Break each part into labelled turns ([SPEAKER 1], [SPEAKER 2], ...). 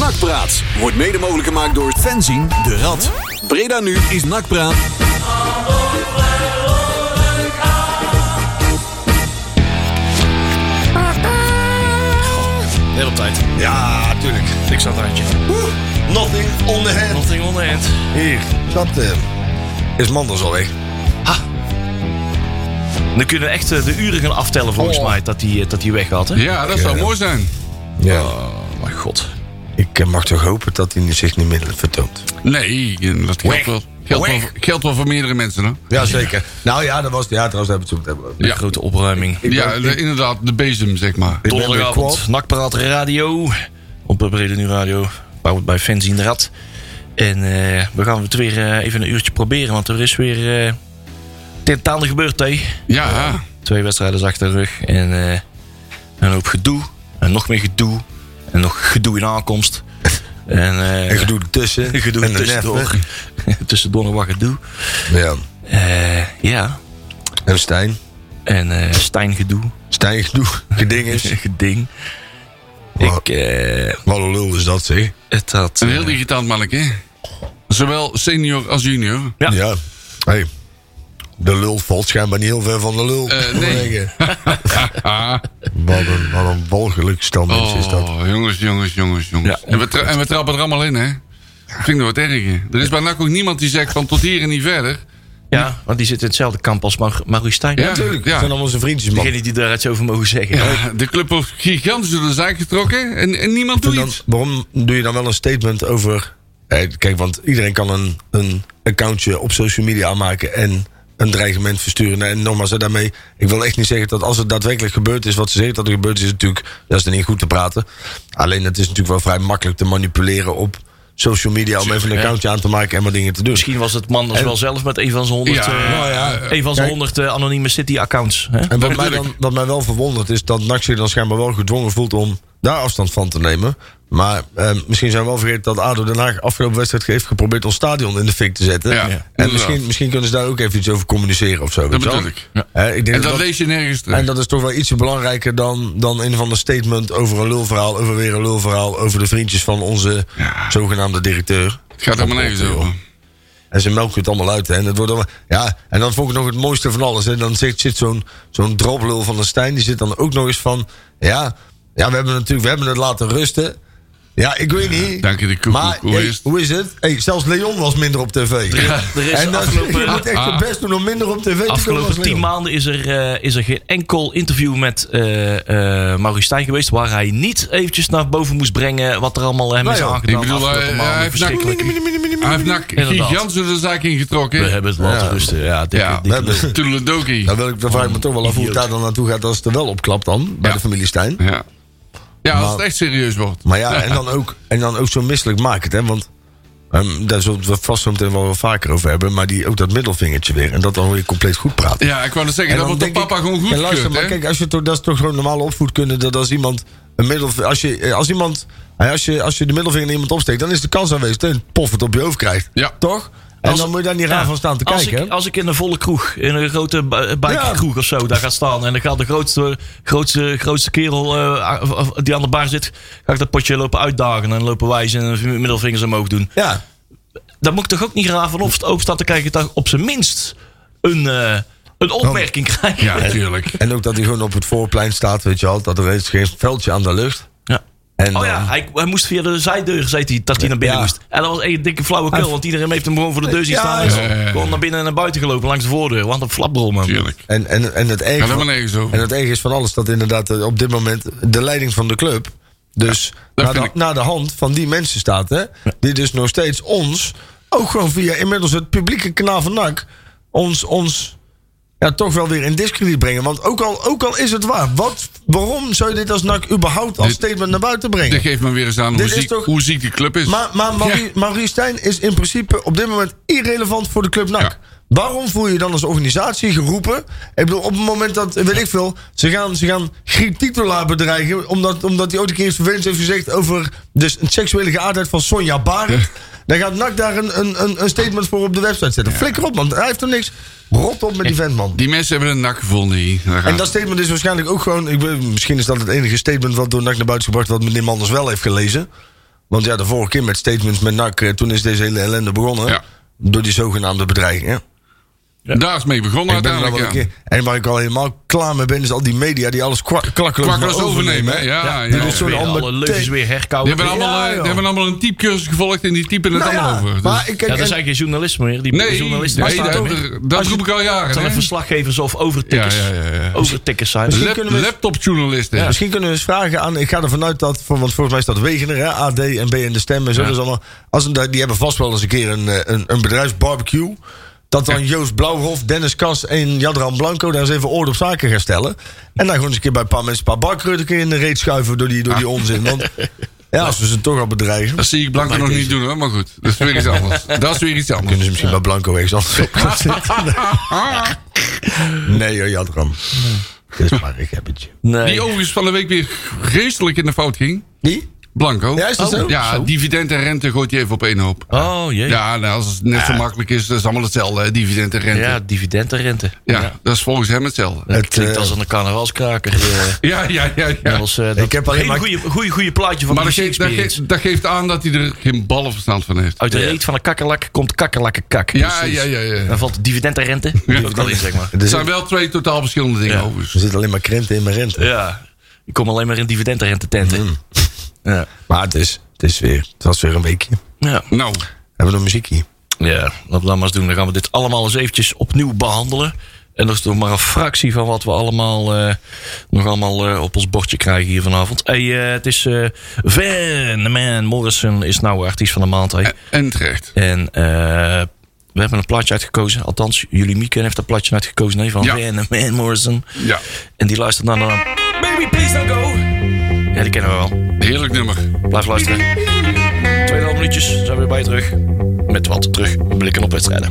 [SPEAKER 1] Nakpraat wordt mede mogelijk gemaakt door Fenzin de Rad. Breda nu is Nakpraat.
[SPEAKER 2] Heel op tijd.
[SPEAKER 3] Ja, tuurlijk.
[SPEAKER 2] Niks aan het randje.
[SPEAKER 3] Nothing on the hand.
[SPEAKER 2] Nothing on the hand.
[SPEAKER 3] Hier, dat eh, is Manders alweer.
[SPEAKER 2] Nu kunnen we echt eh, de uren gaan aftellen volgens
[SPEAKER 3] Oh.
[SPEAKER 2] mij dat die, eh, dat die weg had. Hè?
[SPEAKER 4] Ja, dat zou mooi zijn.
[SPEAKER 3] Ja.
[SPEAKER 2] Oh mijn god.
[SPEAKER 3] Ik eh, mag toch hopen dat hij zich niet middelen vertoont.
[SPEAKER 4] Nee, dat geldt wel, geldt wel, geldt wel voor meerdere mensen. Hè?
[SPEAKER 3] Ja, zeker. Nou ja, dat was... Ja, trouwens, daar hebben we het zo meteen over.
[SPEAKER 2] De
[SPEAKER 4] Ja.
[SPEAKER 2] grote opruiming.
[SPEAKER 4] Ja, de- inderdaad, de bezem, zeg maar.
[SPEAKER 3] ben weer
[SPEAKER 2] Donderdagavond.
[SPEAKER 3] kwaad.
[SPEAKER 2] Nakpraat Radio. Op de Brede Nu Radio. Powered bij Fans in de Rad. En eh, we gaan het weer eh, even een uurtje proberen. Want er is weer eh tentaande gebeurd, hè.
[SPEAKER 4] Ja,
[SPEAKER 2] Twee wedstrijden achter de rug. En eh, een hoop gedoe. En nog meer gedoe. En nog gedoe in aankomst. En, eh,
[SPEAKER 3] En gedoe ertussen.
[SPEAKER 2] gedoe
[SPEAKER 3] en de
[SPEAKER 2] tussendoor. tussendoor nog wat gedoe.
[SPEAKER 3] neffen. Ja.
[SPEAKER 2] Eh, ja.
[SPEAKER 3] En Stijn.
[SPEAKER 2] En eh, Stijn gedoe.
[SPEAKER 3] Stijn gedoe. Geding is.
[SPEAKER 2] Geding.
[SPEAKER 3] Wow.
[SPEAKER 2] Ik, eh,
[SPEAKER 3] Wat een lul is dat, zeg.
[SPEAKER 2] het had...
[SPEAKER 4] een
[SPEAKER 2] eh,
[SPEAKER 4] heel irritant manneke. Zowel senior als junior.
[SPEAKER 2] Ja.
[SPEAKER 3] Hey. De lul valt schijnbaar niet heel ver van de lul.
[SPEAKER 4] Eh, nee. Ah,
[SPEAKER 3] Wat een, wat een walgelijk standbeeld is dat.
[SPEAKER 4] oh, jongens, jongens, jongens, jongens.
[SPEAKER 2] Ja.
[SPEAKER 4] en, we tra- en we trappen er allemaal in, hè? Ik vind dat wat erg. hè. Er is bijna ook niemand die zegt van tot hier en niet verder.
[SPEAKER 2] eh, Ja, want die zit in hetzelfde kamp als Mar Maurice Stijn.
[SPEAKER 4] Ja, natuurlijk.
[SPEAKER 3] Dat zijn allemaal zijn vriendjes, man.
[SPEAKER 2] Degene die daar iets over mogen zeggen.
[SPEAKER 4] Ja, de club heeft gigantisch door de zaak getrokken en, en niemand
[SPEAKER 3] En
[SPEAKER 4] doet
[SPEAKER 3] dan,
[SPEAKER 4] iets.
[SPEAKER 3] waarom doe je dan wel een statement over... Eh, kijk, want iedereen kan een, een accountje op social media aanmaken... en een dreigement versturen. Nou, En nogmaals, hè, daarmee... Ik wil echt niet zeggen dat als het daadwerkelijk gebeurd is... wat ze zeggen dat er gebeurd is, is natuurlijk... dat is dan niet goed te praten. Alleen het is natuurlijk wel vrij makkelijk te manipuleren op social media... om even een
[SPEAKER 2] ja.
[SPEAKER 3] accountje aan te maken en wat dingen te doen.
[SPEAKER 2] Misschien was het man als
[SPEAKER 3] En-
[SPEAKER 2] wel zelf met een van zijn honderd,
[SPEAKER 4] Ja,
[SPEAKER 2] eh,
[SPEAKER 4] nou ja,
[SPEAKER 2] een van zijn
[SPEAKER 3] kijk.
[SPEAKER 2] honderd eh, anonieme City-accounts. hè?
[SPEAKER 3] En wat
[SPEAKER 4] Dat
[SPEAKER 3] mij,
[SPEAKER 4] bedoel
[SPEAKER 3] dan, wat mij wel verwondert is dat NAC zich dan schijnbaar wel gedwongen voelt om daar afstand van te nemen. Maar eh, misschien zijn we wel vergeten dat ADO Den Haag afgelopen wedstrijd heeft geprobeerd ons stadion in de fik te zetten.
[SPEAKER 4] Ja,
[SPEAKER 3] en
[SPEAKER 4] inderdaad.
[SPEAKER 3] misschien, misschien kunnen ze daar ook even iets over communiceren of zo.
[SPEAKER 4] Dat
[SPEAKER 3] weet je wel.
[SPEAKER 4] bedoel ik.
[SPEAKER 3] Eh, ik denk
[SPEAKER 4] En
[SPEAKER 3] dat
[SPEAKER 4] dat
[SPEAKER 3] dat-
[SPEAKER 4] lees je nergens
[SPEAKER 3] en
[SPEAKER 4] terug.
[SPEAKER 3] dat is toch wel iets belangrijker dan, dan een van de statement over een lulverhaal, over weer een lulverhaal, over de vriendjes van onze
[SPEAKER 4] Ja.
[SPEAKER 3] zogenaamde directeur.
[SPEAKER 4] Het gaat helemaal nergens over.
[SPEAKER 3] En ze melken het allemaal uit. Hè. En, het wordt allemaal, ja, en dan vond ik nog het mooiste van alles. En dan zit, zit zo'n zo'n droplul van de Stijn. Die zit dan ook nog eens van... Ja, ja we hebben natuurlijk we hebben het laten rusten. Ja, ik weet niet.
[SPEAKER 4] dank je, de koekoek.
[SPEAKER 3] Maar
[SPEAKER 4] Hoe
[SPEAKER 3] hey,
[SPEAKER 4] is het?
[SPEAKER 3] hoe is het? Hey, zelfs Leon was minder op tv.
[SPEAKER 2] er is
[SPEAKER 3] en dan,
[SPEAKER 2] afgelopen-
[SPEAKER 3] je moet
[SPEAKER 4] Ah.
[SPEAKER 3] echt je best doen om minder op tv te komen als
[SPEAKER 2] Afgelopen tien
[SPEAKER 3] Leon.
[SPEAKER 2] maanden is er, eh, is er geen enkel interview met eh eh, Maurice Stijn geweest... waar hij niet eventjes naar boven moest brengen wat er allemaal hem
[SPEAKER 3] Nou
[SPEAKER 2] is
[SPEAKER 3] ja, ik eh,
[SPEAKER 2] aangedaan.
[SPEAKER 4] bedoel,
[SPEAKER 2] afgelopen
[SPEAKER 4] hij-
[SPEAKER 2] maanden.
[SPEAKER 4] hij heeft
[SPEAKER 2] Verschrikkelijk.
[SPEAKER 4] Hij heeft NAC
[SPEAKER 2] Inderdaad.
[SPEAKER 4] gigantisch door de zaak ingetrokken.
[SPEAKER 2] We hebben het laten rusten. Ja, dit,
[SPEAKER 4] Ja,
[SPEAKER 2] dit-
[SPEAKER 3] we hebben-
[SPEAKER 4] Toedeledokie.
[SPEAKER 3] Dan, wil ik, dan vraag ik me toch wel af hoe het
[SPEAKER 2] Idioot.
[SPEAKER 3] daar dan naartoe gaat als het er wel opklapt dan. Bij
[SPEAKER 4] Ja.
[SPEAKER 3] de familie Stijn.
[SPEAKER 4] Ja. ja, als het
[SPEAKER 3] Maar-
[SPEAKER 4] echt serieus wordt.
[SPEAKER 3] Maar ja, en dan ook, en dan ook zo misselijk maken, hè? Want ehm, daar zullen we het vast zo meteen wel wat vaker over hebben. Maar die, ook dat middelvingertje weer. En dat dan weer compleet goed praten.
[SPEAKER 4] Ja, ik wou net zeggen,
[SPEAKER 3] en
[SPEAKER 4] dat wordt door
[SPEAKER 3] denk
[SPEAKER 4] papa
[SPEAKER 3] ik-
[SPEAKER 4] gewoon
[SPEAKER 3] en
[SPEAKER 4] goed
[SPEAKER 3] luister,
[SPEAKER 4] gekeurd,
[SPEAKER 3] maar
[SPEAKER 4] hè?
[SPEAKER 3] kijk, als je toch, dat is toch gewoon normale opvoedkunde. Dat als iemand een middel, als je, eh, als iemand, eh, als je, als je de middelvinger in iemand opsteekt, dan is de kans aanwezig dat je een pof het op je hoofd krijgt.
[SPEAKER 4] Ja.
[SPEAKER 3] Toch? En
[SPEAKER 2] Als-
[SPEAKER 3] dan moet je daar niet raar
[SPEAKER 2] Ja,
[SPEAKER 3] van staan te
[SPEAKER 2] als
[SPEAKER 3] kijken.
[SPEAKER 2] Ik,
[SPEAKER 3] hè?
[SPEAKER 2] als ik in een volle kroeg, in een grote bi- bikekroeg of zo, daar ga staan. En dan gaat de grootste, grootste, grootste kerel eh, of- of die aan de bar zit, ga ik dat potje lopen uitdagen en lopen wijzen en middelvingers omhoog doen.
[SPEAKER 3] Ja.
[SPEAKER 2] Dan moet ik toch ook niet raar van op, op staan te kijken dat ik op zijn minst een, eh, een opmerking
[SPEAKER 3] Oh.
[SPEAKER 2] krijg.
[SPEAKER 4] Ja, natuurlijk.
[SPEAKER 3] En ook dat hij gewoon op het voorplein staat, weet je wel. Dat er is geen veldje aan de lucht.
[SPEAKER 2] Ja.
[SPEAKER 3] En
[SPEAKER 2] Oh
[SPEAKER 3] dan-
[SPEAKER 2] ja, hij, hij moest via de zijdeur, zei hij, dat hij naar binnen
[SPEAKER 3] Ja.
[SPEAKER 2] moest. En dat was echt een dikke flauwekul,
[SPEAKER 3] Hij-
[SPEAKER 2] want iedereen heeft hem gewoon voor de deur zien
[SPEAKER 3] Ja,
[SPEAKER 2] staan.
[SPEAKER 3] ja,
[SPEAKER 2] en is
[SPEAKER 4] ja, ja, ja.
[SPEAKER 2] Gewoon naar binnen en naar buiten gelopen, langs de voordeur. Want een flapbrol, man.
[SPEAKER 4] Tuurlijk.
[SPEAKER 3] En, en, en het erge
[SPEAKER 4] Gaat
[SPEAKER 3] van-
[SPEAKER 4] helemaal nergens
[SPEAKER 3] En
[SPEAKER 4] over.
[SPEAKER 3] het erg is van alles dat inderdaad eh, op dit moment de leiding van de club. Dus
[SPEAKER 4] dat
[SPEAKER 3] naar,
[SPEAKER 4] vind
[SPEAKER 3] de,
[SPEAKER 4] ik.
[SPEAKER 3] naar de hand van die mensen staat. Hè, die dus nog steeds ons, ook gewoon via inmiddels het publieke kanaal van NAC. ons, ons ja, toch wel weer in discrediet brengen. Want ook al, ook al is het waar, wat, waarom zou je dit als NAC überhaupt als
[SPEAKER 4] Dit-
[SPEAKER 3] statement naar buiten brengen?
[SPEAKER 4] Dit geeft me weer eens aan hoe
[SPEAKER 3] Dit is
[SPEAKER 4] ziek,
[SPEAKER 3] toch-
[SPEAKER 4] hoe ziek die club is.
[SPEAKER 3] Maar, maar Maurice, Maurice Stijn is in principe op dit moment irrelevant voor de club NAC.
[SPEAKER 4] Ja.
[SPEAKER 3] Waarom voel je je dan als organisatie geroepen? Ik bedoel, op het moment dat, weet ik veel, ze gaan, ze gaan Griep Titelaar bedreigen. Omdat, omdat hij ooit een keer iets vervelends heeft gezegd over de seksuele geaardheid van Sonja Barend. Dan gaat NAC daar een, een, een, een statement voor op de website zetten. Flikker op, man. Hij heeft er niks. Rot op met die vent, man.
[SPEAKER 4] Die mensen hebben een nak gevonden hier. Daar gaat
[SPEAKER 3] En dat statement is waarschijnlijk ook gewoon. Ik, weet- misschien is dat het enige statement wat door NAC naar buiten is gebracht. wat meneer Manders wel heeft gelezen. Want ja, de vorige keer met statements met NAC, eh, toen is deze hele ellende begonnen.
[SPEAKER 4] Ja.
[SPEAKER 3] Door die zogenaamde bedreiging. Ja.
[SPEAKER 4] Daar is mee begonnen
[SPEAKER 3] Ik ben er wel
[SPEAKER 4] uiteindelijk.
[SPEAKER 3] een
[SPEAKER 4] ja.
[SPEAKER 3] keer- en waar ik al helemaal klaar mee ben, is al die media die alles kwa- klakkeloos
[SPEAKER 4] Kwakkeloos
[SPEAKER 3] maar
[SPEAKER 4] overnemen, hè?
[SPEAKER 3] hè.
[SPEAKER 4] Ja, Ah, ja.
[SPEAKER 3] die
[SPEAKER 4] ja.
[SPEAKER 3] doen zo'n
[SPEAKER 2] weer
[SPEAKER 3] ander
[SPEAKER 2] alle leugens
[SPEAKER 3] te-
[SPEAKER 2] weer
[SPEAKER 4] Die
[SPEAKER 2] herkauwen.
[SPEAKER 4] hebben, allemaal,
[SPEAKER 3] Ja,
[SPEAKER 4] eh,
[SPEAKER 3] joh.
[SPEAKER 4] die hebben allemaal een typecursus gevolgd en die typen het
[SPEAKER 3] Nou ja,
[SPEAKER 4] allemaal over. Dus-
[SPEAKER 3] maar ik kijk,
[SPEAKER 2] Ja, dat
[SPEAKER 3] en-
[SPEAKER 2] is eigenlijk geen journalist meer. Die
[SPEAKER 4] nee,
[SPEAKER 2] journalisten
[SPEAKER 4] nee,
[SPEAKER 2] bestaan
[SPEAKER 4] dat,
[SPEAKER 2] niet meer.
[SPEAKER 4] dat- dat
[SPEAKER 2] Als je-
[SPEAKER 4] roep ik al
[SPEAKER 2] Het
[SPEAKER 4] jaren.
[SPEAKER 2] zijn
[SPEAKER 4] hè.
[SPEAKER 2] verslaggevers of overtikkers.
[SPEAKER 4] Ja, ja, ja, ja.
[SPEAKER 2] Overtikkers zijn.
[SPEAKER 3] Misschien
[SPEAKER 4] Lap-
[SPEAKER 3] kunnen we-
[SPEAKER 4] Laptopjournalisten. Ja.
[SPEAKER 3] Misschien kunnen we eens vragen aan. Ik ga ervan uit dat. voor- Want volgens mij staat Wegener, hè, AD en B en de Stem. En zo,
[SPEAKER 4] Ja.
[SPEAKER 3] dus allemaal, als een, die hebben vast wel eens een keer een, eh, een, een bedrijfsbarbecue. Dat dan Joost Blauwhof, Dennis Kas en Jadran Blanco daar eens even orde op zaken gaan stellen. En dan gewoon eens een keer bij een paar mensen een paar barkreuken in de reet schuiven door die, door die onzin. Want ja, als we ze toch al bedreigen.
[SPEAKER 4] Ah. Dat zie ik Blanco nog niet doen hoor, maar goed. Dat is weer iets anders. Dat is weer iets anders.
[SPEAKER 3] kunnen ze misschien bij Blanco ergens anders op gaan zitten.
[SPEAKER 4] Ah,
[SPEAKER 3] Nee, joh, Jadran. Het is maar een gebbetje.
[SPEAKER 2] Nee.
[SPEAKER 4] die overigens van de week weer geestelijk in de fout ging.
[SPEAKER 3] Die?
[SPEAKER 4] Blanco. Oh.
[SPEAKER 3] Ja, is dat zo?
[SPEAKER 4] Ja, dividend en rente gooit hij even op één hoop.
[SPEAKER 2] Oh jee. Ja,
[SPEAKER 4] Ja, nou, als het net zo makkelijk is, dat is allemaal hetzelfde. hè, Dividend en rente. Ja,
[SPEAKER 2] dividendrente.
[SPEAKER 4] dat is volgens hem hetzelfde.
[SPEAKER 2] Dat
[SPEAKER 3] Het,
[SPEAKER 2] klinkt
[SPEAKER 3] eh,
[SPEAKER 2] als een carnavalskraker. eh,
[SPEAKER 4] Ja, ja, ja.
[SPEAKER 2] net
[SPEAKER 4] ja.
[SPEAKER 2] als, eh, dat-
[SPEAKER 3] Ik heb alleen
[SPEAKER 2] Hele
[SPEAKER 3] maar-
[SPEAKER 2] goede, goede, goede plaatje van
[SPEAKER 4] Maar
[SPEAKER 2] de
[SPEAKER 4] dat geeft, dat,
[SPEAKER 2] experience.
[SPEAKER 4] geeft, dat geeft aan dat hij er geen ballenverstand van heeft.
[SPEAKER 2] Uit de reet van een kakkerlak komt kakkerlakkenkak.
[SPEAKER 4] Ja, ja, ja, ja.
[SPEAKER 2] Dan valt dividendrente. Ja, ook al in, zeg maar.
[SPEAKER 3] Er
[SPEAKER 4] Er
[SPEAKER 3] zit,
[SPEAKER 4] zijn wel twee totaal verschillende dingen
[SPEAKER 2] Ja.
[SPEAKER 3] er
[SPEAKER 4] overigens.
[SPEAKER 3] zit alleen maar krenten in mijn rente.
[SPEAKER 2] Ja. Ik kom alleen maar in dividendrente tenten.
[SPEAKER 3] Mm.
[SPEAKER 2] Ja.
[SPEAKER 3] Maar het is, het is weer, het was weer een weekje.
[SPEAKER 2] Ja.
[SPEAKER 4] Nou,
[SPEAKER 3] Hebben we nog muziek hier?
[SPEAKER 2] Ja, dat laat maar eens doen. Dan gaan we dit allemaal eens eventjes opnieuw behandelen. En dat is nog maar een fractie van wat we allemaal eh, nog allemaal eh, op ons bordje krijgen hier vanavond. Hey, eh, het is eh Van the Man Morrison is nou artiest van de maand. Hey.
[SPEAKER 4] en- en terecht.
[SPEAKER 2] En eh, we hebben een plaatje uitgekozen. Althans, jullie Mieke heeft een plaatje uitgekozen. Nee, van
[SPEAKER 4] Ja.
[SPEAKER 2] Van the Man Morrison.
[SPEAKER 4] Ja,
[SPEAKER 2] En die luistert naar de naam Baby Please Don't Go. Ja, die kennen we wel.
[SPEAKER 4] heerlijk nummer.
[SPEAKER 2] Blijf luisteren. Tweeënhalf minuutjes zijn we weer bij je terug. Met wat terugblikken op wedstrijden.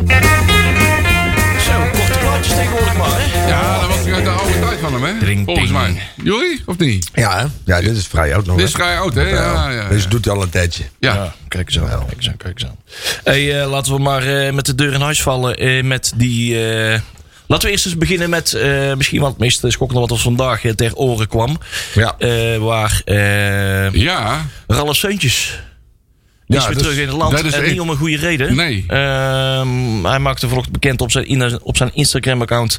[SPEAKER 2] Zo, korte plaatjes tegenwoordig maar, hè?
[SPEAKER 4] Ja, dat was uit de oude tijd van hem, hè?
[SPEAKER 2] Dring,
[SPEAKER 4] Volgens
[SPEAKER 2] ding.
[SPEAKER 4] mij. Jullie, of niet?
[SPEAKER 3] Ja, hè? ja dit is vrij oud nog.
[SPEAKER 4] Dit is
[SPEAKER 3] hè?
[SPEAKER 4] vrij oud, hè? Ja, ja, ja.
[SPEAKER 3] Dus doet hij al een tijdje.
[SPEAKER 4] ja.
[SPEAKER 2] Kijk eens aan, kijk eens aan, kijk eens aan. Hey, eh, laten we maar eh, met de deur in huis vallen. eh, met die, eh, laten we eerst eens beginnen met eh, misschien wel het meest schokkende wat ons vandaag eh, ter oren kwam.
[SPEAKER 3] Ja.
[SPEAKER 2] Eh, waar eh
[SPEAKER 4] Ja,
[SPEAKER 2] Ralf Seuntjes Die is weer
[SPEAKER 4] dat
[SPEAKER 2] terug in het land.
[SPEAKER 4] dat is
[SPEAKER 2] en
[SPEAKER 4] echt-
[SPEAKER 2] niet om een goede reden.
[SPEAKER 4] Nee.
[SPEAKER 2] Ehm, hij maakte vanochtend bekend op zijn, in- op zijn Instagram-account...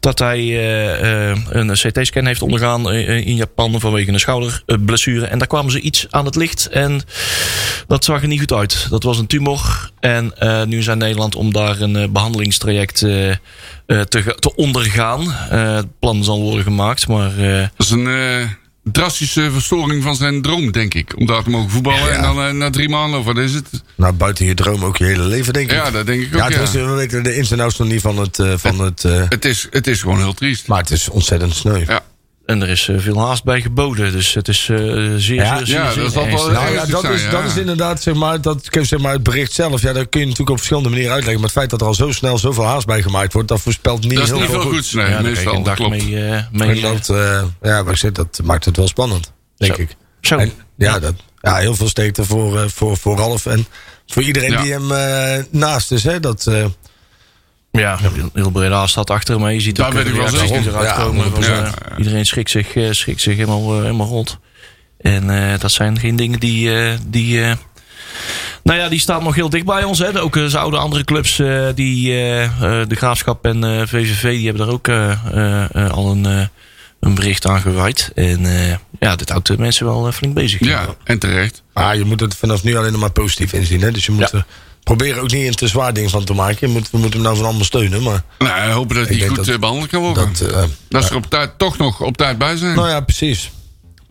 [SPEAKER 2] dat hij eh, eh, een CT-scan heeft ondergaan eh, eh, in Japan... vanwege een schouderblessure. En daar kwamen ze iets aan het licht. En dat zag er niet goed uit. Dat was een tumor. En eh, nu is hij in Nederland om daar een eh, behandelingstraject eh, eh, te, ge- te ondergaan. Eh, het plan zal worden gemaakt, maar... eh,
[SPEAKER 4] dat is een eh, drastische verstoring van zijn droom, denk ik. Om daar te mogen voetballen en dan eh, na drie maanden, of wat is het?
[SPEAKER 3] Nou, buiten je droom ook je hele leven, denk ik.
[SPEAKER 4] Ja, dat denk ik
[SPEAKER 3] Ja, eh,
[SPEAKER 4] ook, ja.
[SPEAKER 3] tenminste, we weten de ins en outs nog niet van het... eh, van het eh,
[SPEAKER 4] Het is, het is gewoon heel triest.
[SPEAKER 3] maar het is ontzettend sneu.
[SPEAKER 4] Ja,
[SPEAKER 2] En er is eh, veel haast bij geboden. Dus het is eh, zeer, zeer,
[SPEAKER 3] Ja,
[SPEAKER 2] zeer,
[SPEAKER 4] ja,
[SPEAKER 2] zeer
[SPEAKER 4] dat is altijd wel
[SPEAKER 2] ernstig.
[SPEAKER 3] Nou ja,
[SPEAKER 4] ernstig
[SPEAKER 3] dat
[SPEAKER 4] zijn,
[SPEAKER 3] is,
[SPEAKER 4] ja.
[SPEAKER 3] dat is inderdaad, zeg maar, dat, ik heb zeg maar, het bericht zelf. Ja, dat kun je natuurlijk op verschillende manieren uitleggen. Maar het feit dat er al zo snel zoveel haast bij gemaakt wordt, dat voorspelt niet
[SPEAKER 4] dat is
[SPEAKER 3] heel
[SPEAKER 4] niet
[SPEAKER 3] veel
[SPEAKER 4] veel goeds, nee,
[SPEAKER 2] ja, daar krijg je
[SPEAKER 4] meestal.
[SPEAKER 2] een
[SPEAKER 4] Dat
[SPEAKER 2] dag
[SPEAKER 4] klopt.
[SPEAKER 2] mee. eh,
[SPEAKER 3] En
[SPEAKER 2] mee eh,
[SPEAKER 3] dat, eh, ja, wat ik zeg, dat maakt het wel spannend, denk
[SPEAKER 2] Zo.
[SPEAKER 3] ik.
[SPEAKER 2] eh, Zo.
[SPEAKER 3] En, ja, dat, ja, heel veel sterkte voor, eh, voor, voor Ralf en voor iedereen
[SPEAKER 4] Ja.
[SPEAKER 3] die hem eh, naast is. Hè, dat, eh,
[SPEAKER 2] ja, heel- heel Breda staat achter me. Je ziet
[SPEAKER 4] Daar
[SPEAKER 2] ook
[SPEAKER 4] weet
[SPEAKER 2] de
[SPEAKER 4] ik wel
[SPEAKER 2] reacties die
[SPEAKER 4] zeker.
[SPEAKER 2] eruit
[SPEAKER 3] Ja,
[SPEAKER 2] komen. van,
[SPEAKER 4] 100%.
[SPEAKER 2] eh, Iedereen schrikt zich, eh, schrikt zich helemaal, eh, helemaal rond. En eh, dat zijn geen dingen die... eh, die eh, nou ja, die staat nog heel dicht bij ons. Hè. Ook eh, zouden andere clubs, eh, die, eh, eh, de Graafschap en eh, VVV, die hebben daar ook eh, eh, eh, al een, eh, een bericht aan gewijd. En eh, ja, dit houdt de mensen wel eh, flink bezig.
[SPEAKER 4] Ja, en terecht.
[SPEAKER 3] maar je moet het vanaf nu alleen nog maar positief inzien. Hè, dus je moet
[SPEAKER 2] Ja.
[SPEAKER 3] er proberen ook niet een te zwaar ding van te maken. Je moet, we moeten hem nou van allemaal steunen. Maar
[SPEAKER 4] Nou, hopen dat
[SPEAKER 3] Ik
[SPEAKER 4] hij
[SPEAKER 3] denk
[SPEAKER 4] goed
[SPEAKER 3] dat-
[SPEAKER 4] eh, behandeld kan worden.
[SPEAKER 3] dat,
[SPEAKER 4] Dat,
[SPEAKER 3] eh,
[SPEAKER 4] ze er op tijd, toch nog op tijd bij zijn.
[SPEAKER 3] nou ja, precies.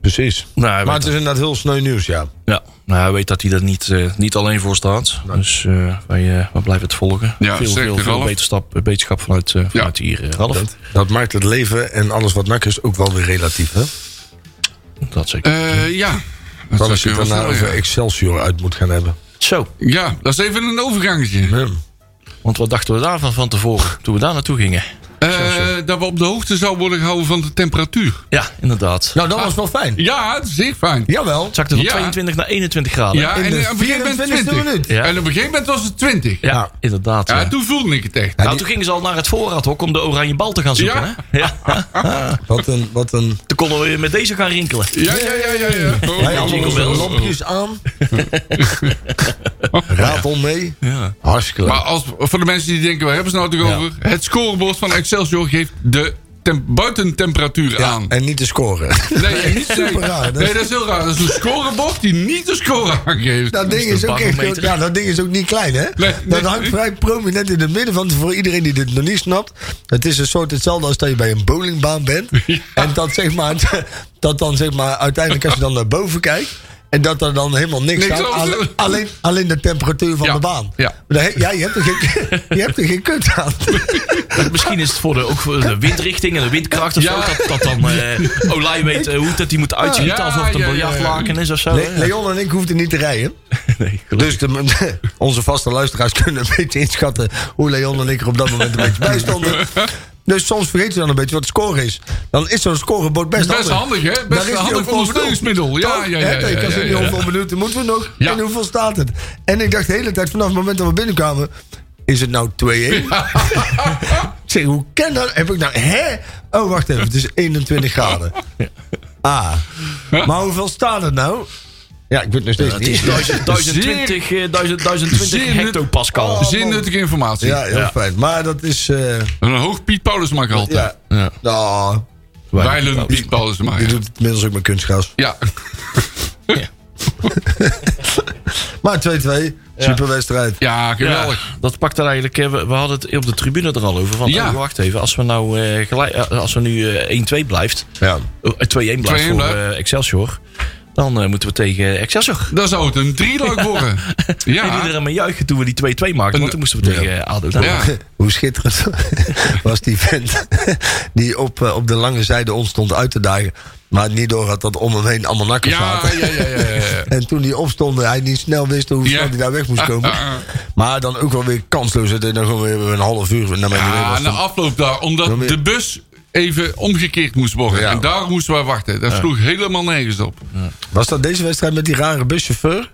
[SPEAKER 3] Precies.
[SPEAKER 2] Nou, hij
[SPEAKER 3] maar
[SPEAKER 2] weet
[SPEAKER 3] het is inderdaad heel sneu nieuws, ja.
[SPEAKER 2] Ja, nou, hij weet dat hij er niet, eh, niet alleen voor staat. Dus eh, wij, eh, wij blijven het volgen.
[SPEAKER 4] Ja,
[SPEAKER 2] veel,
[SPEAKER 4] sterkte,
[SPEAKER 2] veel, veel
[SPEAKER 4] Ralf.
[SPEAKER 2] wetenschap, wetenschap vanuit, eh, vanuit hier, eh, Ralf. Dat,
[SPEAKER 3] Dat maakt het leven en alles wat nak is ook wel weer relatief. Hè?
[SPEAKER 2] zeker.
[SPEAKER 4] Eh, ja. Dat
[SPEAKER 3] Dan
[SPEAKER 4] zou
[SPEAKER 3] als je
[SPEAKER 4] ik
[SPEAKER 3] het
[SPEAKER 4] wel
[SPEAKER 3] daarna
[SPEAKER 4] stellen,
[SPEAKER 3] over
[SPEAKER 4] ja.
[SPEAKER 3] Excelsior uit moet gaan hebben. Hm.
[SPEAKER 2] Zo,
[SPEAKER 4] Ja, dat is even een overgangetje.
[SPEAKER 3] Ja.
[SPEAKER 2] want wat dachten we daarvan van tevoren toen we daar naartoe gingen?
[SPEAKER 4] Eh, dat we op de hoogte zouden worden gehouden van de temperatuur.
[SPEAKER 2] Ja, inderdaad.
[SPEAKER 3] Nou, dat was wel fijn.
[SPEAKER 4] Ja, het is zeer fijn.
[SPEAKER 3] Jawel.
[SPEAKER 2] Het zakte van
[SPEAKER 4] Ja.
[SPEAKER 2] 22 naar 21 graden.
[SPEAKER 4] Ja,
[SPEAKER 3] in
[SPEAKER 4] en eh,
[SPEAKER 3] de
[SPEAKER 4] op een gegeven moment
[SPEAKER 3] 24e
[SPEAKER 4] 20.
[SPEAKER 3] minuut.
[SPEAKER 2] Ja.
[SPEAKER 4] En op een gegeven moment was het 20. Ja,
[SPEAKER 2] Ja, inderdaad. ja.
[SPEAKER 4] toen voelde ik het echt.
[SPEAKER 2] nou, toen gingen ze al naar het voorraadhok om de oranje bal te gaan zoeken.
[SPEAKER 4] Ja.
[SPEAKER 2] Hè? Ja.
[SPEAKER 3] Wat een... Wat een
[SPEAKER 2] Toen konden we weer met deze gaan rinkelen.
[SPEAKER 4] Ja, ja, ja, ja. ja. Oh,
[SPEAKER 3] wij
[SPEAKER 4] oh,
[SPEAKER 3] hadden
[SPEAKER 2] jingle
[SPEAKER 4] oh,
[SPEAKER 2] bells.
[SPEAKER 3] onze
[SPEAKER 4] oh.
[SPEAKER 3] lampjes aan. Ratel mee.
[SPEAKER 2] Ja.
[SPEAKER 3] Hartstikke leuk.
[SPEAKER 4] Maar als, voor de mensen die denken, waar hebben ze nou toch
[SPEAKER 2] Ja.
[SPEAKER 4] over? Het scorebord van Excelsior geeft de tem- buitentemperatuur
[SPEAKER 3] Ja,
[SPEAKER 4] aan.
[SPEAKER 3] en niet te scoren.
[SPEAKER 4] Nee, niet
[SPEAKER 3] Super
[SPEAKER 4] nee.
[SPEAKER 3] raar, hè?
[SPEAKER 4] Nee, dat is heel raar. Dat is een scorebord die niet de score aangeeft.
[SPEAKER 3] Dat ding, is
[SPEAKER 2] een
[SPEAKER 3] ook echt,
[SPEAKER 2] barometer.
[SPEAKER 3] ja, dat ding is ook niet klein, hè?
[SPEAKER 4] Nee,
[SPEAKER 3] dat
[SPEAKER 4] nee.
[SPEAKER 3] hangt vrij prominent in het midden. Want voor iedereen die dit nog niet snapt... het is een soort hetzelfde als dat je bij een bowlingbaan bent. En dat, zeg maar, dat dan zeg maar... uiteindelijk als je dan naar boven kijkt... en dat er dan helemaal niks,
[SPEAKER 4] Niks
[SPEAKER 3] staat.
[SPEAKER 4] over.
[SPEAKER 3] Alleen, alleen, alleen de temperatuur van
[SPEAKER 4] Ja,
[SPEAKER 3] de baan.
[SPEAKER 4] ja.
[SPEAKER 3] Maar daar- ja je, hebt er geen, je hebt er geen kut aan.
[SPEAKER 2] Misschien is het voor de, ook voor de windrichting en de windkracht of
[SPEAKER 4] Ja.
[SPEAKER 2] zo. Dat, dat dan eh Olij weet eh, hoe dat die moet uitzien.
[SPEAKER 4] Ja,
[SPEAKER 2] alsof het een
[SPEAKER 4] ja, ja, ja.
[SPEAKER 2] biljartlaken is of zo.
[SPEAKER 3] Le-
[SPEAKER 2] hè?
[SPEAKER 3] Leon en ik hoefden niet te rijden.
[SPEAKER 2] Nee, gelukkig.
[SPEAKER 3] Dus de- onze vaste luisteraars kunnen een beetje inschatten hoe Leon en ik er op dat moment een beetje bij stonden. Dus soms vergeten ze dan een beetje wat de score is. Dan is zo'n scorebord best,
[SPEAKER 4] Best handig, hè? Best
[SPEAKER 3] Daar is
[SPEAKER 4] handig
[SPEAKER 3] die ook voor
[SPEAKER 4] ondersteuningsmiddel.
[SPEAKER 3] bedoeld.
[SPEAKER 4] Ja,
[SPEAKER 3] Toch?
[SPEAKER 4] ja, ja,
[SPEAKER 3] Hè, dat je
[SPEAKER 4] ja,
[SPEAKER 3] kan
[SPEAKER 4] ja,
[SPEAKER 3] zeggen,
[SPEAKER 4] ja,
[SPEAKER 3] joh,
[SPEAKER 4] ja.
[SPEAKER 3] hoeveel minuten moeten we nog?
[SPEAKER 4] Ja.
[SPEAKER 3] En hoeveel staat het? En ik dacht de hele tijd, vanaf het moment dat we binnenkwamen, is het nou 2-1?
[SPEAKER 4] Ah,
[SPEAKER 3] Ik zeg, hoe kan dat? Heb ik nou, hè? Oh, wacht even, het is 21 graden. Ah, maar hoeveel staat het nou? Ja, ik weet nog steeds
[SPEAKER 2] Het
[SPEAKER 3] niet.
[SPEAKER 2] is 1000, 1020, eh, 1000, 1020
[SPEAKER 4] Zeer nut- Oh.
[SPEAKER 2] hectopascal.
[SPEAKER 4] Zeer nuttige informatie.
[SPEAKER 3] Ja, heel
[SPEAKER 2] Ja.
[SPEAKER 3] fijn. Maar dat is... eh,
[SPEAKER 4] Een hoog Piet Paulusma altijd.
[SPEAKER 3] ja.
[SPEAKER 2] Ja.
[SPEAKER 3] Nou,
[SPEAKER 4] Wijlen Piet Paulusma.
[SPEAKER 3] je doet het inmiddels ook met kunstgras.
[SPEAKER 4] Ja.
[SPEAKER 3] Maar 2-2, super wedstrijd.
[SPEAKER 4] ja, geweldig.
[SPEAKER 2] Ja, dat pakt er eigenlijk. eh, We, we hadden het op de tribune er al over. Van,
[SPEAKER 4] Ja.
[SPEAKER 2] oh, wacht even, als we nou eh, gelijk, eh, als we nu eh, 1-2 blijft,
[SPEAKER 3] Ja.
[SPEAKER 2] eh, 2-1 blijft
[SPEAKER 4] 2-1
[SPEAKER 2] voor
[SPEAKER 4] blijft.
[SPEAKER 2] eh, Excelsior, dan eh, moeten we tegen Excelsior.
[SPEAKER 4] Dan zou het een drieluik worden.
[SPEAKER 2] En
[SPEAKER 4] Ja.
[SPEAKER 2] iedereen mee juichen toen we die 2-2 maakten, want toen moesten we tegen eh, ADO. Nou,
[SPEAKER 4] Ja.
[SPEAKER 3] Hoe schitterend was die vent die op, eh, op de lange zijde ons stond uit te dagen. Maar niet door had dat om hem heen allemaal nakkers
[SPEAKER 4] Ja,
[SPEAKER 3] zaten.
[SPEAKER 4] ja, ja, ja, ja.
[SPEAKER 3] En toen die opstond, hij niet snel wist hoe
[SPEAKER 4] Eh, Ja.
[SPEAKER 3] snel hij daar weg moest komen. Maar dan ook wel weer kansloos. Dat hij dan gewoon weer een half uur naar mijn idee
[SPEAKER 4] Ja, nou,
[SPEAKER 3] was.
[SPEAKER 4] en de afloop daar,
[SPEAKER 3] Dan
[SPEAKER 4] omdat
[SPEAKER 3] weer-
[SPEAKER 4] de bus even omgekeerd moest worden.
[SPEAKER 3] Ja.
[SPEAKER 4] En daar moesten wij wachten. Dat sloeg helemaal nergens op.
[SPEAKER 3] Was dat deze wedstrijd met die rare buschauffeur?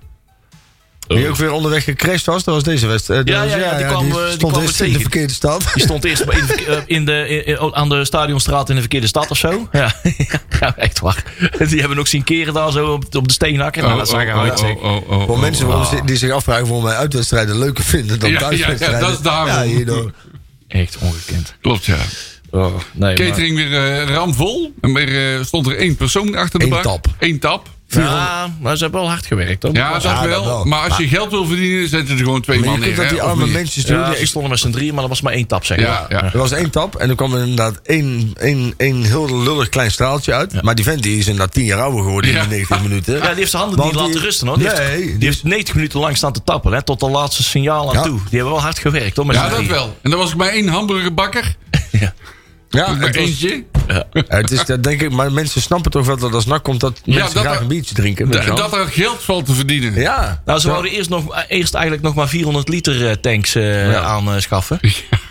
[SPEAKER 3] Die
[SPEAKER 4] Oh.
[SPEAKER 3] ook weer onderweg gecrashed was? Dat was deze wedstrijd. dus
[SPEAKER 2] Ja,
[SPEAKER 3] Dat was-
[SPEAKER 2] ja, ja, die kwam, eh, die
[SPEAKER 3] stond
[SPEAKER 2] kwam
[SPEAKER 3] eerst
[SPEAKER 2] we
[SPEAKER 3] in de
[SPEAKER 2] tegen.
[SPEAKER 3] verkeerde stad.
[SPEAKER 2] Die stond eerst in, de- eh, in de, in- in- aan de stadionstraat in de verkeerde stad of zo. Ja, ja echt waar. Die hebben we ook zien keren daar zo op, op de steenhakker. Nou, dat zag eruit. zeg.
[SPEAKER 4] oh, oh,
[SPEAKER 3] Voor
[SPEAKER 4] oh.
[SPEAKER 3] mensen waarom ze- die zich afvragen waarom wij uitwedstrijden leuker vinden dan
[SPEAKER 4] Ja, ja, ja,
[SPEAKER 3] thuiswedstrijden.
[SPEAKER 4] dat is daarom.
[SPEAKER 3] Ja, hierdoor.
[SPEAKER 2] Echt ongekend.
[SPEAKER 4] Klopt, ja.
[SPEAKER 2] Oh, nee, maar-
[SPEAKER 4] Catering weer eh, ramvol. En weer eh, stond er één persoon achter de
[SPEAKER 3] Eén
[SPEAKER 4] bar.
[SPEAKER 3] tap.
[SPEAKER 4] Eén tap.
[SPEAKER 2] Ja, maar ze hebben wel hard gewerkt. hoor.
[SPEAKER 4] Ja, dat
[SPEAKER 3] Ja, dat
[SPEAKER 4] wel.
[SPEAKER 3] wel.
[SPEAKER 4] Maar als je geld wil verdienen, zetten er gewoon twee
[SPEAKER 3] Maar je
[SPEAKER 4] man in.
[SPEAKER 3] kunt dat
[SPEAKER 4] hè,
[SPEAKER 3] die
[SPEAKER 4] of
[SPEAKER 3] arme
[SPEAKER 4] niet?
[SPEAKER 3] mensen doen.
[SPEAKER 2] Ja, ze stonden met z'n drieën, maar dat was maar één tap, zeg
[SPEAKER 4] Ja,
[SPEAKER 2] maar.
[SPEAKER 4] ja.
[SPEAKER 3] Er was één tap en er kwam inderdaad één, één, één heel lullig klein straaltje uit. Maar die vent die is inderdaad tien jaar ouder geworden
[SPEAKER 4] Ja.
[SPEAKER 3] in de 90 minuten.
[SPEAKER 2] Ja, die heeft zijn handen
[SPEAKER 3] Want
[SPEAKER 2] niet
[SPEAKER 3] die-
[SPEAKER 2] laten rusten hoor. Die,
[SPEAKER 3] Nee,
[SPEAKER 2] heeft, die
[SPEAKER 3] dus-
[SPEAKER 2] heeft 90 minuten lang staan te tappen, hè, tot de laatste signaal aan
[SPEAKER 3] Ja.
[SPEAKER 2] toe. Die hebben wel hard gewerkt hoor. Met
[SPEAKER 4] Ja,
[SPEAKER 2] z'n
[SPEAKER 4] dat
[SPEAKER 2] drieën.
[SPEAKER 4] wel. En dan was ik bij één hamburgerbakker.
[SPEAKER 3] Ja,
[SPEAKER 4] Bij
[SPEAKER 3] het, was-
[SPEAKER 4] eentje.
[SPEAKER 3] het is dat denk ik, maar mensen snappen toch wel dat als nak komt dat mensen
[SPEAKER 4] dat
[SPEAKER 3] graag
[SPEAKER 4] er-
[SPEAKER 3] een biertje drinken. weet
[SPEAKER 4] Da-
[SPEAKER 3] je wel.
[SPEAKER 4] Dat er geld valt te verdienen.
[SPEAKER 3] ja,
[SPEAKER 2] Nou, ze wouden eerst, nog, eh, eerst eigenlijk nog maar 400 liter eh, tanks aanschaffen.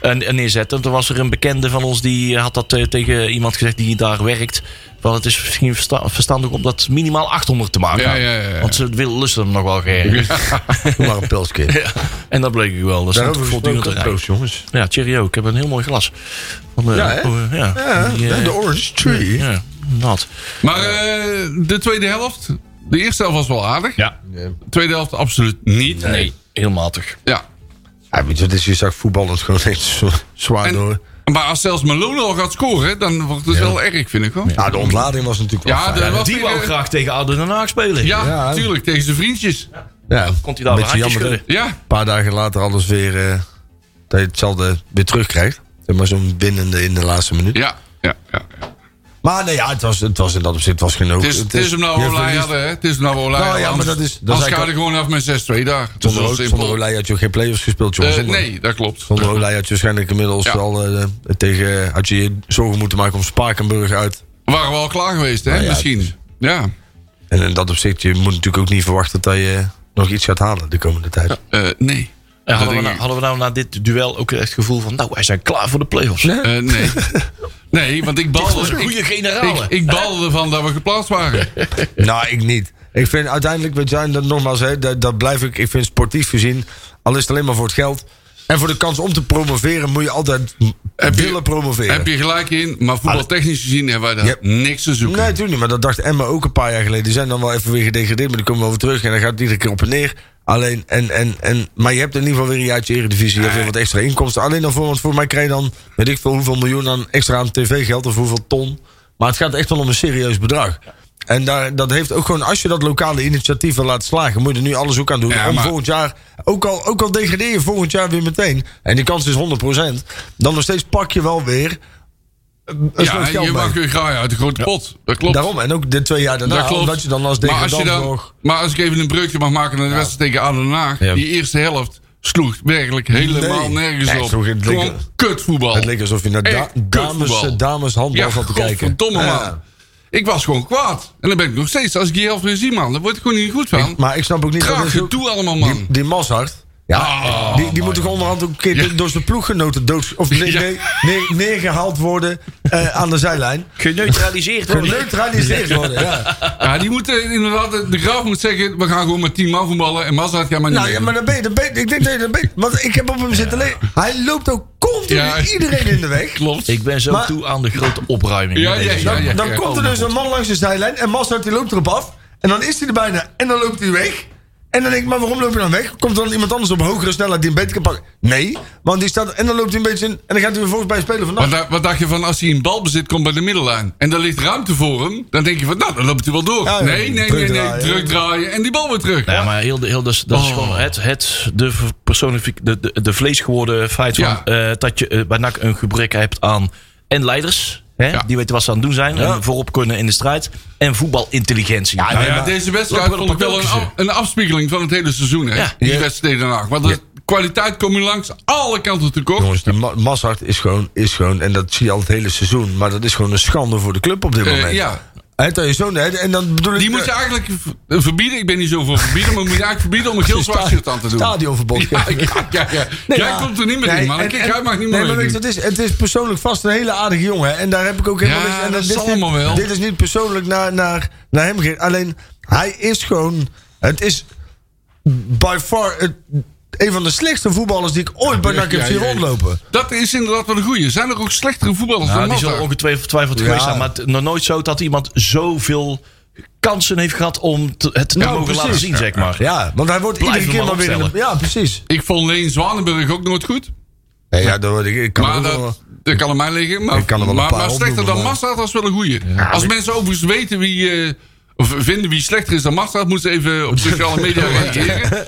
[SPEAKER 2] En, en neerzetten. Toen was er een bekende van ons die had dat eh, tegen iemand gezegd die daar werkt. Van het is misschien versta- verstandig om dat minimaal 800 te maken.
[SPEAKER 4] Ja, ja, ja, ja.
[SPEAKER 2] Want ze willen lusten hem nog wel graag.
[SPEAKER 3] doe maar een pilsje.
[SPEAKER 2] Ja, en dat bleek ik wel. Dus Dat stond
[SPEAKER 3] Daarover
[SPEAKER 2] voortdurend
[SPEAKER 3] gesproken,
[SPEAKER 2] te rijden.
[SPEAKER 3] proost, jongens.
[SPEAKER 2] Ja, cheerio. Ik heb een heel mooi glas. Van, eh,
[SPEAKER 3] Ja, hè?
[SPEAKER 2] oh, ja.
[SPEAKER 3] Ja,
[SPEAKER 2] Die, eh,
[SPEAKER 3] de Orange Tree.
[SPEAKER 2] ja, nat.
[SPEAKER 4] Maar eh, de tweede helft. De eerste helft was wel aardig.
[SPEAKER 2] Ja.
[SPEAKER 4] De tweede helft absoluut niet.
[SPEAKER 2] Nee, heel matig.
[SPEAKER 4] Ja.
[SPEAKER 3] Ja, weet je, wat het is, je zag voetballers gewoon echt zo- zwaar
[SPEAKER 4] En-
[SPEAKER 3] door.
[SPEAKER 4] Maar als zelfs Malone al gaat scoren, dan wordt het wel erg, vind ik hoor. Ja,
[SPEAKER 3] Ja, de ontlading was natuurlijk wel
[SPEAKER 4] Ja,
[SPEAKER 3] fijn.
[SPEAKER 4] de- Wat
[SPEAKER 2] Die
[SPEAKER 4] die,
[SPEAKER 2] wou
[SPEAKER 4] eh,
[SPEAKER 2] graag tegen Aden Den Haag spelen.
[SPEAKER 3] Ja.
[SPEAKER 4] natuurlijk, tegen zijn vriendjes.
[SPEAKER 3] Ja,
[SPEAKER 2] Komt hij daar weer handjes
[SPEAKER 3] jammer
[SPEAKER 2] schudden.
[SPEAKER 3] dat-
[SPEAKER 4] Ja,
[SPEAKER 3] Een paar dagen later alles weer eh, dat je hetzelfde weer terugkrijgt. Zeg maar zo'n winnende in de laatste minuut.
[SPEAKER 4] ja, ja. ja.
[SPEAKER 3] Maar nee, ja, het was, het was in dat opzicht was geen hoog.
[SPEAKER 4] Het, is, het is hem nou
[SPEAKER 3] je
[SPEAKER 4] Olij
[SPEAKER 3] verliest-
[SPEAKER 4] hadden, hè? Het is hem nou Olij.
[SPEAKER 3] Nou ja,
[SPEAKER 4] hadden.
[SPEAKER 3] maar dat is- dat is
[SPEAKER 4] Anders
[SPEAKER 3] eigenlijk
[SPEAKER 4] ga je er gewoon af met 6-2 daar. Dat is
[SPEAKER 3] Zonder,
[SPEAKER 4] wel
[SPEAKER 3] Olij-
[SPEAKER 4] simpel.
[SPEAKER 3] zonder Olij had je ook geen play-offs gespeeld, jongens.
[SPEAKER 4] Eh,
[SPEAKER 3] zonder,
[SPEAKER 4] nee, dat klopt.
[SPEAKER 3] zonder Olij had je waarschijnlijk inmiddels
[SPEAKER 4] Ja.
[SPEAKER 3] al eh, tegen... Had je je zorgen moeten maken om Spakenburg uit.
[SPEAKER 4] Waren we al klaar geweest, hè?
[SPEAKER 3] Nou ja,
[SPEAKER 4] Misschien.
[SPEAKER 3] het
[SPEAKER 4] Ja.
[SPEAKER 3] En in dat opzicht, je moet natuurlijk ook niet verwachten dat je nog iets gaat halen de komende tijd.
[SPEAKER 4] Eh, nee.
[SPEAKER 2] En hadden, we
[SPEAKER 4] denk
[SPEAKER 2] nou,
[SPEAKER 4] ik.
[SPEAKER 2] hadden we nou na dit duel ook echt het gevoel van... Nou, wij zijn klaar voor de play-offs.
[SPEAKER 4] Eh, nee. nee, want ik
[SPEAKER 2] Dit was een
[SPEAKER 4] balde.
[SPEAKER 2] goede
[SPEAKER 4] Ik,
[SPEAKER 2] generale.
[SPEAKER 4] ik, ik balde ervan dat we geplaatst waren.
[SPEAKER 3] Nou, ik niet. Ik vind uiteindelijk, weet je, en dat nogmaals, hè, dat, dat blijf ik, ik vind sportief gezien, al is het alleen maar voor het geld. En voor de kans om te promoveren moet je altijd
[SPEAKER 4] Heb je-
[SPEAKER 3] willen promoveren.
[SPEAKER 4] Heb je gelijk in, maar voetbaltechnisch gezien hebben wij daar
[SPEAKER 3] Yep.
[SPEAKER 4] niks te zoeken.
[SPEAKER 3] Nee, natuurlijk niet. Maar dat dacht Emma ook een paar jaar geleden. Die zijn dan wel even weer gedegradeerd, maar die komen wel weer terug. En dan gaat het iedere keer op en neer. Alleen, en, en, en, maar je hebt in ieder geval weer een jaartje Eredivisie. Je hebt weer wat extra inkomsten. Alleen dan voor, want voor mij krijg je dan, weet ik veel, hoeveel miljoen aan extra aan tv-geld of hoeveel ton. Maar het gaat echt wel om een serieus bedrag. En daar, dat heeft ook gewoon, als je dat lokale initiatief wil laten slagen, moet je er nu alles ook aan doen.
[SPEAKER 4] Ja,
[SPEAKER 3] om
[SPEAKER 4] maar-
[SPEAKER 3] volgend jaar, ook al, ook al degradeer je volgend jaar weer meteen, en die kans is 100%, dan nog steeds pak je wel weer een een
[SPEAKER 4] ja,
[SPEAKER 3] soort geld
[SPEAKER 4] je
[SPEAKER 3] mee.
[SPEAKER 4] mag weer graaien uit de grote pot. Dat klopt.
[SPEAKER 3] Daarom, en ook de twee jaar daarna,
[SPEAKER 4] dat klopt.
[SPEAKER 3] omdat je dan als
[SPEAKER 4] maar, als je
[SPEAKER 3] degradant
[SPEAKER 4] dan-
[SPEAKER 3] nog...
[SPEAKER 4] maar als ik even een breukje mag maken naar de wedstrijd tegen Aden Den Haag.
[SPEAKER 3] Ja.
[SPEAKER 4] Die eerste helft sloeg werkelijk helemaal
[SPEAKER 3] Nee.
[SPEAKER 4] nergens
[SPEAKER 3] Nee,
[SPEAKER 4] op.
[SPEAKER 3] sloeg het
[SPEAKER 4] Gewoon
[SPEAKER 3] lekker-
[SPEAKER 4] kutvoetbal.
[SPEAKER 3] Het leek alsof je naar da
[SPEAKER 4] Oh, Echt
[SPEAKER 3] dames,
[SPEAKER 4] kutvoetbal.
[SPEAKER 3] dameshandbal
[SPEAKER 4] Ja,
[SPEAKER 3] zat te kijken.
[SPEAKER 4] godverdomme
[SPEAKER 3] Ja.
[SPEAKER 4] man. Ik was gewoon kwaad. En dan ben ik nog steeds. Als ik die helft weer zie man, dan word ik gewoon niet goed van.
[SPEAKER 3] Maar ik snap ook niet...
[SPEAKER 4] Graag
[SPEAKER 3] dat is
[SPEAKER 4] je
[SPEAKER 3] ook-
[SPEAKER 4] toe allemaal
[SPEAKER 3] Die,
[SPEAKER 4] man.
[SPEAKER 3] die Mazhart, ja,
[SPEAKER 4] Ah,
[SPEAKER 3] die, die moet toch onderhand ook een keer
[SPEAKER 4] Ja.
[SPEAKER 3] door zijn ploeggenoten dood... Of nee,
[SPEAKER 4] Ja.
[SPEAKER 3] nee, nee, neergehaald worden eh, aan de zijlijn.
[SPEAKER 2] Geneutraliseerd worden.
[SPEAKER 3] Geneutraliseerd worden, ja.
[SPEAKER 4] Ja, die moeten inderdaad, de graaf moet zeggen, we gaan gewoon met 10 man voetballen en Mazat gaat maar niet
[SPEAKER 3] Nou ja,
[SPEAKER 4] meedoen.
[SPEAKER 3] maar dan ben je... Dan ben je- ik denk dat je dan ben je- Want ik heb op hem zitten lezen. Hij loopt ook continu
[SPEAKER 4] Ja.
[SPEAKER 3] iedereen in de weg.
[SPEAKER 4] Klopt.
[SPEAKER 2] Ik ben zo
[SPEAKER 3] Maar-
[SPEAKER 2] toe aan de grote opruiming.
[SPEAKER 4] Ja,
[SPEAKER 2] van deze
[SPEAKER 4] ja, ja,
[SPEAKER 2] zomer.
[SPEAKER 4] ja.
[SPEAKER 3] Dan komt er dus een man langs de zijlijn en Mazhart die loopt erop af. En dan is hij er bijna en dan loopt hij weg. En dan denk ik, maar waarom loop je dan weg? Komt dan iemand anders op hogere snelheid die hem beter kan pakken? Nee, want die staat en dan loopt hij een beetje in. En dan gaat hij weer volgens bij spelen van, nou,
[SPEAKER 4] Wat, da- wat dacht je van als hij in balbezit komt bij de middellijn en daar ligt ruimte voor hem, dan denk je van, nou, dan loopt hij wel door.
[SPEAKER 3] Ja, ja,
[SPEAKER 4] nee, nee, nee, nee,
[SPEAKER 3] terugdraaien.
[SPEAKER 4] druk draaien en die bal weer terug.
[SPEAKER 2] Nou Ja, maar heel, de- heel, dat, dat is
[SPEAKER 4] Oh.
[SPEAKER 2] gewoon het, het de, personific, de, de, de vlees geworden feit van,
[SPEAKER 4] Ja.
[SPEAKER 2] eh, dat je eh, bij NAC een gebrek hebt aan en leiders. Hè,
[SPEAKER 4] Ja.
[SPEAKER 2] Die weten wat ze aan het doen zijn. En voorop kunnen in de strijd. En voetbalintelligentie.
[SPEAKER 4] Nou ja, deze wedstrijd
[SPEAKER 2] Lopen we
[SPEAKER 4] vond ik
[SPEAKER 2] op
[SPEAKER 4] wel een,
[SPEAKER 2] elkaar
[SPEAKER 4] af- een afspiegeling van het hele seizoen, hè?
[SPEAKER 2] Ja.
[SPEAKER 4] Die
[SPEAKER 3] Ja.
[SPEAKER 4] wedstrijd daarna. Want de kwaliteit komt nu langs alle kanten tekort.
[SPEAKER 3] Jongens, die Ma Mazhart is gewoon, is gewoon, en dat zie je al het hele seizoen, maar dat is gewoon een schande voor de club op dit
[SPEAKER 4] Eh,
[SPEAKER 3] moment.
[SPEAKER 4] ja.
[SPEAKER 3] Hè, dat je zo, hè, en dan bedoel ik... eh,
[SPEAKER 4] Die moet je eigenlijk v- verbieden. Ik ben niet zo voor verbieden, maar moet je eigenlijk verbieden om een geel zwart shirt aan te
[SPEAKER 3] Nou,
[SPEAKER 4] doen.
[SPEAKER 3] Stadionverbod.
[SPEAKER 4] Ja, ja, ja, ja. Jij
[SPEAKER 3] ja.
[SPEAKER 4] komt er niet meer in, man.
[SPEAKER 3] en-
[SPEAKER 4] Kijk,
[SPEAKER 3] en-
[SPEAKER 4] jij mag niet
[SPEAKER 3] nee,
[SPEAKER 4] meer
[SPEAKER 3] maar weet
[SPEAKER 4] mee.
[SPEAKER 3] je, dat is, Het is persoonlijk vast een hele aardige jongen. hè. En daar heb ik ook helemaal
[SPEAKER 4] Ja,
[SPEAKER 3] niks- en
[SPEAKER 4] dat
[SPEAKER 3] dit
[SPEAKER 4] zal
[SPEAKER 3] is niet-
[SPEAKER 4] allemaal wel.
[SPEAKER 3] Dit is niet persoonlijk naar, naar, naar hem gericht. Alleen, hij is gewoon... Het is by far het, een van de slechtste voetballers die ik ooit bij NAC heb
[SPEAKER 4] Ja,
[SPEAKER 3] zien
[SPEAKER 4] ja, ja.
[SPEAKER 3] rondlopen.
[SPEAKER 4] Dat is inderdaad wel een goeie. Zijn er ook slechtere voetballers
[SPEAKER 2] Nou,
[SPEAKER 4] dan
[SPEAKER 2] die zal
[SPEAKER 4] Mazda?
[SPEAKER 2] ongetwijfeld
[SPEAKER 3] Ja.
[SPEAKER 2] geweest zijn. Maar het, nog nooit zo dat iemand zoveel kansen heeft gehad om te- het te
[SPEAKER 3] Nou,
[SPEAKER 2] mogen
[SPEAKER 3] precies.
[SPEAKER 2] laten zien, zeg maar.
[SPEAKER 3] Ja, want hij wordt
[SPEAKER 2] Blijf
[SPEAKER 3] iedere
[SPEAKER 2] hem
[SPEAKER 3] keer
[SPEAKER 2] maar
[SPEAKER 3] maar weer... in de-
[SPEAKER 2] opstellen.
[SPEAKER 3] ja, precies.
[SPEAKER 4] Ik vond Leen Zwanenburg ook nooit goed.
[SPEAKER 3] Nee, ja, dat, word ik, ik kan
[SPEAKER 4] Maar
[SPEAKER 3] ook wel-
[SPEAKER 4] dat, dat kan aan mij liggen. Maar,
[SPEAKER 3] Ik kan er wel een
[SPEAKER 4] maar,
[SPEAKER 3] paar
[SPEAKER 4] maar slechter
[SPEAKER 3] opnoemen,
[SPEAKER 4] dan
[SPEAKER 3] maar-
[SPEAKER 4] Mazda, dat is wel een goeie. Als mensen overigens weten wie... eh, of vinden wie slechter is dan Mazda, moeten ze even op sociale media reageren.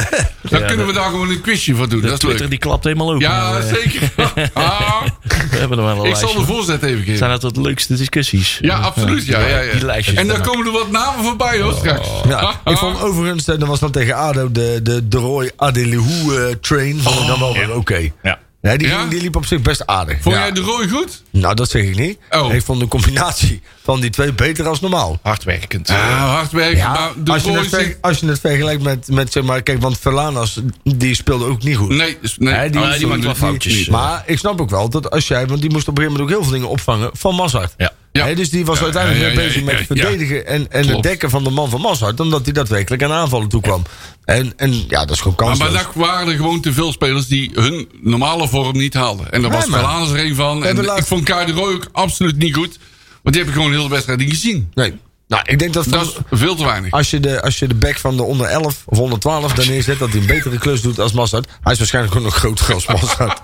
[SPEAKER 4] Dan
[SPEAKER 2] Ja,
[SPEAKER 4] kunnen we daar gewoon een quizje van doen.
[SPEAKER 2] De
[SPEAKER 4] Dat is
[SPEAKER 2] Twitter
[SPEAKER 4] leuk.
[SPEAKER 2] die klapt helemaal open.
[SPEAKER 4] Ja,
[SPEAKER 2] Maar, eh,
[SPEAKER 4] zeker. Ah,
[SPEAKER 2] we hebben er wel een
[SPEAKER 4] ik zal de
[SPEAKER 2] lijstje.
[SPEAKER 4] voorzet even geven.
[SPEAKER 2] Zijn dat de leukste discussies?
[SPEAKER 4] Ja, absoluut. Ja, ja, ja.
[SPEAKER 2] Die lijstjes.
[SPEAKER 4] En dan
[SPEAKER 2] dan ook.
[SPEAKER 4] komen er wat namen voorbij hoor straks.
[SPEAKER 3] Oh. Ja,
[SPEAKER 4] ah.
[SPEAKER 3] ik vond overigens, eh, dat was dan tegen ADO, de, de, de Roy Adelihou eh, train, vond ik dan wel weer oké.
[SPEAKER 2] Ja.
[SPEAKER 3] Nee, die,
[SPEAKER 4] Oh, Ja?
[SPEAKER 3] ging- die liep op zich best aardig.
[SPEAKER 4] Vond
[SPEAKER 3] Ja.
[SPEAKER 4] jij de rooi goed?
[SPEAKER 3] Nou, dat zeg ik niet.
[SPEAKER 4] Oh.
[SPEAKER 3] Ik vond de combinatie van die twee beter als normaal.
[SPEAKER 2] Hardwerkend.
[SPEAKER 4] Ah, hard werken.
[SPEAKER 3] Ja,
[SPEAKER 4] maar de
[SPEAKER 3] als, je
[SPEAKER 4] rooi
[SPEAKER 3] het ver-
[SPEAKER 4] zit...
[SPEAKER 3] als je het vergelijkt met, met zeg maar, kijk, want Verlanas, die speelde ook niet goed.
[SPEAKER 4] Nee, is- nee,
[SPEAKER 2] Nee, die-
[SPEAKER 4] absoluut
[SPEAKER 2] die maakt wel
[SPEAKER 4] niet.
[SPEAKER 2] foutjes.
[SPEAKER 4] Niet.
[SPEAKER 3] Maar ik snap ook wel dat als jij, want die moest op een gegeven moment ook heel veel dingen opvangen van Mazart.
[SPEAKER 2] Ja.
[SPEAKER 4] Ja.
[SPEAKER 3] dus die was
[SPEAKER 4] Ja,
[SPEAKER 3] uiteindelijk
[SPEAKER 4] ja,
[SPEAKER 3] meer
[SPEAKER 4] ja,
[SPEAKER 3] bezig
[SPEAKER 4] ja,
[SPEAKER 3] met
[SPEAKER 4] ja,
[SPEAKER 3] verdedigen en, en het
[SPEAKER 4] Klopt.
[SPEAKER 3] dekken van de man van Mazart, dan dat hij daadwerkelijk aan aanvallen toekwam. En, en ja, dat is gewoon
[SPEAKER 4] Ah, Maar
[SPEAKER 3] kansloos.
[SPEAKER 4] bij NAC waren er gewoon te veel spelers die hun normale vorm niet haalden. En daar
[SPEAKER 3] Nee,
[SPEAKER 4] was
[SPEAKER 3] maar-
[SPEAKER 4] Verlaans er een van.
[SPEAKER 3] hebben
[SPEAKER 4] En
[SPEAKER 3] laatst-
[SPEAKER 4] ik vond Kai de Roy ook absoluut niet goed. Want die heb ik gewoon heel de wedstrijd niet gezien.
[SPEAKER 3] Nee. Nou, ik denk dat, van-
[SPEAKER 4] Dat is veel te weinig.
[SPEAKER 3] als, je de, als je de back van de onder 11 of onder 12 daar neerzet, dat hij een betere klus doet als Massad. Hij is waarschijnlijk gewoon nog groter als Massad.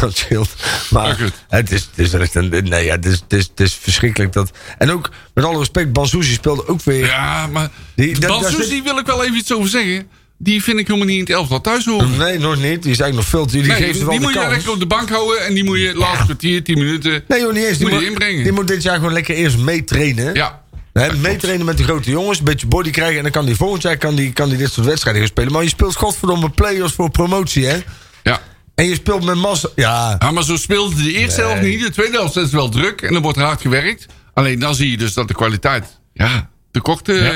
[SPEAKER 3] dat scheelt.
[SPEAKER 4] Maar
[SPEAKER 3] Maar
[SPEAKER 4] goed.
[SPEAKER 3] het is, het is echt een. Nee, ja, het, is, het, is, het is verschrikkelijk dat. En ook, met alle respect, Bansuzi speelde ook weer.
[SPEAKER 4] Ja, maar...
[SPEAKER 3] Die- dat-
[SPEAKER 4] Bansoes,
[SPEAKER 3] daar zit-
[SPEAKER 4] die wil ik wel even iets over zeggen. Die vind ik helemaal niet in het elftal thuis horen.
[SPEAKER 3] Nee, nog niet. Die is eigenlijk nog veel te. Die
[SPEAKER 4] Nee,
[SPEAKER 3] geeft
[SPEAKER 4] die
[SPEAKER 3] het wel
[SPEAKER 4] moet
[SPEAKER 3] de
[SPEAKER 4] je
[SPEAKER 3] kans.
[SPEAKER 4] lekker op de bank houden. En die moet je het laatste kwartier, 10 minuten...
[SPEAKER 3] Nee, joh, niet eens. Die
[SPEAKER 4] Moet
[SPEAKER 3] moet,
[SPEAKER 4] je inbrengen.
[SPEAKER 3] die moet dit jaar gewoon lekker eerst meetrainen.
[SPEAKER 4] Ja.
[SPEAKER 3] Hè, meetrainen met de grote jongens, een beetje body krijgen. En dan kan die volgend jaar kan die, kan die dit soort wedstrijden gaan spelen. Maar je speelt godverdomme play-offs voor promotie, hè?
[SPEAKER 4] Ja.
[SPEAKER 3] En je speelt met massa. Ja,
[SPEAKER 4] Ja, maar zo speelde de eerste helft niet. De tweede helft is wel druk en dan wordt er hard gewerkt. Alleen dan zie je dus dat de kwaliteit... Ja, tekort... eh,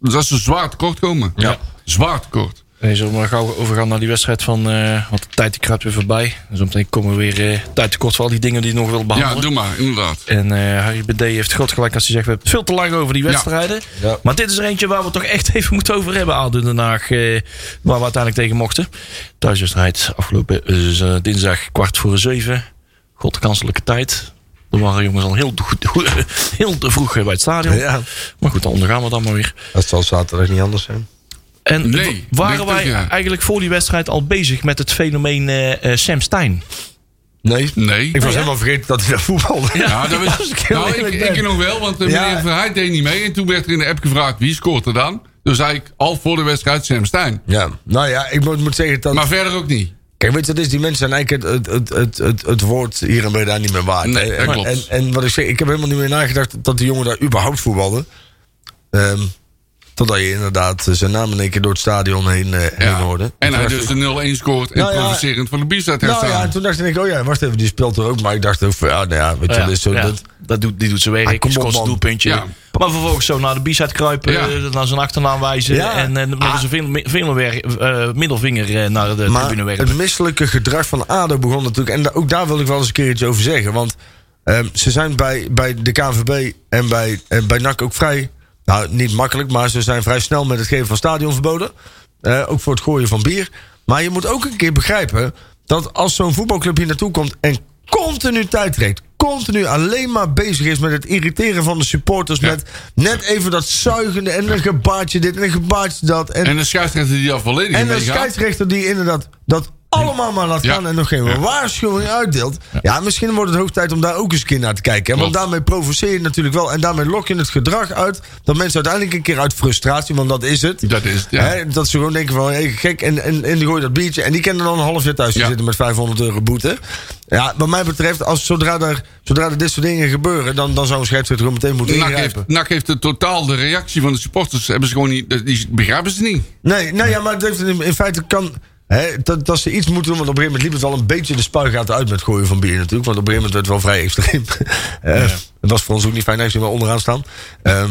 [SPEAKER 4] Dat ze zwaar tekort komen. Ja. Zwaar tekort.
[SPEAKER 2] Hey, zullen we maar gauw overgaan naar die wedstrijd van... eh, want de tijd die kruipt weer voorbij. En zometeen komen we weer eh, tijd tekort voor al die dingen die je nog wil
[SPEAKER 4] Ja,
[SPEAKER 2] behandelen.
[SPEAKER 4] doe maar, inderdaad.
[SPEAKER 2] en eh, Harry BD heeft groot gelijk als hij zegt... we hebben het veel te lang over die wedstrijden.
[SPEAKER 3] Ja.
[SPEAKER 2] Maar dit is er eentje waar we het toch echt even moeten over hebben... Aden Den Haag, eh, waar we uiteindelijk tegen mochten. Thuiswedstrijd afgelopen eh, z- dinsdag kwart voor zeven. Godkanselijke tijd. Er waren jongens al heel, goed, heel te vroeg eh, bij het stadion.
[SPEAKER 3] Ja,
[SPEAKER 2] Maar goed, dan ondergaan we dan maar weer.
[SPEAKER 3] dat zal zaterdag niet anders zijn.
[SPEAKER 2] En
[SPEAKER 4] Nee,
[SPEAKER 2] w- waren
[SPEAKER 4] denk ik
[SPEAKER 2] wij
[SPEAKER 4] ook, ja.
[SPEAKER 2] eigenlijk voor die wedstrijd al bezig met het fenomeen eh, eh, Sam Stein?
[SPEAKER 3] Nee.
[SPEAKER 4] Nee. Nou
[SPEAKER 3] Ik was
[SPEAKER 2] ja?
[SPEAKER 3] helemaal vergeten dat hij dat voetbalde.
[SPEAKER 4] Ja, dat was,
[SPEAKER 3] Als ik heel
[SPEAKER 4] nou, ik,
[SPEAKER 3] eerlijk
[SPEAKER 4] ik
[SPEAKER 3] ben.
[SPEAKER 4] nog wel, want eh,
[SPEAKER 3] Ja.
[SPEAKER 4] meneer Verheid deed niet mee. En toen werd er in de app gevraagd wie scoort er dan. Toen zei ik al voor de wedstrijd Sam Stein.
[SPEAKER 3] Ja, nou ja, ik moet, moet zeggen dat...
[SPEAKER 4] Maar verder ook niet.
[SPEAKER 3] Kijk, weet je, dat is, die mensen zijn eigenlijk het, het, het, het, het woord hier en daar niet meer waard.
[SPEAKER 4] Nee, dat
[SPEAKER 3] en,
[SPEAKER 4] klopt.
[SPEAKER 3] En, en wat ik zeg, ik heb helemaal niet meer nagedacht dat die jongen daar überhaupt voetbalde. Ehm, totdat je inderdaad eh, zijn naam in één keer door het stadion heen, eh, heen
[SPEAKER 4] Ja.
[SPEAKER 3] hoorde.
[SPEAKER 4] En hij
[SPEAKER 3] Toen dacht
[SPEAKER 4] dus de 0-1 scoort en
[SPEAKER 3] Nou ja.
[SPEAKER 4] provocerend van de bierstaat gaat
[SPEAKER 3] Nou ja, en
[SPEAKER 4] staan.
[SPEAKER 3] toen dacht ik, oh ja, wacht even, die speelt er ook. Maar ik dacht ook van, ja, nou ja,
[SPEAKER 4] Oh
[SPEAKER 3] weet je, dat is zo...
[SPEAKER 2] Ja,
[SPEAKER 3] Dat,
[SPEAKER 2] dat doet, die doet zijn werk.
[SPEAKER 3] Ah, kom
[SPEAKER 2] Hij
[SPEAKER 3] op,
[SPEAKER 2] scoort zijn
[SPEAKER 3] man.
[SPEAKER 2] doelpuntje.
[SPEAKER 4] Ja.
[SPEAKER 2] Maar vervolgens zo naar de b-side kruipen.
[SPEAKER 4] Ja.
[SPEAKER 2] eh, naar zijn achternaam wijzen.
[SPEAKER 3] Ja.
[SPEAKER 2] En, eh, en met zijn vin- vingerwer- eh, middelvinger eh, naar de
[SPEAKER 3] maar
[SPEAKER 2] tribune werken.
[SPEAKER 3] het misselijke gedrag van ADO begon natuurlijk... En da- ook daar wil ik wel eens een keer iets over zeggen. Want ehm, ze zijn bij, bij de KNVB en bij, en bij NAC ook vrij... Nou, niet makkelijk, maar ze zijn vrij snel met het geven van stadionverboden. Eh, ook voor het gooien van bier. Maar je moet ook een keer begrijpen... dat als zo'n voetbalclub hier naartoe komt en continu tijd trekt... continu alleen maar bezig is met het irriteren van de supporters... met net even dat zuigende en een gebaartje dit en een gebaartje dat... en
[SPEAKER 4] En de scheidsrechter die al volledig
[SPEAKER 3] en
[SPEAKER 4] mee
[SPEAKER 3] een
[SPEAKER 4] gaat.
[SPEAKER 3] scheidsrechter die inderdaad dat allemaal maar laat
[SPEAKER 4] Ja.
[SPEAKER 3] gaan en nog geen
[SPEAKER 4] Ja.
[SPEAKER 3] waarschuwing uitdeelt. Ja. misschien wordt het hoog tijd om daar ook eens een keer naar te kijken. hè. Want
[SPEAKER 4] Klopt.
[SPEAKER 3] daarmee provoceer je natuurlijk wel en daarmee lok je het gedrag uit dat mensen uiteindelijk een keer uit frustratie, want dat is het.
[SPEAKER 4] Dat is het, ja.
[SPEAKER 3] Hè, dat ze gewoon denken van, hey, gek, en, en, en die gooien dat biertje. En die kennen dan een half jaar thuis te
[SPEAKER 4] Ja.
[SPEAKER 3] zitten met 500 euro boete. Ja, wat mij betreft, als, zodra, er, zodra er dit soort dingen gebeuren... dan, dan zou een scheidsrechter gewoon meteen moeten
[SPEAKER 4] NAC
[SPEAKER 3] ingrijpen.
[SPEAKER 4] heeft, NAC heeft de totaal de reactie van de supporters. Hebben ze gewoon niet, die- die begrijpen ze niet.
[SPEAKER 3] Nee, nou ja, maar het heeft in, in feite kan. Hè, dat, dat ze iets moeten doen, want op een gegeven moment liep het wel een beetje de spuigaten uit met het gooien van bier natuurlijk. Want op een gegeven moment werd het wel vrij extreem. Eh, Het was voor ons ook niet fijn, aangezien we onderaan staan. Ehm,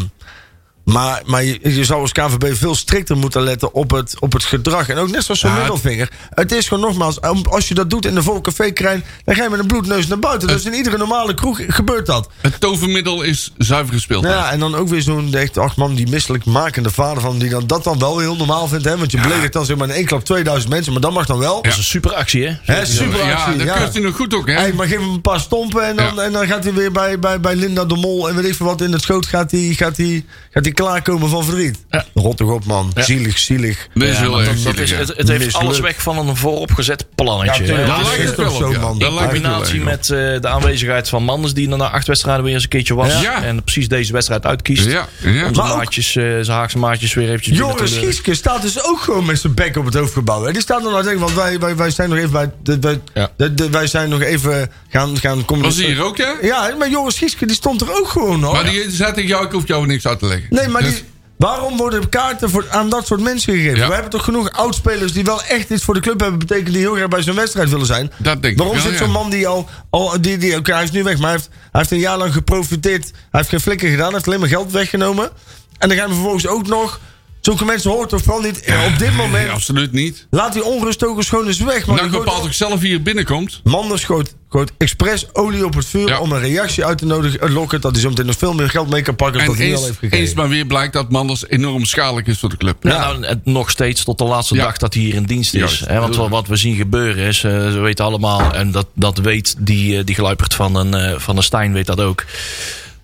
[SPEAKER 3] maar maar je, je zou als KVB veel strikter moeten letten op het, op het gedrag. En ook net zoals zo'n
[SPEAKER 4] Ja, het-
[SPEAKER 3] middelvinger. Het is gewoon nogmaals, om- als je dat doet in de volcafé-krijn, dan ga je met een bloedneus naar buiten. Dus in iedere normale kroeg gebeurt dat.
[SPEAKER 4] Het tovermiddel is zuiver gespeeld.
[SPEAKER 3] Nou ja, en dan ook weer zo'n echt, ach man, die misselijkmakende vader van die dan, dat dan wel heel normaal vindt. Hè? Want je bleek het dan zeg maar in één klap 2000 mensen, maar dat mag dan wel.
[SPEAKER 2] Dat is een super actie, hè?
[SPEAKER 3] Hè,
[SPEAKER 4] ja,
[SPEAKER 3] superactie,
[SPEAKER 4] dat
[SPEAKER 3] ja.
[SPEAKER 4] keurt hij nog goed ook, hè?
[SPEAKER 3] Hey, maar geef hem een paar stompen en dan,
[SPEAKER 4] Ja.
[SPEAKER 3] en dan gaat hij weer bij, bij, bij Linda de Mol en weet ik veel wat in het schoot. Gaat hij, gaat hij, gaat hij klaarkomen van verdriet.
[SPEAKER 2] Ja.
[SPEAKER 3] Rot toch op man, zielig, zielig.
[SPEAKER 4] dat is
[SPEAKER 2] Ja,
[SPEAKER 4] heel
[SPEAKER 2] maar
[SPEAKER 4] erg
[SPEAKER 2] dat- dat
[SPEAKER 4] zielig,
[SPEAKER 2] is-
[SPEAKER 4] hè.
[SPEAKER 2] het, het heeft
[SPEAKER 3] Misselijk.
[SPEAKER 2] alles weg van een vooropgezet plannetje.
[SPEAKER 3] tuurlijk.
[SPEAKER 2] hè.
[SPEAKER 4] Dat
[SPEAKER 3] het
[SPEAKER 4] lijkt
[SPEAKER 3] is
[SPEAKER 4] het
[SPEAKER 3] toch
[SPEAKER 4] wel
[SPEAKER 3] zo,
[SPEAKER 4] op, ja.
[SPEAKER 3] man.
[SPEAKER 4] Dat
[SPEAKER 3] In
[SPEAKER 4] lijkt het heel
[SPEAKER 2] combinatie
[SPEAKER 4] erg op.
[SPEAKER 2] met eh, de aanwezigheid van Manders... die er na acht wedstrijden weer eens een keertje was.
[SPEAKER 4] Ja.
[SPEAKER 2] En precies deze wedstrijd uitkiest.
[SPEAKER 4] Ja, ja.
[SPEAKER 2] Onze
[SPEAKER 3] Maar ook-
[SPEAKER 2] maatjes, eh, zijn Haagse maatjes weer eventjes... binnen
[SPEAKER 3] Joris
[SPEAKER 2] te lullen.
[SPEAKER 3] Gieske staat dus ook gewoon met zijn bek op het hoofdgebouw. En die staat dan nou denken, want wij, wij, wij zijn nog even bij, de, bij-
[SPEAKER 2] Ja.
[SPEAKER 3] de- de- wij zijn nog even gaan, gaan
[SPEAKER 4] Was hij
[SPEAKER 3] communiceren.
[SPEAKER 4] hier ook, hè?
[SPEAKER 3] Ja, maar Joris Gieske die stond er ook gewoon nog.
[SPEAKER 4] Maar die zei tegen jou, ik hoef jou niks uit te leggen.
[SPEAKER 3] Nee, maar
[SPEAKER 4] Dus-
[SPEAKER 3] die, waarom worden kaarten voor, aan dat soort mensen gegeven?
[SPEAKER 4] Ja.
[SPEAKER 3] We hebben toch genoeg oudspelers die wel echt iets voor de club hebben betekend... die heel graag bij zo'n wedstrijd willen zijn.
[SPEAKER 4] Dat denk ik
[SPEAKER 3] waarom
[SPEAKER 4] wel,
[SPEAKER 3] zit
[SPEAKER 4] ja.
[SPEAKER 3] zo'n man die al... al die, die, Oké, hij is nu weg, maar hij heeft, hij heeft een jaar lang geprofiteerd. Hij heeft geen flikker gedaan, hij heeft alleen maar geld weggenomen. En dan gaan we vervolgens ook nog... Zulke mensen hoort toch vooral niet... eh, op dit moment
[SPEAKER 4] Nee, absoluut niet.
[SPEAKER 3] laat die onrust ook eens gewoon eens weg. Maar
[SPEAKER 4] Nou,
[SPEAKER 3] die gooit
[SPEAKER 4] bepaalt ook zelf wie hier binnenkomt.
[SPEAKER 3] Manders gooit, gooit expres olie op het vuur
[SPEAKER 4] Ja.
[SPEAKER 3] om een reactie uit te nodigen. eh, Lokken dat hij zo meteen nog veel meer geld mee kan pakken dan
[SPEAKER 4] En
[SPEAKER 3] dat hij nu al
[SPEAKER 4] eens,
[SPEAKER 3] heeft gekregen.
[SPEAKER 4] eens maar weer blijkt dat Manders enorm schadelijk is voor de club.
[SPEAKER 2] Ja, nou, het- nog steeds tot de laatste
[SPEAKER 4] Ja.
[SPEAKER 2] dag dat hij hier in dienst is.
[SPEAKER 4] Juist.
[SPEAKER 2] Hè, want wat, wat we zien gebeuren is, eh, ze weten allemaal, en dat, dat weet die, eh, die gluipert van een, eh, van een Stijn weet dat ook.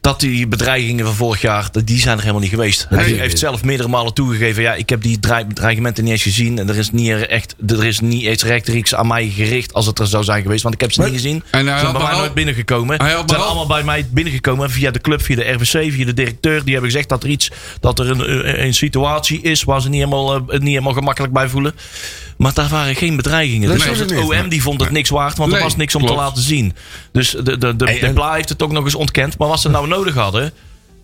[SPEAKER 2] Dat die bedreigingen van vorig jaar, dat- die zijn er helemaal niet geweest. Hij
[SPEAKER 4] Nee.
[SPEAKER 2] heeft zelf meerdere malen toegegeven. Ja, ik heb die dreig- dreigementen niet eens gezien. En er is niet echt, er is niet eens rechtstreeks aan mij gericht als het er zou zijn geweest. Want ik heb ze niet gezien.
[SPEAKER 4] hij
[SPEAKER 2] En ze
[SPEAKER 4] had
[SPEAKER 2] zijn bij mij
[SPEAKER 4] behaal-
[SPEAKER 2] nooit binnengekomen.
[SPEAKER 4] Hij
[SPEAKER 2] Ze
[SPEAKER 4] had
[SPEAKER 2] zijn
[SPEAKER 4] behaal-
[SPEAKER 2] allemaal bij mij binnengekomen via de club, via de RVC, via de directeur. Die hebben gezegd dat er iets, dat er een, eh, een situatie is waar ze niet helemaal, eh, niet helemaal gemakkelijk bij voelen. Maar daar waren geen bedreigingen. dus
[SPEAKER 3] Dat is
[SPEAKER 2] zelfs het
[SPEAKER 3] er niet.
[SPEAKER 2] OM die vond het niks waard, want
[SPEAKER 4] Nee,
[SPEAKER 2] er was niks om te
[SPEAKER 4] klopt.
[SPEAKER 2] laten zien. Dus de, de, de, de
[SPEAKER 3] en-
[SPEAKER 2] Pla heeft het ook nog eens ontkend. Maar wat ze nou nodig hadden,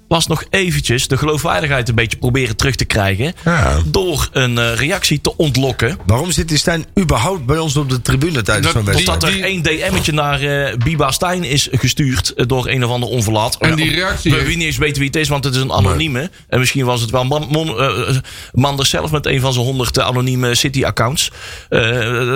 [SPEAKER 2] was nog eventjes de geloofwaardigheid een beetje proberen terug te krijgen.
[SPEAKER 3] Ja.
[SPEAKER 2] Door een eh, reactie te ontlokken.
[SPEAKER 3] Waarom zit die Stijn überhaupt bij ons op de tribune tijdens
[SPEAKER 4] Dat-
[SPEAKER 3] zo'n wedstrijd?
[SPEAKER 2] Totdat er één DM'tje naar eh, Biba Stijn is gestuurd eh, door een of ander onverlaat.
[SPEAKER 4] En die
[SPEAKER 2] Eh,
[SPEAKER 4] reactie
[SPEAKER 2] We
[SPEAKER 4] heeft-
[SPEAKER 2] wie niet eens weten wie het is, want het is een anonieme. En misschien was het wel Man- Mon- eh, Manders zelf met een van zijn honderd eh, anonieme City-accounts. Eh,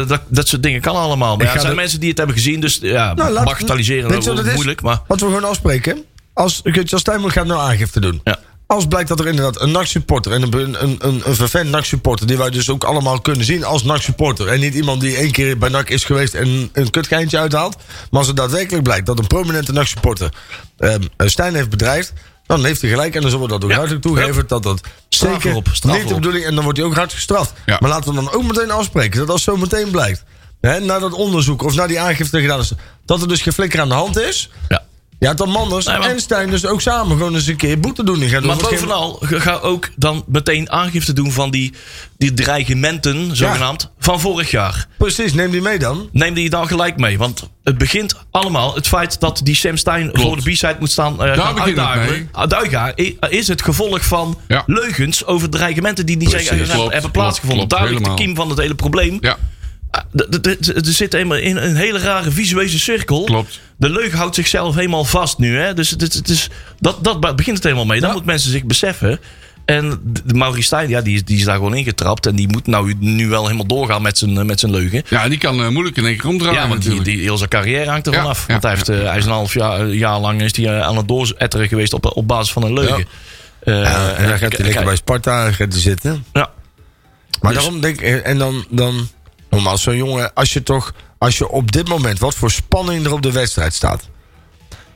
[SPEAKER 2] dat, dat soort dingen kan allemaal. Maar ja,
[SPEAKER 3] ga
[SPEAKER 2] het zijn
[SPEAKER 3] de-
[SPEAKER 2] mensen die het hebben gezien, dus ja,
[SPEAKER 3] Nou, laat-
[SPEAKER 2] bagatelliseren
[SPEAKER 3] weet
[SPEAKER 2] dat
[SPEAKER 3] je wat
[SPEAKER 2] wordt
[SPEAKER 3] het is?
[SPEAKER 2] moeilijk. Maar
[SPEAKER 3] Wat we gewoon afspreken. Als Gert-Jan Stijnboer gaat nou aangifte doen.
[SPEAKER 2] Ja.
[SPEAKER 3] Als blijkt dat er inderdaad een NAC-supporter... en een, een, een, een vervent NAC-supporter... die wij dus ook allemaal kunnen zien als NAC-supporter... en niet iemand die één keer bij NAC is geweest... en een kutgeintje uithaalt. Maar als het daadwerkelijk blijkt dat een prominente NAC-supporter... ehm, Stijn heeft bedreigd... dan heeft hij gelijk en dan zullen we dat ook
[SPEAKER 2] Ja.
[SPEAKER 3] duidelijk toegeven... dat dat
[SPEAKER 2] Straf
[SPEAKER 3] zeker
[SPEAKER 2] erop, straf
[SPEAKER 3] niet de
[SPEAKER 2] erop.
[SPEAKER 3] bedoeling... en dan wordt hij ook hard gestraft.
[SPEAKER 4] Ja.
[SPEAKER 3] Maar laten we dan ook meteen afspreken... dat als zo meteen blijkt... Hè, na dat onderzoek of na die aangifte gedaan is... dat er dus geflikker aan de hand is...
[SPEAKER 2] ja.
[SPEAKER 3] Ja, dan Manders
[SPEAKER 2] Nee, maar-
[SPEAKER 3] en Stijn dus ook samen gewoon eens een keer boete doen. Die gaan
[SPEAKER 2] Maar
[SPEAKER 3] doen. Misschien-
[SPEAKER 2] bovenal, ge- ga ook dan meteen aangifte doen van die, die dreigementen, zogenaamd, van vorig jaar.
[SPEAKER 3] Precies, neem die mee dan.
[SPEAKER 2] Neem die dan gelijk mee. Want het begint allemaal, het feit dat die Sam Stein voor de B-side moet staan eh gaan
[SPEAKER 4] begint het mee.
[SPEAKER 2] uitdagen. Ah, Duiga eh, is het gevolg van
[SPEAKER 4] Ja.
[SPEAKER 2] leugens over dreigementen die niet
[SPEAKER 4] Precies.
[SPEAKER 2] zeggen, hebben,
[SPEAKER 4] Klopt,
[SPEAKER 2] hebben plaatsgevonden.
[SPEAKER 4] klopt, klopt,
[SPEAKER 2] Daar ligt de kiem
[SPEAKER 4] helemaal.
[SPEAKER 2] van het hele probleem.
[SPEAKER 4] Ja,
[SPEAKER 2] Ah, d- d- d- Er zit eenmaal in een hele rare visuele cirkel.
[SPEAKER 4] Klopt.
[SPEAKER 2] De leugen houdt zichzelf helemaal vast nu. Hè? Dus het, is- het is, dat, dat be- begint het helemaal mee. Dan moet mensen zich beseffen. En de- de Maurice Stijn, ja, die, is- die is daar gewoon ingetrapt. En die moet nou, nu wel helemaal doorgaan met zijn, eh, met zijn leugen.
[SPEAKER 4] ja die kan eh, moeilijk in één keer omdraaien
[SPEAKER 2] Ja, want die,
[SPEAKER 4] natuurlijk.
[SPEAKER 2] die heel zijn carrière hangt er
[SPEAKER 4] Ja,
[SPEAKER 2] vanaf.
[SPEAKER 4] ja,
[SPEAKER 2] want hij, heeft, eh, hij is een half jaar, jaar lang is die, eh, aan het dooretteren geweest op, op basis van een leugen. Eh,
[SPEAKER 3] en dan gaat
[SPEAKER 2] k-
[SPEAKER 3] hij lekker
[SPEAKER 2] kijk,
[SPEAKER 3] bij Sparta gaat hij zitten.
[SPEAKER 2] Ja,
[SPEAKER 3] Maar
[SPEAKER 2] Dus-
[SPEAKER 3] daarom denk ik, eh, en dan, dan normaal zo'n jongen, als je toch, als je op dit moment, wat voor spanning er op de wedstrijd staat.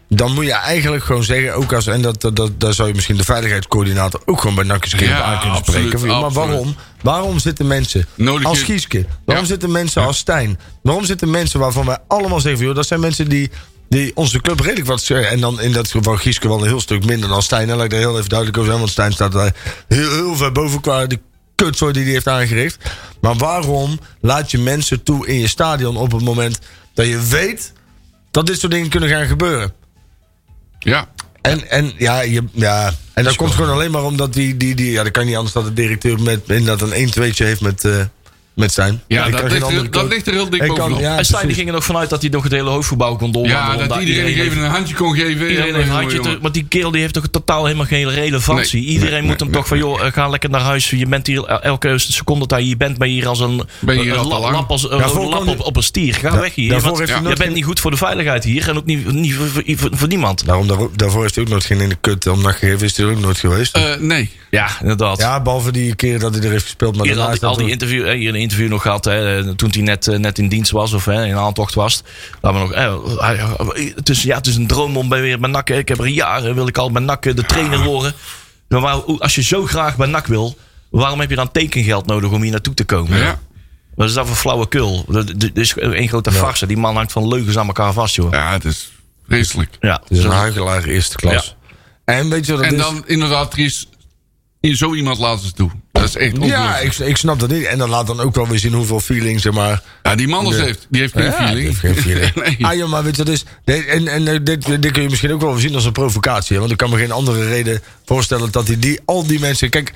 [SPEAKER 3] Dan moet je eigenlijk gewoon zeggen, ook als, en dat, dat, dat, daar zou je misschien de veiligheidscoördinator ook gewoon bij NAC eens een keer
[SPEAKER 4] Ja,
[SPEAKER 3] op aan kunnen
[SPEAKER 4] absoluut,
[SPEAKER 3] spreken. Van, ja, maar
[SPEAKER 4] absoluut.
[SPEAKER 3] waarom? Waarom zitten mensen
[SPEAKER 4] Nodig
[SPEAKER 3] als
[SPEAKER 4] je-
[SPEAKER 3] Gieske? Waarom
[SPEAKER 4] Ja.
[SPEAKER 3] zitten mensen als Stijn? Waarom zitten mensen waarvan wij allemaal zeggen, van, joh, dat zijn mensen die, die onze club redelijk wat zeggen. En dan in dat geval Gieske wel een heel stuk minder dan Stijn. En laat ik daar heel even duidelijk over zijn, want Stijn staat daar heel, heel ver boven qua de kutzooi die hij heeft aangericht. Maar waarom laat je mensen toe in je stadion op het moment dat je weet dat dit soort dingen kunnen gaan gebeuren?
[SPEAKER 4] Ja,
[SPEAKER 3] En, en ja, je, ja, en dat komt gewoon alleen maar omdat die, die, die ja, dat kan niet anders dat de directeur met inderdaad een 1-2'tje heeft met, eh met zijn.
[SPEAKER 4] ja dat, ligt er, dat ligt er heel dik bovenop.
[SPEAKER 3] ja,
[SPEAKER 2] en Stijn die
[SPEAKER 3] precies.
[SPEAKER 2] ging er nog vanuit dat hij nog het hele hoofdgebouw kon doorwandelen.
[SPEAKER 4] Ja, dat
[SPEAKER 2] omdat
[SPEAKER 4] iedereen
[SPEAKER 2] iedereen
[SPEAKER 4] even een handje kon geven.
[SPEAKER 2] Iedereen
[SPEAKER 4] Ja,
[SPEAKER 2] heeft een
[SPEAKER 4] jongen,
[SPEAKER 2] handje
[SPEAKER 4] jongen.
[SPEAKER 2] terug, want die kerel die heeft toch totaal helemaal geen relevantie.
[SPEAKER 4] Nee,
[SPEAKER 2] Iedereen
[SPEAKER 4] nee,
[SPEAKER 2] moet
[SPEAKER 4] nee,
[SPEAKER 2] hem toch
[SPEAKER 4] nee,
[SPEAKER 2] van, joh, eh, ga lekker naar huis. Je bent hier el- elke seconde dat je hier bent, ben je hier als een,
[SPEAKER 4] Ben je hier
[SPEAKER 2] een
[SPEAKER 4] al te
[SPEAKER 2] la-
[SPEAKER 4] lang?
[SPEAKER 2] lap, als, een
[SPEAKER 3] Daarvoor
[SPEAKER 2] rode lap
[SPEAKER 3] kwam
[SPEAKER 2] op,
[SPEAKER 3] die-
[SPEAKER 2] op een stier. Ga
[SPEAKER 3] Da-
[SPEAKER 2] weg hier,
[SPEAKER 3] daarvoor
[SPEAKER 2] want
[SPEAKER 3] heeft hij
[SPEAKER 2] je
[SPEAKER 3] nooit
[SPEAKER 2] bent niet goed voor de veiligheid hier en ook niet, niet voor, voor- voor- voor niemand.
[SPEAKER 3] Daarom, daar- daarvoor heeft hij ook nooit geen in de kut om gegeven, is hij er ook nooit geweest.
[SPEAKER 4] Eh, nee.
[SPEAKER 2] Ja, inderdaad.
[SPEAKER 3] ja, behalve die keer dat hij er heeft gespeeld. Maar
[SPEAKER 2] Hier
[SPEAKER 3] daarna
[SPEAKER 2] al
[SPEAKER 3] is
[SPEAKER 2] die,
[SPEAKER 3] dat
[SPEAKER 2] al die
[SPEAKER 3] ook-
[SPEAKER 2] interview, eh, hier een interview nog gehad hè, eh, toen hij net, eh, net in dienst was of hè, in aantocht was. Laat maar nog, eh, hij- hij- het, is, ja, het is een droom om bij weer bij NAC. eh, Ik heb er jaren wil ik al bij NAC eh, de trainer worden. Maar waar- hoe- als je zo graag bij NAC wil, waarom heb je dan tekengeld nodig om hier naartoe te komen?
[SPEAKER 4] Ja.
[SPEAKER 2] Wat is dat voor flauwekul? Dat, dat- dat is één grote farce. Die man hangt van leugens aan elkaar vast, joh.
[SPEAKER 4] ja, het is vreselijk.
[SPEAKER 2] Ja, Dus
[SPEAKER 3] Het is
[SPEAKER 2] zo-
[SPEAKER 3] een huigelaar eerste klas. En weet je wat dat
[SPEAKER 4] En
[SPEAKER 3] is?
[SPEAKER 4] dan inderdaad, Dries, in zo iemand laat ze toe. Dat is echt
[SPEAKER 3] ja,
[SPEAKER 4] ongelooflijk.
[SPEAKER 3] ik, ik snap dat niet. En dat laat dan ook wel weer zien hoeveel feeling, zeg maar...
[SPEAKER 4] Ja, die man
[SPEAKER 3] De-
[SPEAKER 4] heeft, die heeft geen
[SPEAKER 3] Ja,
[SPEAKER 4] feeling.
[SPEAKER 3] die heeft geen feeling.
[SPEAKER 4] nee.
[SPEAKER 3] Ah joh, maar weet je wat is? Nee, en en eh, dit, dit kun je misschien ook wel zien als een provocatie. hè, Want ik kan me geen andere reden voorstellen dat hij die, al die mensen... Kijk,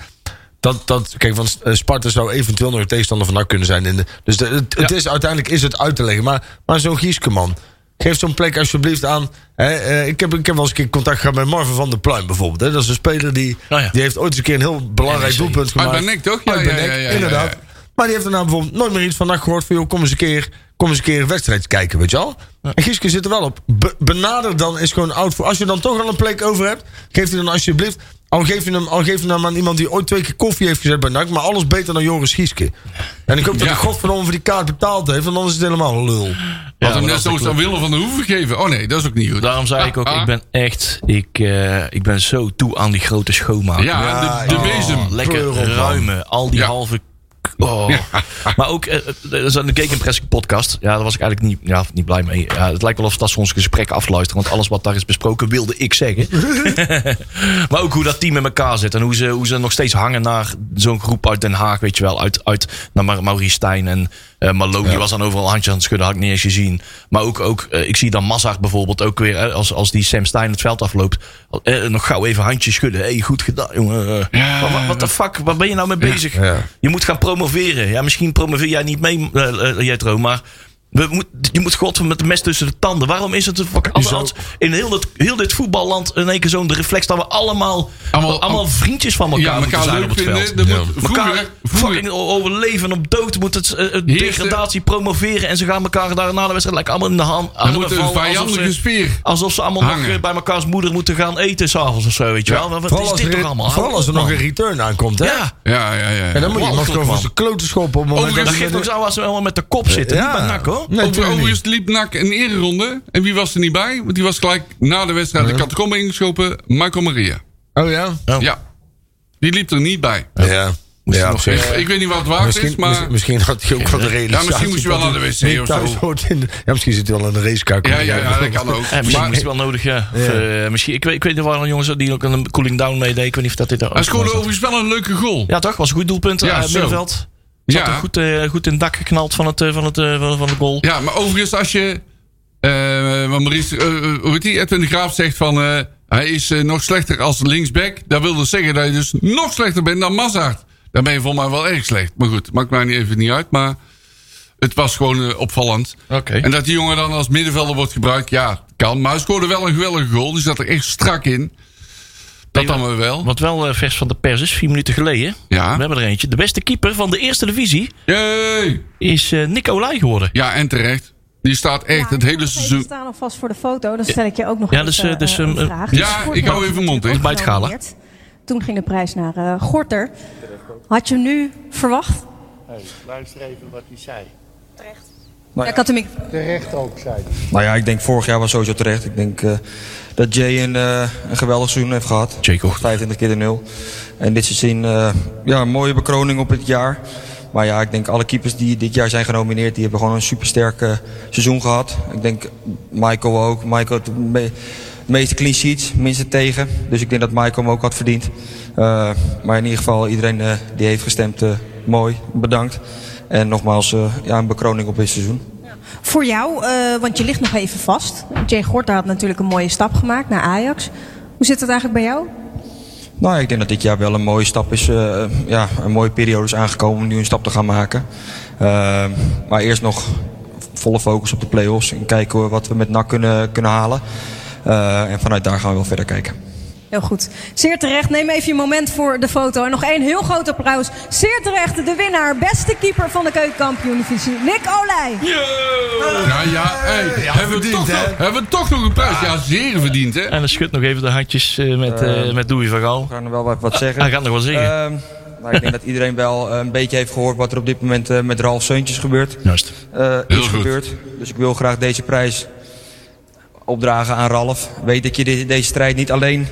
[SPEAKER 3] dat, dat, kijk, want eh, Sparta zou eventueel nog een tegenstander van NAC kunnen zijn. In de, dus de- het, het is, uiteindelijk is het uit te leggen. Maar, maar zo'n Gieskeman, geef zo'n plek alsjeblieft aan... Hè, eh, ik, heb, ik heb wel eens een keer contact gehad met Marvin van der Pluim bijvoorbeeld. Hè. Dat is een speler die,
[SPEAKER 2] Oh ja.
[SPEAKER 3] die heeft ooit eens een keer een heel belangrijk
[SPEAKER 2] NEC.
[SPEAKER 3] doelpunt
[SPEAKER 4] E Uit
[SPEAKER 3] gemaakt.
[SPEAKER 4] Benek, toch? Ja,
[SPEAKER 3] Uit
[SPEAKER 4] ja, ja,
[SPEAKER 3] Benek,
[SPEAKER 4] ja, ja, ja.
[SPEAKER 3] inderdaad. Maar die heeft er nou bijvoorbeeld nooit meer iets van nacht gehoord. Van, joh, kom eens een keer, kom eens een keer een wedstrijd kijken, weet je wel. En Gieske zit er wel op. Be- benader dan is gewoon oud voor. Als je dan toch al een plek over hebt, geef die dan alsjeblieft. Al geef je hem, al geef je hem aan iemand die ooit twee keer koffie heeft gezet bij NAC. Maar alles beter dan Joris Gieske. En ik hoop dat
[SPEAKER 4] Ja.
[SPEAKER 3] de godverdomme voor die kaart betaald heeft. Want anders is het helemaal een lul.
[SPEAKER 4] Had
[SPEAKER 2] maar
[SPEAKER 4] hem
[SPEAKER 2] dat
[SPEAKER 4] net
[SPEAKER 2] is
[SPEAKER 4] zoals
[SPEAKER 2] de
[SPEAKER 4] aan Willem van der Hoeven gegeven. Oh nee, dat is ook niet goed. Ah,
[SPEAKER 2] Daarom zei ik ook, ik ben echt, ik, eh, ik ben zo toe aan die grote schoonmaak.
[SPEAKER 4] ah. Ja, de, de
[SPEAKER 3] Ja,
[SPEAKER 4] bezem.
[SPEAKER 2] Oh, Lekker
[SPEAKER 3] Pleur op, man.
[SPEAKER 2] ruimen. Al die
[SPEAKER 4] Ja.
[SPEAKER 2] halve k- Oh. Maar ook, eh, er is een Gate Impressing podcast. Ja, daar was ik eigenlijk niet, ja, niet blij mee. Ja, het lijkt wel of dat ze ons gesprek afluisteren. Want alles wat daar is besproken wilde ik zeggen. maar ook hoe dat team in elkaar zit. En hoe ze, hoe ze nog steeds hangen naar zo'n groep uit Den Haag. Weet je wel, uit, uit naar Ma- Maurice Stijn en eh Malone. Die was dan overal handjes aan het schudden. Had ik niet eens gezien. Maar ook, ook eh, ik zie dan Massard bijvoorbeeld ook weer. eh, als, als die Sam Stijn het veld afloopt. eh, nog gauw even handjes schudden. hey, goed gedaan, jongen.
[SPEAKER 4] Ja,
[SPEAKER 2] Maar wa- wat de fuck, waar ben je nou mee bezig? Je moet gaan promoveren. Ja, misschien promoveer jij niet mee, eh, eh, Jetro, maar we moet, je moet god met de mes tussen de tanden. Waarom is het een fuck- als, als in heel dit, heel dit voetballand in één keer zo'n reflex dat we allemaal, allemaal,
[SPEAKER 4] Allemaal-
[SPEAKER 2] vriendjes van elkaar,
[SPEAKER 4] Ja,
[SPEAKER 2] moeten
[SPEAKER 4] elkaar
[SPEAKER 2] zijn op
[SPEAKER 4] leuk
[SPEAKER 2] het
[SPEAKER 4] vinden.
[SPEAKER 2] veld?
[SPEAKER 4] dat
[SPEAKER 3] Ja.
[SPEAKER 4] moet-
[SPEAKER 2] Elkaar
[SPEAKER 4] Vroeger, vroeger,
[SPEAKER 2] fucking o- overleven en op dood moet het eh, eh,
[SPEAKER 4] Hier is de-
[SPEAKER 2] degradatie promoveren en ze gaan elkaar daarna de wedstrijd like, allemaal in de hand
[SPEAKER 4] dan
[SPEAKER 2] armen
[SPEAKER 4] moet een
[SPEAKER 2] vallen, alsof
[SPEAKER 4] vijandige
[SPEAKER 2] ze-
[SPEAKER 4] spier.
[SPEAKER 2] Alsof ze allemaal nog
[SPEAKER 4] hangen.
[SPEAKER 2] eh, bij mekaars moeder moeten gaan eten s'avonds of zo, weet je wel. Wat is
[SPEAKER 3] als
[SPEAKER 2] dit
[SPEAKER 3] er,
[SPEAKER 2] toch allemaal?
[SPEAKER 3] vooral
[SPEAKER 2] Hou
[SPEAKER 3] als er
[SPEAKER 2] op,
[SPEAKER 3] nog
[SPEAKER 2] man.
[SPEAKER 3] een return aankomt, hè?
[SPEAKER 2] Ja.
[SPEAKER 4] Ja, ja, ja.
[SPEAKER 3] En dan moet je iemand
[SPEAKER 2] Walgelijk,
[SPEAKER 3] gewoon voor
[SPEAKER 2] man.
[SPEAKER 3] zijn kloten schoppen. Op het moment
[SPEAKER 4] Overigens,
[SPEAKER 2] Dat
[SPEAKER 3] dat
[SPEAKER 2] geeft ook zo als we allemaal met de kop zitten.
[SPEAKER 3] Ja.
[SPEAKER 2] Niet met nak hoor.
[SPEAKER 3] Nee,
[SPEAKER 4] Over,
[SPEAKER 3] tuurlijk niet.
[SPEAKER 4] overigens liep NAC een ereronde. En wie was er niet bij? Want die was gelijk na de wedstrijd de catacombe ingeschopen. Marco Maria.
[SPEAKER 3] Oh ja?
[SPEAKER 2] Oh.
[SPEAKER 4] Ja. Die liep er niet bij.
[SPEAKER 3] Ja. Ja, op
[SPEAKER 4] Ik,
[SPEAKER 3] zich.
[SPEAKER 4] ik weet niet wat het waard
[SPEAKER 3] Misschien,
[SPEAKER 4] is, maar...
[SPEAKER 3] misschien- misschien had hij ook wel de realisatie.
[SPEAKER 4] misschien moest je wel
[SPEAKER 3] dat
[SPEAKER 4] aan de
[SPEAKER 3] hij
[SPEAKER 4] wc
[SPEAKER 3] niet
[SPEAKER 4] of zo.
[SPEAKER 3] thuis hoort in de- ja, misschien zit hij wel aan de racekaart.
[SPEAKER 4] Ja, ja, ja, dat kan ook.
[SPEAKER 2] Eh, misschien
[SPEAKER 4] Maar
[SPEAKER 2] moest het wel nodig, ja. Of, eh, misschien, ik, weet, ik weet er waren jongens die ook een cooling down meedeed. Ik weet niet of dat dit daar
[SPEAKER 4] hij
[SPEAKER 2] ook
[SPEAKER 4] scoorde
[SPEAKER 2] was.
[SPEAKER 4] overigens wel een leuke goal.
[SPEAKER 2] Ja, toch? Was een goed doelpunt.
[SPEAKER 4] Ja,
[SPEAKER 2] Ja,
[SPEAKER 4] zo.
[SPEAKER 2] middenveld. Zat er
[SPEAKER 4] Ja,
[SPEAKER 2] goed, eh, goed in het dak geknald van het, eh, van het, eh, van, van de goal.
[SPEAKER 4] ja maar overigens als je... eh want Maurice, eh, eh, hoe heet die? Edwin de Graaf zegt van... eh, hij is eh, nog slechter als linksback. Dat wil dus zeggen dat je dus nog slechter bent dan Mazart. Dan ben je volgens mij wel erg slecht. Maar goed, maakt mij niet- even niet uit. Maar het was gewoon eh, opvallend.
[SPEAKER 2] Oké.
[SPEAKER 4] En dat die jongen dan als middenvelder wordt gebruikt, ja, kan. Maar hij scoorde wel een geweldige goal. Die zat er echt strak in. Dat dan maar wel.
[SPEAKER 2] Wat wel eh, vers van de pers is, vier minuten geleden.
[SPEAKER 4] Ja.
[SPEAKER 2] We hebben er eentje. De beste keeper van de eerste divisie
[SPEAKER 4] Jee!
[SPEAKER 2] is eh Nick Olij geworden.
[SPEAKER 4] Ja, en terecht. Die staat echt het hele
[SPEAKER 5] We
[SPEAKER 4] seizoen.
[SPEAKER 5] staan alvast voor de foto, dan stel ik je ook nog
[SPEAKER 2] Ja,
[SPEAKER 5] even,
[SPEAKER 2] dus, eh, dus,
[SPEAKER 5] eh, een
[SPEAKER 2] ehm,
[SPEAKER 5] vraag.
[SPEAKER 4] ja,
[SPEAKER 5] Vorig
[SPEAKER 4] ik
[SPEAKER 5] jaar
[SPEAKER 4] hou
[SPEAKER 5] was
[SPEAKER 4] even
[SPEAKER 5] hij
[SPEAKER 4] mond, hè.
[SPEAKER 5] natuurlijk
[SPEAKER 2] Bij het
[SPEAKER 5] ook
[SPEAKER 2] gala.
[SPEAKER 5] genomineerd. Toen ging de prijs naar eh, Gorter. Had je hem nu verwacht?
[SPEAKER 6] Hey, luister even wat hij zei.
[SPEAKER 5] ja. Ik had hem ik
[SPEAKER 6] Terecht ook, zei hij.
[SPEAKER 7] Nou ja, ik denk vorig jaar was sowieso terecht. Ik denk eh, dat Jay een, eh, een geweldig seizoen heeft gehad.
[SPEAKER 2] Jay Kocht.
[SPEAKER 7] 25 keer de nul. En dit seizoen, eh ja, een mooie bekroning op het jaar. Maar ja, ik denk alle keepers die dit jaar zijn genomineerd, die hebben gewoon een supersterk eh, seizoen gehad. Ik denk Michael ook. Michael had de me- meeste clean sheets, minste tegen. Dus ik denk dat Michael hem ook had verdiend. Eh, maar in ieder geval, iedereen eh, die heeft gestemd, eh, mooi, bedankt. En nogmaals, eh, ja, een bekroning op dit seizoen.
[SPEAKER 5] voor jou, eh, want je ligt nog even vast. Jay Gorter had natuurlijk een mooie stap gemaakt naar Ajax. Hoe zit het eigenlijk bij jou?
[SPEAKER 7] Nou, ja, ik denk dat dit jaar wel een mooie stap is. eh, ja, een mooie periode is aangekomen om nu een stap te gaan maken. Eh, maar eerst nog volle focus op de play-offs en kijken hoe- wat we met NAC kunnen, kunnen halen. Eh, en vanuit daar gaan we wel verder kijken.
[SPEAKER 5] Heel goed. Zeer terecht. Neem even je moment voor de foto. En nog één heel groot applaus. Zeer terecht de winnaar, beste keeper van de keukenkampioen-divisie, Nick Olij.
[SPEAKER 4] Ja, Nou ja, hey, hebben, we
[SPEAKER 3] verdiend,
[SPEAKER 4] toch
[SPEAKER 3] hè?
[SPEAKER 4] nog, hebben we toch nog een prijs? Ja, zeer verdiend, hè?
[SPEAKER 2] En dan schudt nog even de handjes eh, met, eh met Doei van Gaal.
[SPEAKER 7] We gaan er wel wat, wat zeggen.
[SPEAKER 2] Hij gaat nog wel zeggen.
[SPEAKER 7] Ehm, maar ik denk dat iedereen wel eh, een beetje heeft gehoord wat er op dit moment eh, met Ralf Seuntjes gebeurt.
[SPEAKER 2] Juist.
[SPEAKER 7] eh,
[SPEAKER 4] Heel
[SPEAKER 7] is
[SPEAKER 4] goed.
[SPEAKER 7] gebeurd. Dus ik wil graag deze prijs opdragen aan Ralf. Weet dat je dit- deze strijd niet alleen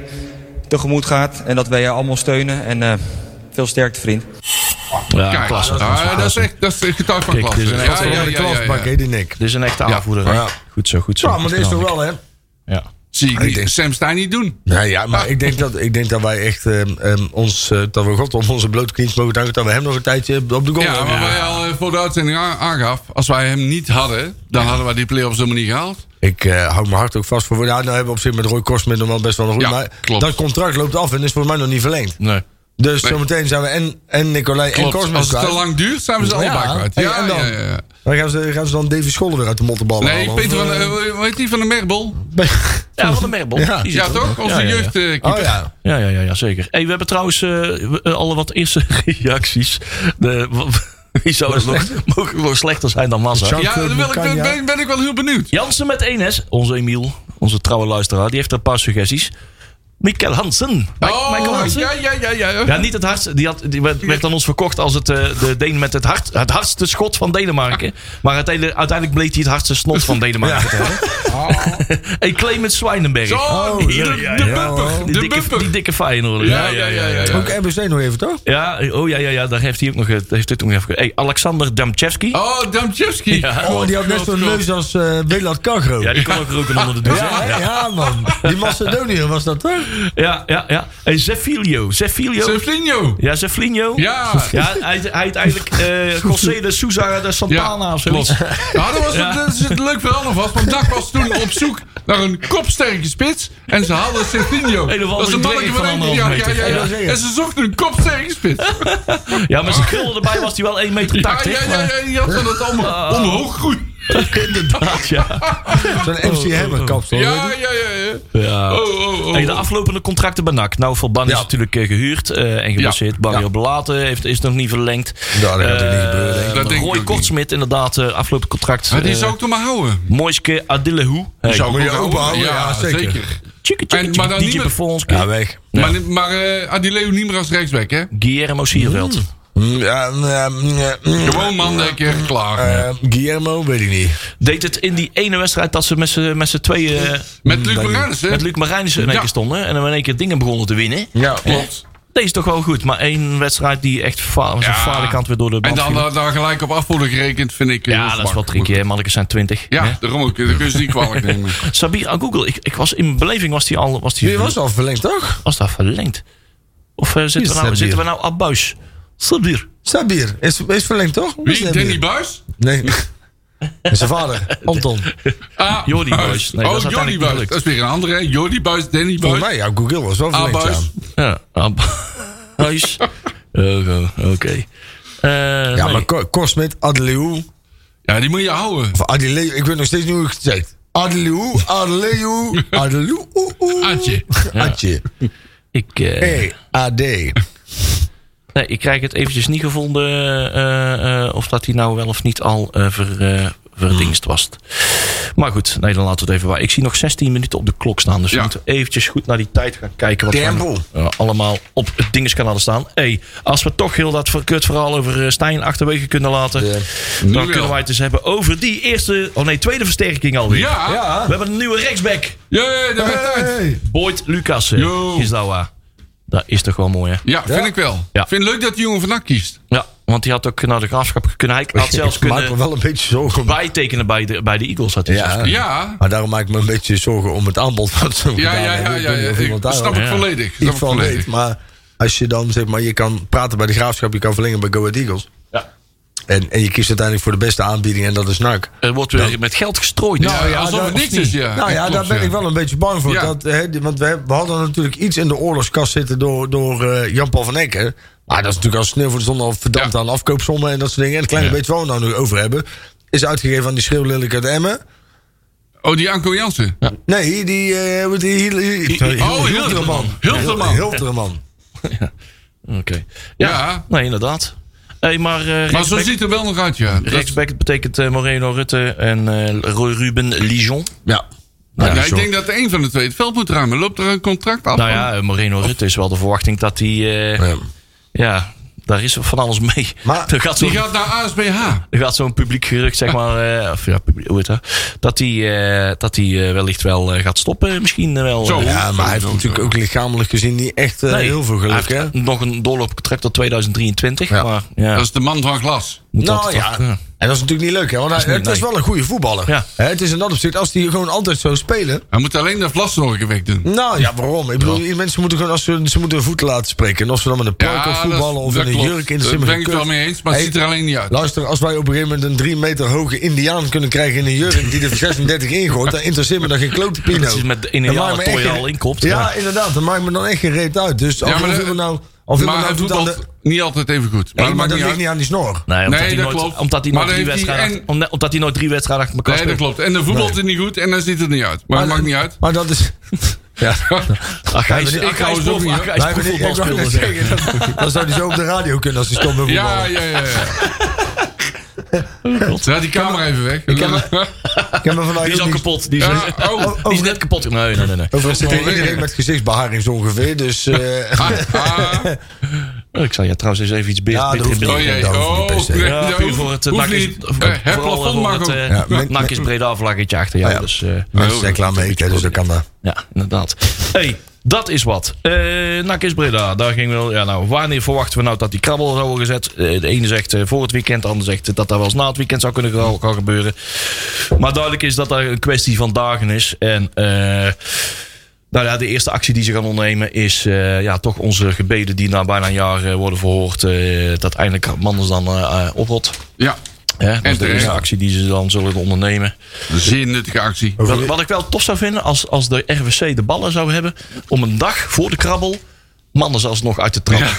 [SPEAKER 7] tegemoet gaat en dat wij je allemaal steunen. En eh, veel sterkte, vriend.
[SPEAKER 2] Ja,
[SPEAKER 4] Kijk,
[SPEAKER 2] klasse.
[SPEAKER 4] ah, dat is echt dat is echt getuig van
[SPEAKER 2] Kijk,
[SPEAKER 4] klasse.
[SPEAKER 2] dit is een
[SPEAKER 4] Ja,
[SPEAKER 2] echt
[SPEAKER 4] ja,
[SPEAKER 3] Van de
[SPEAKER 4] ja, ja,
[SPEAKER 3] klasbak,
[SPEAKER 4] ja.
[SPEAKER 3] hè, die Nick.
[SPEAKER 2] Dit is een echte aanvoerder. hè?
[SPEAKER 3] Ja.
[SPEAKER 2] Goed zo, goed zo.
[SPEAKER 3] Ja, maar dat is toch wel, hè?
[SPEAKER 2] Ja.
[SPEAKER 4] Zie ik
[SPEAKER 3] Ik
[SPEAKER 4] niet.
[SPEAKER 3] denk-
[SPEAKER 4] Sam Stein niet doen.
[SPEAKER 3] Nou ja, maar ik denk dat, ik denk dat wij echt ehm, ehm, ons, eh, dat we God op onze blote knieën mogen danken dat we hem nog een tijdje op de goal
[SPEAKER 4] Ja,
[SPEAKER 3] hebben.
[SPEAKER 4] maar wij al eh, voor de uitzending a- aangaf. Als wij hem niet hadden, dan hadden wij die play-offs helemaal niet gehaald.
[SPEAKER 3] Ik eh, hou mijn hart ook vast voor. Ja, nou hebben we op zich met Roy Korsmit nog wel best wel een goed.
[SPEAKER 4] Ja,
[SPEAKER 3] maar
[SPEAKER 4] klopt.
[SPEAKER 3] dat contract loopt af en is volgens mij nog niet verlengd.
[SPEAKER 2] Nee.
[SPEAKER 3] Dus
[SPEAKER 4] Nee.
[SPEAKER 3] zometeen zijn we en, en Nicolai en
[SPEAKER 4] Klopt.
[SPEAKER 3] Korsmit
[SPEAKER 4] Als het
[SPEAKER 3] kwijt.
[SPEAKER 4] te lang duurt, zijn we ze
[SPEAKER 3] Ja.
[SPEAKER 4] allebei kwijt.
[SPEAKER 3] Hey,
[SPEAKER 4] Ja,
[SPEAKER 3] en dan?
[SPEAKER 4] ja, ja, ja.
[SPEAKER 3] Dan gaan ze, gaan ze dan Davy Scholler weer uit de mottenballen
[SPEAKER 4] Nee,
[SPEAKER 3] halen,
[SPEAKER 4] Peter
[SPEAKER 3] of,
[SPEAKER 4] van,
[SPEAKER 3] eh,
[SPEAKER 4] eh, hoe heet die van de Merbel?
[SPEAKER 2] Ja, van de Merbel.
[SPEAKER 3] Ja.
[SPEAKER 2] Die zit
[SPEAKER 4] Ja,
[SPEAKER 2] er
[SPEAKER 4] toch?
[SPEAKER 2] ook.
[SPEAKER 4] Onze
[SPEAKER 2] Ja, ja, ja.
[SPEAKER 4] jeugd. eh,
[SPEAKER 3] Oh ja.
[SPEAKER 2] Ja, ja, ja, ja zeker. Hey, we hebben trouwens eh, we- eh, alle wat eerste reacties. De, wa- wie zou het nog, mogen nog slechter zijn dan Massa?
[SPEAKER 3] Zou-
[SPEAKER 4] Ja, dan wil ik,
[SPEAKER 3] Bukan, ja.
[SPEAKER 4] ben, ben ik wel heel benieuwd.
[SPEAKER 2] Jansen met 1S, onze Emiel, onze trouwe luisteraar, die heeft er een paar suggesties. Mikkel Hansen. Mi- Michael
[SPEAKER 4] Oh,
[SPEAKER 2] Hansen.
[SPEAKER 4] ja, ja, ja, ja.
[SPEAKER 2] Ja, niet het hardste. Die, had, die werd, werd aan ons verkocht als het, eh, de Deen met het, hard, het hardste schot van Denemarken. Maar uiteindelijk, uiteindelijk bleek hij het hardste snot van Denemarken te hebben. En Clemens Zwijnenberg. Oh,
[SPEAKER 4] Zo, de,
[SPEAKER 3] ja,
[SPEAKER 4] de
[SPEAKER 3] ja, ja,
[SPEAKER 4] bumper.
[SPEAKER 2] Die
[SPEAKER 4] de
[SPEAKER 2] dikke,
[SPEAKER 4] bumper.
[SPEAKER 2] die dikke Feyenoorder.
[SPEAKER 4] ja, ja, ja, ja. ja.
[SPEAKER 3] Ook RBC nog even, toch?
[SPEAKER 2] Ja, oh ja, ja, ja, daar heeft hij ook nog, eh, heeft dit nog even. ge- Hey, Alexander Damczewski.
[SPEAKER 4] Oh, Damczewski.
[SPEAKER 2] Ja.
[SPEAKER 3] Oh, die had net zo'n neus als eh Belad Kagro.
[SPEAKER 2] Ja, die kon ook roken onder de douche.
[SPEAKER 3] Ja,
[SPEAKER 2] hè?
[SPEAKER 3] hè? ja, man. Die Macedoniër was dat toch?
[SPEAKER 2] Ja, ja, ja. En Zeffilio. Zeffilio.
[SPEAKER 4] Sevlinho.
[SPEAKER 2] Ja, Zefflinio.
[SPEAKER 4] Ja.
[SPEAKER 2] Ja, hij, hij heet eigenlijk eh José de Sousa de Santana of zoiets.
[SPEAKER 4] klopt. Nou, dat was het, dat is het leuk verhaal nog vast. Want Dak was toen op zoek naar een kopsterke spits. En ze hadden Serginho.
[SPEAKER 2] Een of
[SPEAKER 4] Dat is een
[SPEAKER 2] andere
[SPEAKER 4] mannetje
[SPEAKER 2] dwerg
[SPEAKER 4] van
[SPEAKER 2] van
[SPEAKER 4] 19
[SPEAKER 2] anderhalve
[SPEAKER 4] jaar. Ja, ja,
[SPEAKER 2] meter.
[SPEAKER 4] ja.
[SPEAKER 3] Ja, zeker.
[SPEAKER 4] En ze zochten een kopsterke spits.
[SPEAKER 2] Ja, met zijn krullen erbij was hij wel 1,80 meter.
[SPEAKER 4] Ja, ja, ja,
[SPEAKER 2] maar-
[SPEAKER 4] ja. Die had dat allemaal omhoog groeien.
[SPEAKER 2] Inderdaad, ja.
[SPEAKER 3] Zo'n MC Hammer kapsel.
[SPEAKER 4] Ja, ja, ja, ja.
[SPEAKER 2] ja.
[SPEAKER 4] Oh, oh, oh.
[SPEAKER 2] Hey, de aflopende contracten bij NAC. Nou, Van is
[SPEAKER 3] Ja.
[SPEAKER 2] natuurlijk eh, gehuurd eh, en geblesseerd. Barrio
[SPEAKER 4] Ja. Nou,
[SPEAKER 2] Belaten heeft, is nog niet verlengd. Eh,
[SPEAKER 3] Ja, dat gaat ook niet gebeuren, denk ik.
[SPEAKER 4] Dat denk ik ook
[SPEAKER 2] Roy
[SPEAKER 4] niet.
[SPEAKER 2] Kortsmit, inderdaad, eh aflopend contract.
[SPEAKER 4] Maar die
[SPEAKER 2] eh,
[SPEAKER 4] zou ik toch maar houden. Oh,
[SPEAKER 2] Moiske Adillehoe. Hey.
[SPEAKER 4] Zou ik
[SPEAKER 3] moet
[SPEAKER 4] ook
[SPEAKER 3] je openhouden, ja, zeker.
[SPEAKER 2] Tjikke, tjikke,
[SPEAKER 4] En- maar dan
[SPEAKER 2] tjikke,
[SPEAKER 4] niet
[SPEAKER 2] DJ
[SPEAKER 4] meer-
[SPEAKER 2] Buffons,
[SPEAKER 3] Ja, weg.
[SPEAKER 4] Maar, maar eh, Adileo niet meer als rechtsback, hè?
[SPEAKER 2] Guillermo Sierveld.
[SPEAKER 4] Hmm.
[SPEAKER 3] Mm, Ja, mm, ja, mm, ja, mm.
[SPEAKER 4] Gewoon man, denk je, klaar.
[SPEAKER 3] Eh, Guillermo, weet ik niet.
[SPEAKER 2] Deed het in die ene wedstrijd dat ze met z'n- met z'n tweeën eh,
[SPEAKER 4] Met Luc Bernays, hè?
[SPEAKER 2] met Luc Marijnissen in één
[SPEAKER 4] Hmm. Ja.
[SPEAKER 2] keer stonden. En dan in één keer dingen begonnen te winnen.
[SPEAKER 3] Ja,
[SPEAKER 4] Klopt.
[SPEAKER 2] Deze is toch wel goed. Maar één wedstrijd die echt fa- was een
[SPEAKER 4] Ja.
[SPEAKER 2] fale kant weer door de
[SPEAKER 4] En
[SPEAKER 2] band
[SPEAKER 4] dan eh,
[SPEAKER 2] viel.
[SPEAKER 4] daar, daar gelijk op af worden gerekend, vind ik. eh,
[SPEAKER 2] Ja, dat is wel
[SPEAKER 4] makkelijk.
[SPEAKER 2] tricky. hè. Mannetjes zijn 20. hè.
[SPEAKER 4] Ja, daarom ook. Dan kun je ze niet kwalijk nemen.
[SPEAKER 2] Sabir aan Google. Ik, ik was in mijn beleving was die al was die,
[SPEAKER 3] Die was al verlengd, toch?
[SPEAKER 2] was dat verlengd. Of eh, zitten,
[SPEAKER 3] Wie is
[SPEAKER 2] we nou,
[SPEAKER 3] Sabir?
[SPEAKER 2] zitten we nou op buis? Sabir.
[SPEAKER 3] Sabir. Is, is verlengd, toch? Is
[SPEAKER 4] Wie?
[SPEAKER 3] Sabir?
[SPEAKER 4] Danny Buis?
[SPEAKER 3] Nee. En Zijn vader, Anton.
[SPEAKER 4] Ah,
[SPEAKER 2] Jordi Buijs. Nee,
[SPEAKER 4] oh,
[SPEAKER 2] dat is
[SPEAKER 4] Jordi
[SPEAKER 2] uiteindelijk
[SPEAKER 4] Buijs.
[SPEAKER 2] gelukt.
[SPEAKER 4] Dat is weer een andere, hè? Jordi Buijs, Danny
[SPEAKER 3] Volgens
[SPEAKER 4] Buijs.
[SPEAKER 3] mij, ja, Google was wel
[SPEAKER 4] Ah,
[SPEAKER 3] verlengd. ja.
[SPEAKER 4] Buijs.
[SPEAKER 2] Ja, op buis. Oké, Oké. Eh,
[SPEAKER 3] Ja,
[SPEAKER 2] nee.
[SPEAKER 3] maar Ko- Korsmit, Adeleu.
[SPEAKER 4] Ja, die moet je houden.
[SPEAKER 3] Of Adeleu, ik weet nog steeds niet hoe ik het zeg. Adeleu, Adeleu, Adeleu, oe, oe.
[SPEAKER 4] Adje.
[SPEAKER 3] Adje.
[SPEAKER 2] ik, eh,
[SPEAKER 3] E-A-D.
[SPEAKER 2] nee, ik krijg het eventjes niet gevonden eh, eh, of dat hij nou wel of niet al eh, ver, eh, verdingst was. Maar goed, nee, dan laten we het even waar. Ik zie nog 16 minuten op de klok staan. Dus
[SPEAKER 4] Ja.
[SPEAKER 2] we moeten eventjes goed naar die tijd gaan kijken. Wat we
[SPEAKER 3] Tempo.
[SPEAKER 2] eh, allemaal op het dingeskanaal staan. Hey, als we toch heel dat verkut verhaal over eh, Stijn achterwege kunnen laten...
[SPEAKER 4] Nu
[SPEAKER 2] dan
[SPEAKER 4] wel.
[SPEAKER 2] kunnen wij het eens hebben over die eerste... Oh nee, tweede versterking alweer.
[SPEAKER 4] Ja. ja.
[SPEAKER 2] We hebben een nieuwe rechtsback.
[SPEAKER 4] Jee, daar werd tijd.
[SPEAKER 3] Hey.
[SPEAKER 2] Boyd Lucas. eh,
[SPEAKER 4] Yo.
[SPEAKER 2] Is dat waar? Dat is toch wel mooi, hè?
[SPEAKER 4] Ja, vind ik wel.
[SPEAKER 2] Ja.
[SPEAKER 4] Vind het leuk dat die jongen vandaag kiest.
[SPEAKER 2] Ja, want die had ook naar de graafschap kunnen. Hij had zelfs
[SPEAKER 3] Ik maak me
[SPEAKER 2] kunnen
[SPEAKER 3] wel een beetje zorgen om.
[SPEAKER 2] bijtekenen bij de, bij de Eagles. Had hij zelfs kunnen.
[SPEAKER 4] Ja.
[SPEAKER 3] Maar daarom maak ik me een beetje zorgen om het aanbod van zo'n
[SPEAKER 4] Ja, ja, ja, ja. ja. Ik snap
[SPEAKER 2] Ja.
[SPEAKER 4] het volledig. Snap
[SPEAKER 3] Iets
[SPEAKER 4] ik
[SPEAKER 3] van
[SPEAKER 4] volledig.
[SPEAKER 3] weet. Maar als je dan zeg maar, je kan praten bij de graafschap, je kan verlengen bij Go Ahead Eagles.
[SPEAKER 2] Ja.
[SPEAKER 3] En, en je kiest uiteindelijk voor de beste aanbieding en dat is NAC.
[SPEAKER 2] Er wordt weer met geld gestrooid. Nou,
[SPEAKER 4] Ja, alsof het
[SPEAKER 3] Nou dat-
[SPEAKER 4] niks is, ja.
[SPEAKER 3] nou ja,
[SPEAKER 4] Eh, Klopt,
[SPEAKER 3] daar ben ik wel een beetje bang voor.
[SPEAKER 4] Ja.
[SPEAKER 3] Dat, hè, die- want we, hebben- we hadden natuurlijk iets in de oorlogskast zitten door, door eh, Jan-Paul van Ecken. Maar dat is natuurlijk als sneeuw voor de zon al verdampt
[SPEAKER 4] Ja.
[SPEAKER 3] aan afkoopsommen en dat soort dingen. En het kleine beetje wat we nou nu over hebben, is uitgegeven aan die schreeuwlelijk uit Emmen.
[SPEAKER 4] Oh, die Anko Jansen.
[SPEAKER 3] Nee, die... eh, hoe heet die Hiel- Hiel-
[SPEAKER 4] Hilterman. Hilterman.
[SPEAKER 3] Hilterman.
[SPEAKER 2] Oké. Ja,
[SPEAKER 4] Ja.
[SPEAKER 2] nee, inderdaad. Hey, maar eh,
[SPEAKER 4] Maar zo
[SPEAKER 2] rechtsback-
[SPEAKER 4] ziet het er wel nog uit, ja. Dat-
[SPEAKER 2] rechtsback het betekent eh, Moreno Rutte en eh, Roy Ruben Lijon.
[SPEAKER 3] Ja.
[SPEAKER 4] ja,
[SPEAKER 3] Ja,
[SPEAKER 4] ik
[SPEAKER 3] zo.
[SPEAKER 4] denk dat één van de twee het veld moet ruimen. Loopt er een contract af?
[SPEAKER 2] Nou ja, eh, Moreno Rutte is wel de verwachting dat hij... eh, ja.
[SPEAKER 3] Ja.
[SPEAKER 2] daar is van alles mee.
[SPEAKER 3] Maar-
[SPEAKER 2] er gaat
[SPEAKER 4] Die
[SPEAKER 2] zo'n
[SPEAKER 4] gaat naar ASBH.
[SPEAKER 2] er gaat zo'n publiek gerucht, zeg maar, eh, of ja, publiek, hoe heet dat? Dat hij eh, dat hij eh, wellicht wel eh, gaat stoppen misschien wel.
[SPEAKER 4] Zo.
[SPEAKER 2] eh.
[SPEAKER 3] Ja, maar hij heeft natuurlijk ook lichamelijk gezien niet echt eh,
[SPEAKER 2] Nee,
[SPEAKER 3] heel veel
[SPEAKER 2] hij
[SPEAKER 3] geluk,
[SPEAKER 2] heeft
[SPEAKER 3] hè?
[SPEAKER 2] Nog een doorloopcontract tot 2023.
[SPEAKER 3] Ja.
[SPEAKER 2] Maar ja,
[SPEAKER 4] Dat is de man van glas.
[SPEAKER 2] moet
[SPEAKER 3] Nou
[SPEAKER 2] altijd
[SPEAKER 3] ja,
[SPEAKER 2] toch- ja.
[SPEAKER 3] en dat is natuurlijk niet leuk, hè? Want hij,
[SPEAKER 2] niet-
[SPEAKER 3] het is
[SPEAKER 2] nee.
[SPEAKER 3] wel een goede voetballer.
[SPEAKER 2] Ja.
[SPEAKER 3] Hè, Het is in dat opzicht, als die gewoon altijd zo spelen...
[SPEAKER 4] Hij moet alleen de vlas nog een week doen.
[SPEAKER 3] Nou ja, waarom? Ik bedoel, die mensen moeten gewoon als ze, ze moeten hun voeten laten spreken. En of ze dan met een plank of voetballen of in een jurk in de
[SPEAKER 4] Daar
[SPEAKER 3] simmige
[SPEAKER 4] ben ik het wel
[SPEAKER 3] kut.
[SPEAKER 4] mee eens, maar het
[SPEAKER 3] Hey,
[SPEAKER 4] ziet er alleen niet uit.
[SPEAKER 3] Luister, als wij op een gegeven moment een 3 meter hoge indiaan kunnen krijgen in een jurk die er 36 ingooit, dan interesseert me dan geen klote pino.
[SPEAKER 2] Dat is met de Indianen
[SPEAKER 3] Dat maakt me
[SPEAKER 2] tooi
[SPEAKER 3] echt
[SPEAKER 2] al
[SPEAKER 3] geen-
[SPEAKER 2] inkopt,
[SPEAKER 3] Ja,
[SPEAKER 2] ja.
[SPEAKER 3] inderdaad, dat maakt me dan echt geen reet uit. Dus of
[SPEAKER 4] Ja, maar
[SPEAKER 3] of
[SPEAKER 4] dat-
[SPEAKER 3] iemand nou, of
[SPEAKER 4] maar
[SPEAKER 3] iemand nou
[SPEAKER 4] hij
[SPEAKER 3] doet
[SPEAKER 4] doet
[SPEAKER 3] aan de...
[SPEAKER 4] dat niet altijd even goed.
[SPEAKER 3] Nee,
[SPEAKER 4] dat
[SPEAKER 3] maar
[SPEAKER 4] maakt
[SPEAKER 3] dat
[SPEAKER 4] niet
[SPEAKER 3] ligt
[SPEAKER 4] uit.
[SPEAKER 3] niet aan die snor.
[SPEAKER 2] Nee, omdat,
[SPEAKER 4] Nee,
[SPEAKER 2] hij,
[SPEAKER 4] dat
[SPEAKER 2] nooit,
[SPEAKER 4] klopt.
[SPEAKER 2] omdat hij
[SPEAKER 4] Maar dan
[SPEAKER 2] nooit drie
[SPEAKER 4] heeft hij
[SPEAKER 2] wedstrijden
[SPEAKER 4] en-
[SPEAKER 2] achter- omdat- omdat hij nooit drie wedstrijden achter elkaar
[SPEAKER 4] Nee, dat
[SPEAKER 2] speelt.
[SPEAKER 4] klopt. En de voetbalt het niet goed en dan ziet het er niet uit. Maar dat maakt niet uit.
[SPEAKER 3] Maar dat is... Ja,
[SPEAKER 2] Ach, hij is,
[SPEAKER 3] Ik
[SPEAKER 2] ach, hij is
[SPEAKER 4] hou ze ook
[SPEAKER 2] prof-
[SPEAKER 4] niet,
[SPEAKER 2] ach,
[SPEAKER 4] hoor.
[SPEAKER 2] hij is
[SPEAKER 3] Wij hebben niet- ik wou
[SPEAKER 2] profvoetbalspeler,
[SPEAKER 3] net
[SPEAKER 2] zeg.
[SPEAKER 3] zeggen, Dan dan zou hij zo op de radio kunnen als hij stom wil
[SPEAKER 4] Ja,
[SPEAKER 3] voetballen.
[SPEAKER 4] ja, ja. ja. Draai die camera even weg.
[SPEAKER 3] Ik heb me vandaag
[SPEAKER 2] Die is
[SPEAKER 3] ook
[SPEAKER 2] al
[SPEAKER 3] niet-
[SPEAKER 2] kapot. Die is,
[SPEAKER 4] Ja, oh,
[SPEAKER 2] die is net kapot. Nee, nee, nee. nee.
[SPEAKER 3] Overigens zit
[SPEAKER 4] Oh,
[SPEAKER 3] er iedereen
[SPEAKER 4] lekker.
[SPEAKER 3] met gezichtsbeharing zo ongeveer. Dus eh
[SPEAKER 4] Ah,
[SPEAKER 2] Oh, Ik zal je trouwens eens even iets beeld
[SPEAKER 3] Ja, dat
[SPEAKER 2] beter in
[SPEAKER 3] hoeft
[SPEAKER 2] beeld
[SPEAKER 4] oh jee.
[SPEAKER 3] dat hoeft
[SPEAKER 4] Oh,
[SPEAKER 3] niet per se.
[SPEAKER 4] nee,
[SPEAKER 2] Ja,
[SPEAKER 4] dat
[SPEAKER 2] puur
[SPEAKER 4] hoeft-
[SPEAKER 2] voor het
[SPEAKER 4] hoeft
[SPEAKER 2] nakjes,
[SPEAKER 4] niet. Eh, Het plafond mag ook.
[SPEAKER 2] eh,
[SPEAKER 3] Ja, met-
[SPEAKER 2] nakjes Breda vlaggetje achter jou.
[SPEAKER 3] Ah, ja.
[SPEAKER 2] Dus, eh,
[SPEAKER 3] mensen zijn klaar mee, hè, dus dat kan dat.
[SPEAKER 2] ja, inderdaad. hey, dat is wat. Eh nakjes Breda, daar ging wel. Ja, nou, wanneer verwachten we nou dat die krabbel zou worden gezet? Eh, de ene zegt eh, voor het weekend, de ander zegt dat dat wel eens na het weekend zou kunnen ge- gaan gebeuren. Maar duidelijk is dat dat een kwestie van dagen is. En eh, nou ja, de eerste actie die ze gaan ondernemen is eh, ja, toch onze gebeden die na bijna een jaar eh, worden verhoord. eh, dat eindelijk Manders dan eh eh, oprot.
[SPEAKER 4] Ja,
[SPEAKER 2] Hè, dat is de
[SPEAKER 4] terecht.
[SPEAKER 2] eerste actie die ze dan zullen ondernemen.
[SPEAKER 4] zeer nuttige actie.
[SPEAKER 2] Wat, wat ik wel tof zou vinden als, als de RWC de ballen zou hebben om een dag voor de krabbel mannen zelfs nog uit te trappen.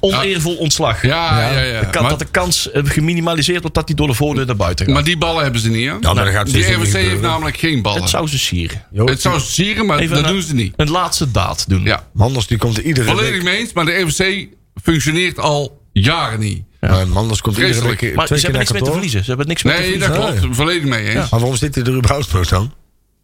[SPEAKER 2] Oneervol ontslag.
[SPEAKER 4] Ja, ja, ja.
[SPEAKER 2] De kans-
[SPEAKER 4] Maar-
[SPEAKER 2] dat de kans eh, geminimaliseerd wordt dat die door de voordeur naar buiten gaat.
[SPEAKER 4] Maar die ballen hebben ze niet, hè?
[SPEAKER 3] Ja, Nou, maar dat gaat
[SPEAKER 4] Die
[SPEAKER 3] sowieso niet
[SPEAKER 4] RWC heeft
[SPEAKER 3] gebeuren.
[SPEAKER 4] namelijk geen ballen.
[SPEAKER 2] het zou ze sieren.
[SPEAKER 4] Het zou ze sieren, maar dat
[SPEAKER 2] een,
[SPEAKER 4] doen ze niet.
[SPEAKER 2] Een laatste daad doen.
[SPEAKER 4] Ja.
[SPEAKER 3] Manders nou- die komt er iedere
[SPEAKER 4] Volledig
[SPEAKER 3] week.
[SPEAKER 4] mee eens, maar de RWC functioneert al jaren niet.
[SPEAKER 3] Ja, Manders komt iedere
[SPEAKER 4] Vreselijk.
[SPEAKER 3] week.
[SPEAKER 2] Maar ze
[SPEAKER 3] twee keer
[SPEAKER 2] hebben
[SPEAKER 3] naar
[SPEAKER 2] niks meer te
[SPEAKER 3] kantoor.
[SPEAKER 2] verliezen. Ze hebben niks meer te
[SPEAKER 4] Nee,
[SPEAKER 2] verliezen.
[SPEAKER 4] dat klopt. Volledig mee eens.
[SPEAKER 3] Maar waarom zit hij er überhaupt nog dan?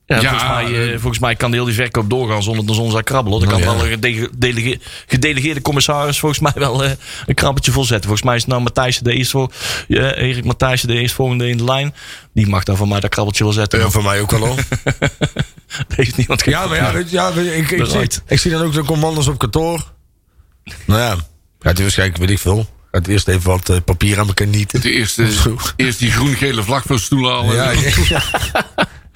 [SPEAKER 2] Ja,
[SPEAKER 4] Ja,
[SPEAKER 2] volgens, mij, eh,
[SPEAKER 4] eh,
[SPEAKER 2] volgens mij kan de hele verkoop doorgaan zonder dat ze ons aan krabbelen. hoor. Dan kan
[SPEAKER 3] Nou,
[SPEAKER 2] wel een gedege- delege- gedelegeerde commissaris volgens mij wel eh, een krabbetje volzetten. Volgens mij is nou Matthijsen de eerste, voor, ja, Erik Matthijsen de eerstvolgende in de lijn. Die mag dan van mij dat krabbeltje wel zetten.
[SPEAKER 3] Ja, voor mij ook wel al.
[SPEAKER 2] Dat heeft niemand
[SPEAKER 3] Ja, maar ja, weet je, ja, weet je, ik, ik, zie,
[SPEAKER 2] Bereid.
[SPEAKER 3] ik zie dan ook, dan komt Manders op kantoor. Nou ja, gaat hij waarschijnlijk, weet ik veel. Gaat eerst even wat eh, papier aan elkaar nieten.
[SPEAKER 4] De eerste, eerst die groen-gele vlag voor stoelen halen.
[SPEAKER 3] Ja, ik- ja.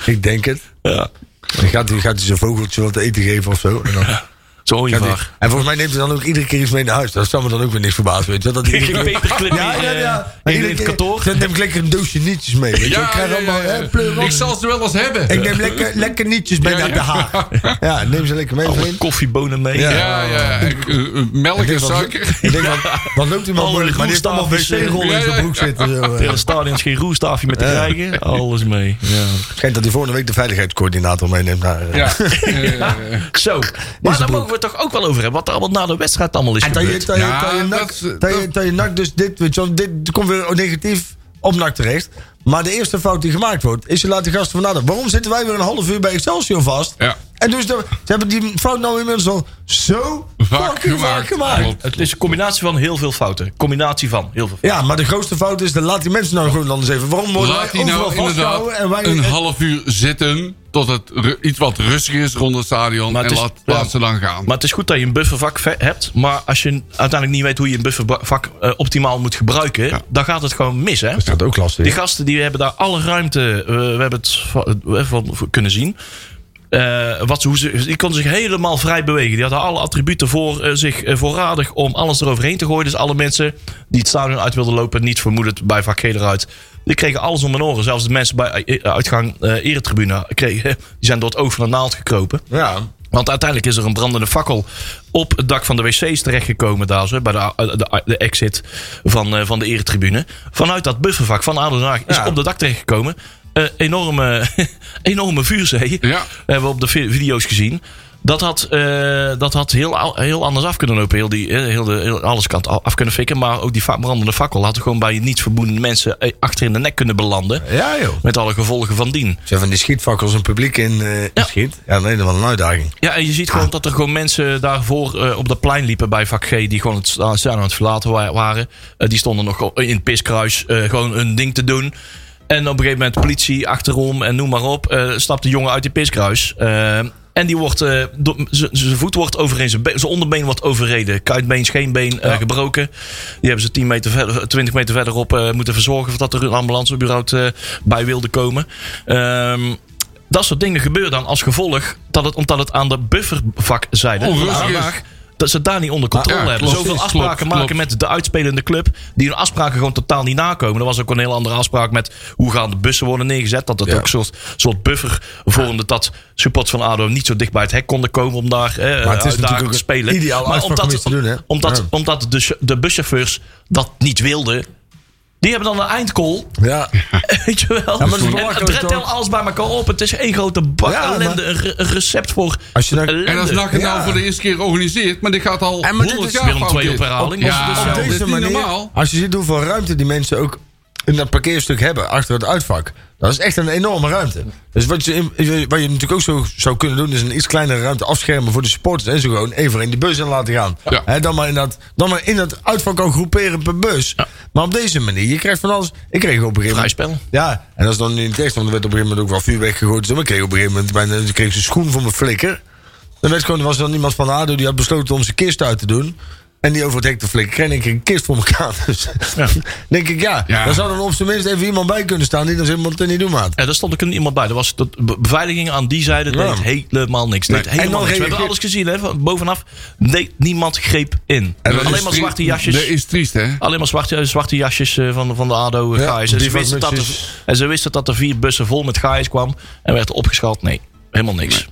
[SPEAKER 3] ik denk het.
[SPEAKER 2] Ja.
[SPEAKER 3] Dan gaat hij, gaat hij zijn vogeltje wat te eten geven of zo. En, dan gaat
[SPEAKER 2] Zo hoor je
[SPEAKER 3] hij-
[SPEAKER 2] vaak.
[SPEAKER 3] en volgens mij neemt hij dan ook iedere keer iets mee naar huis. Dat zou me dan ook weer niks verbaasd, weet je. wel, Dat hij
[SPEAKER 2] Geen
[SPEAKER 3] iedere keer-
[SPEAKER 2] paperclip
[SPEAKER 3] ja, ja, ja.
[SPEAKER 2] eh,
[SPEAKER 3] eh,
[SPEAKER 2] in,
[SPEAKER 3] Iedere
[SPEAKER 2] het
[SPEAKER 3] keer-
[SPEAKER 2] kantoor.
[SPEAKER 3] Dan neem ik lekker een doosje nietjes mee. Weet je. ik krijg allemaal
[SPEAKER 4] ja.
[SPEAKER 3] hè, pleur op.
[SPEAKER 4] Ik zal ze wel eens hebben.
[SPEAKER 3] Ik neem lekker, lekker nietjes mee
[SPEAKER 4] Ja,
[SPEAKER 3] naar
[SPEAKER 4] ja.
[SPEAKER 3] de Haag. Ja, neem ze lekker mee,
[SPEAKER 2] Alle
[SPEAKER 3] vriend.
[SPEAKER 2] koffiebonen mee.
[SPEAKER 3] eh, Ja.
[SPEAKER 4] ja, ja. Ik, eh, eh, melk en
[SPEAKER 3] Ik denk, wat-
[SPEAKER 4] suiker.
[SPEAKER 3] Ik denk, wat, wat loopt die man
[SPEAKER 2] Alle
[SPEAKER 3] moeilijk? Maar die heeft allemaal
[SPEAKER 2] groenstaafjes, eh,
[SPEAKER 3] wc-rollen in
[SPEAKER 4] ja,
[SPEAKER 3] zijn
[SPEAKER 4] ja.
[SPEAKER 3] broek zitten. Zo.
[SPEAKER 2] Het
[SPEAKER 3] eh.
[SPEAKER 2] hele stadion is geen roerstaafje meer te krijgen. Alles mee. Ja.
[SPEAKER 3] Schijnt dat hij volgende week de veiligheidscoördinator meeneemt naar... eh,
[SPEAKER 4] Ja. Eh,
[SPEAKER 2] Zo. Maar daar mogen we het toch ook wel over hebben. Wat er allemaal na de wedstrijd allemaal is
[SPEAKER 3] En dat
[SPEAKER 2] gebeurd.
[SPEAKER 3] je, dat je,
[SPEAKER 4] Ja,
[SPEAKER 3] dat je,
[SPEAKER 4] dat
[SPEAKER 3] nak,
[SPEAKER 4] is, eh,
[SPEAKER 3] dat je,
[SPEAKER 4] dat-
[SPEAKER 3] dat je nak dus dit, weet je wel, dit komt weer negatief op nak terecht. Maar de eerste fout die gemaakt wordt, is je laat de gasten van nadenken. Waarom zitten wij weer een half uur bij Excelsior vast?
[SPEAKER 4] Ja.
[SPEAKER 3] En dus de- ze hebben die fout nou inmiddels al zo
[SPEAKER 4] Vaak
[SPEAKER 3] fucking vaak
[SPEAKER 4] gemaakt.
[SPEAKER 3] gemaakt.
[SPEAKER 4] Klopt.
[SPEAKER 2] Het is een combinatie van heel veel fouten. Combinatie van heel veel fouten.
[SPEAKER 3] Ja, maar de grootste fout is, dan laat die mensen nou gewoon dan eens even. Waarom worden
[SPEAKER 4] Laat
[SPEAKER 3] wij
[SPEAKER 4] die
[SPEAKER 3] overal
[SPEAKER 4] nou
[SPEAKER 3] vastgehouden
[SPEAKER 4] inderdaad
[SPEAKER 3] en wij...
[SPEAKER 4] een half uur zitten tot het ru- iets wat rustiger is rond het stadion.
[SPEAKER 2] Maar het
[SPEAKER 4] en
[SPEAKER 2] is-
[SPEAKER 4] laat, laat
[SPEAKER 2] ja.
[SPEAKER 4] ze dan gaan.
[SPEAKER 2] Maar het is goed dat je een buffervak ve- hebt. Maar als je uiteindelijk niet weet hoe je een buffervak eh, optimaal moet gebruiken, dan gaat het gewoon mis. Hè?
[SPEAKER 3] dat ook lastig.
[SPEAKER 2] Die gasten die hebben daar alle ruimte. eh, we hebben het va- eh, van van kunnen zien. Eh, wat, ze- hoe ze, die konden zich helemaal vrij bewegen. Die hadden alle attributen voor eh, zich eh, voorradig om alles eroverheen te gooien. Dus alle mensen die het stadion uit wilden lopen, niet vermoedend bij vak G eruit. Die kregen alles om hun oren. Zelfs de mensen bij eh, uitgang eh eretribune kregen, die zijn door het oog van de naald gekropen.
[SPEAKER 3] Ja.
[SPEAKER 2] Want uiteindelijk is er een brandende fakkel op het dak van de wc's terechtgekomen, daar zo, bij de, eh, de, de exit van, eh, van de eretribune. Vanuit dat buffervak van Adenhaag is
[SPEAKER 3] Ja.
[SPEAKER 2] op het dak terechtgekomen. Eh, enorme, enorme vuurzee
[SPEAKER 4] Ja.
[SPEAKER 2] hebben we op de vi- video's gezien. Dat had, eh, dat had heel, al- heel anders af kunnen lopen. Heel die, eh, heel de, heel alles kan af af kunnen fikken. Maar ook die fa- brandende fakkel had gewoon bij niet verboende mensen eh, achter in de nek kunnen belanden.
[SPEAKER 3] Ja, joh.
[SPEAKER 2] Met alle gevolgen van dien.
[SPEAKER 3] Ze van die schietvakkels een publiek in, eh in
[SPEAKER 2] Ja.
[SPEAKER 3] schiet. Ja, nee, dat was een uitdaging.
[SPEAKER 2] Ja, en je ziet gewoon dat er gewoon mensen daarvoor eh, op dat plein liepen bij vak G. Die gewoon het sta- stadion aan het verlaten wa- waren. Eh, die stonden nog in het piskruis eh, gewoon hun ding te doen. En op een gegeven moment politie achterom en noem maar op. eh, stapt de jongen uit die piskruis. Eh, en die wordt, eh, door- z- zijn voet wordt overheen, zijn, be- zijn onderbeen wordt overreden. Kuitbeen, scheenbeen eh, gebroken. Die hebben ze 10 meter verder, 20 meter verderop eh, moeten verzorgen. Voordat er een ambulancebureau eh, bij wilde komen. Ehm dat soort dingen gebeuren dan als gevolg dat het, omdat het aan de buffervakzijde van de
[SPEAKER 4] Onrustig is.
[SPEAKER 2] aandaag, dat ze het daar niet onder
[SPEAKER 3] Ah,
[SPEAKER 2] controle
[SPEAKER 4] Ja,
[SPEAKER 2] hebben.
[SPEAKER 4] klopt.
[SPEAKER 2] Zoveel
[SPEAKER 4] Klopt,
[SPEAKER 2] afspraken
[SPEAKER 4] klopt.
[SPEAKER 2] maken met de uitspelende club die hun afspraken gewoon totaal niet nakomen. Er was ook een heel andere afspraak met hoe gaan de bussen worden neergezet. Dat het ook een soort, soort buffer vormde dat supporters van ADO niet zo dicht bij het hek konden komen om daar eh,
[SPEAKER 3] natuurlijk
[SPEAKER 2] uitdagend
[SPEAKER 3] ook
[SPEAKER 2] te
[SPEAKER 3] een
[SPEAKER 2] spelen.
[SPEAKER 3] ideale afspraak om iets te doen, hè?
[SPEAKER 2] omdat,
[SPEAKER 3] Ja.
[SPEAKER 2] omdat de, ch- de buschauffeurs dat niet wilden. Die hebben dan een eindcall
[SPEAKER 3] Ja.
[SPEAKER 2] Weet je wel?
[SPEAKER 3] maar dat is
[SPEAKER 2] En
[SPEAKER 3] belachelijk,
[SPEAKER 2] het redt
[SPEAKER 3] toch?
[SPEAKER 2] heel alles bij elkaar op. Het is één grote bak
[SPEAKER 3] Ja,
[SPEAKER 2] ellende.
[SPEAKER 3] maar-
[SPEAKER 2] Een, re- een recept voor
[SPEAKER 3] Als je dan-
[SPEAKER 2] ellende.
[SPEAKER 4] en als NAC het nou
[SPEAKER 3] Ja.
[SPEAKER 4] voor de eerste keer organiseert, maar dit gaat al
[SPEAKER 3] En maar dit
[SPEAKER 4] 100
[SPEAKER 3] is
[SPEAKER 4] jaar
[SPEAKER 2] Willem
[SPEAKER 4] fout
[SPEAKER 2] II op
[SPEAKER 4] dit.
[SPEAKER 2] herhaling.
[SPEAKER 4] Ja,
[SPEAKER 2] Dus
[SPEAKER 4] dit
[SPEAKER 3] op
[SPEAKER 4] is
[SPEAKER 3] deze
[SPEAKER 4] niet
[SPEAKER 3] manier,
[SPEAKER 4] normaal.
[SPEAKER 3] als je ziet hoeveel ruimte die mensen ook in dat parkeerstuk hebben, achter het uitvak. Dat is echt een enorme ruimte. Dus wat je, in- wat je natuurlijk ook zo zou kunnen doen, is een iets kleinere ruimte afschermen voor de supporters. En zo gewoon één voor één de bus in laten gaan.
[SPEAKER 4] Ja.
[SPEAKER 3] Hè, dan, maar in dat, dan maar in dat uitvak ook groeperen per bus. Maar op deze manier, je krijgt van alles. Ik kreeg op een gegeven moment.
[SPEAKER 2] Vrijspel.
[SPEAKER 3] Ja, en dat is dan niet echt, want er werd op een gegeven moment ook wel vuur weggegooid. en zo. Maar ik kreeg op een gegeven moment bijna, ik kreeg een schoen voor mijn flikker. Dan werd gewoon, er was dan iemand van ADO die had besloten om zijn kist uit te doen. En die over het hek te flikken. Kreeg ik een kist voor elkaar. Dus denk ik, ja,
[SPEAKER 4] Ja.
[SPEAKER 3] daar zou dan op zijn minst even iemand bij kunnen staan die dan zegt, moet het niet doen, maat.
[SPEAKER 2] Ja, daar stond ook een- iemand bij. Er was de be- beveiliging aan die zijde
[SPEAKER 3] Ja.
[SPEAKER 2] deed helemaal niks. Deed
[SPEAKER 3] En dan
[SPEAKER 2] helemaal niks. We hebben
[SPEAKER 3] reageert-
[SPEAKER 2] alles gezien, hè? Van bovenaf deed niemand greep in.
[SPEAKER 3] En dat
[SPEAKER 2] Alleen maar zwarte jasjes.
[SPEAKER 4] Dat is triest, hè?
[SPEAKER 2] Alleen maar zwarte, zwarte jasjes eh, van, van de ADO
[SPEAKER 3] Ja,
[SPEAKER 2] ja, En ze,
[SPEAKER 3] die
[SPEAKER 2] wisten dat
[SPEAKER 3] vakmutsjes.
[SPEAKER 2] er, en ze wisten dat er vier bussen vol met gaais kwam. En werd opgeschat. Nee, helemaal niks.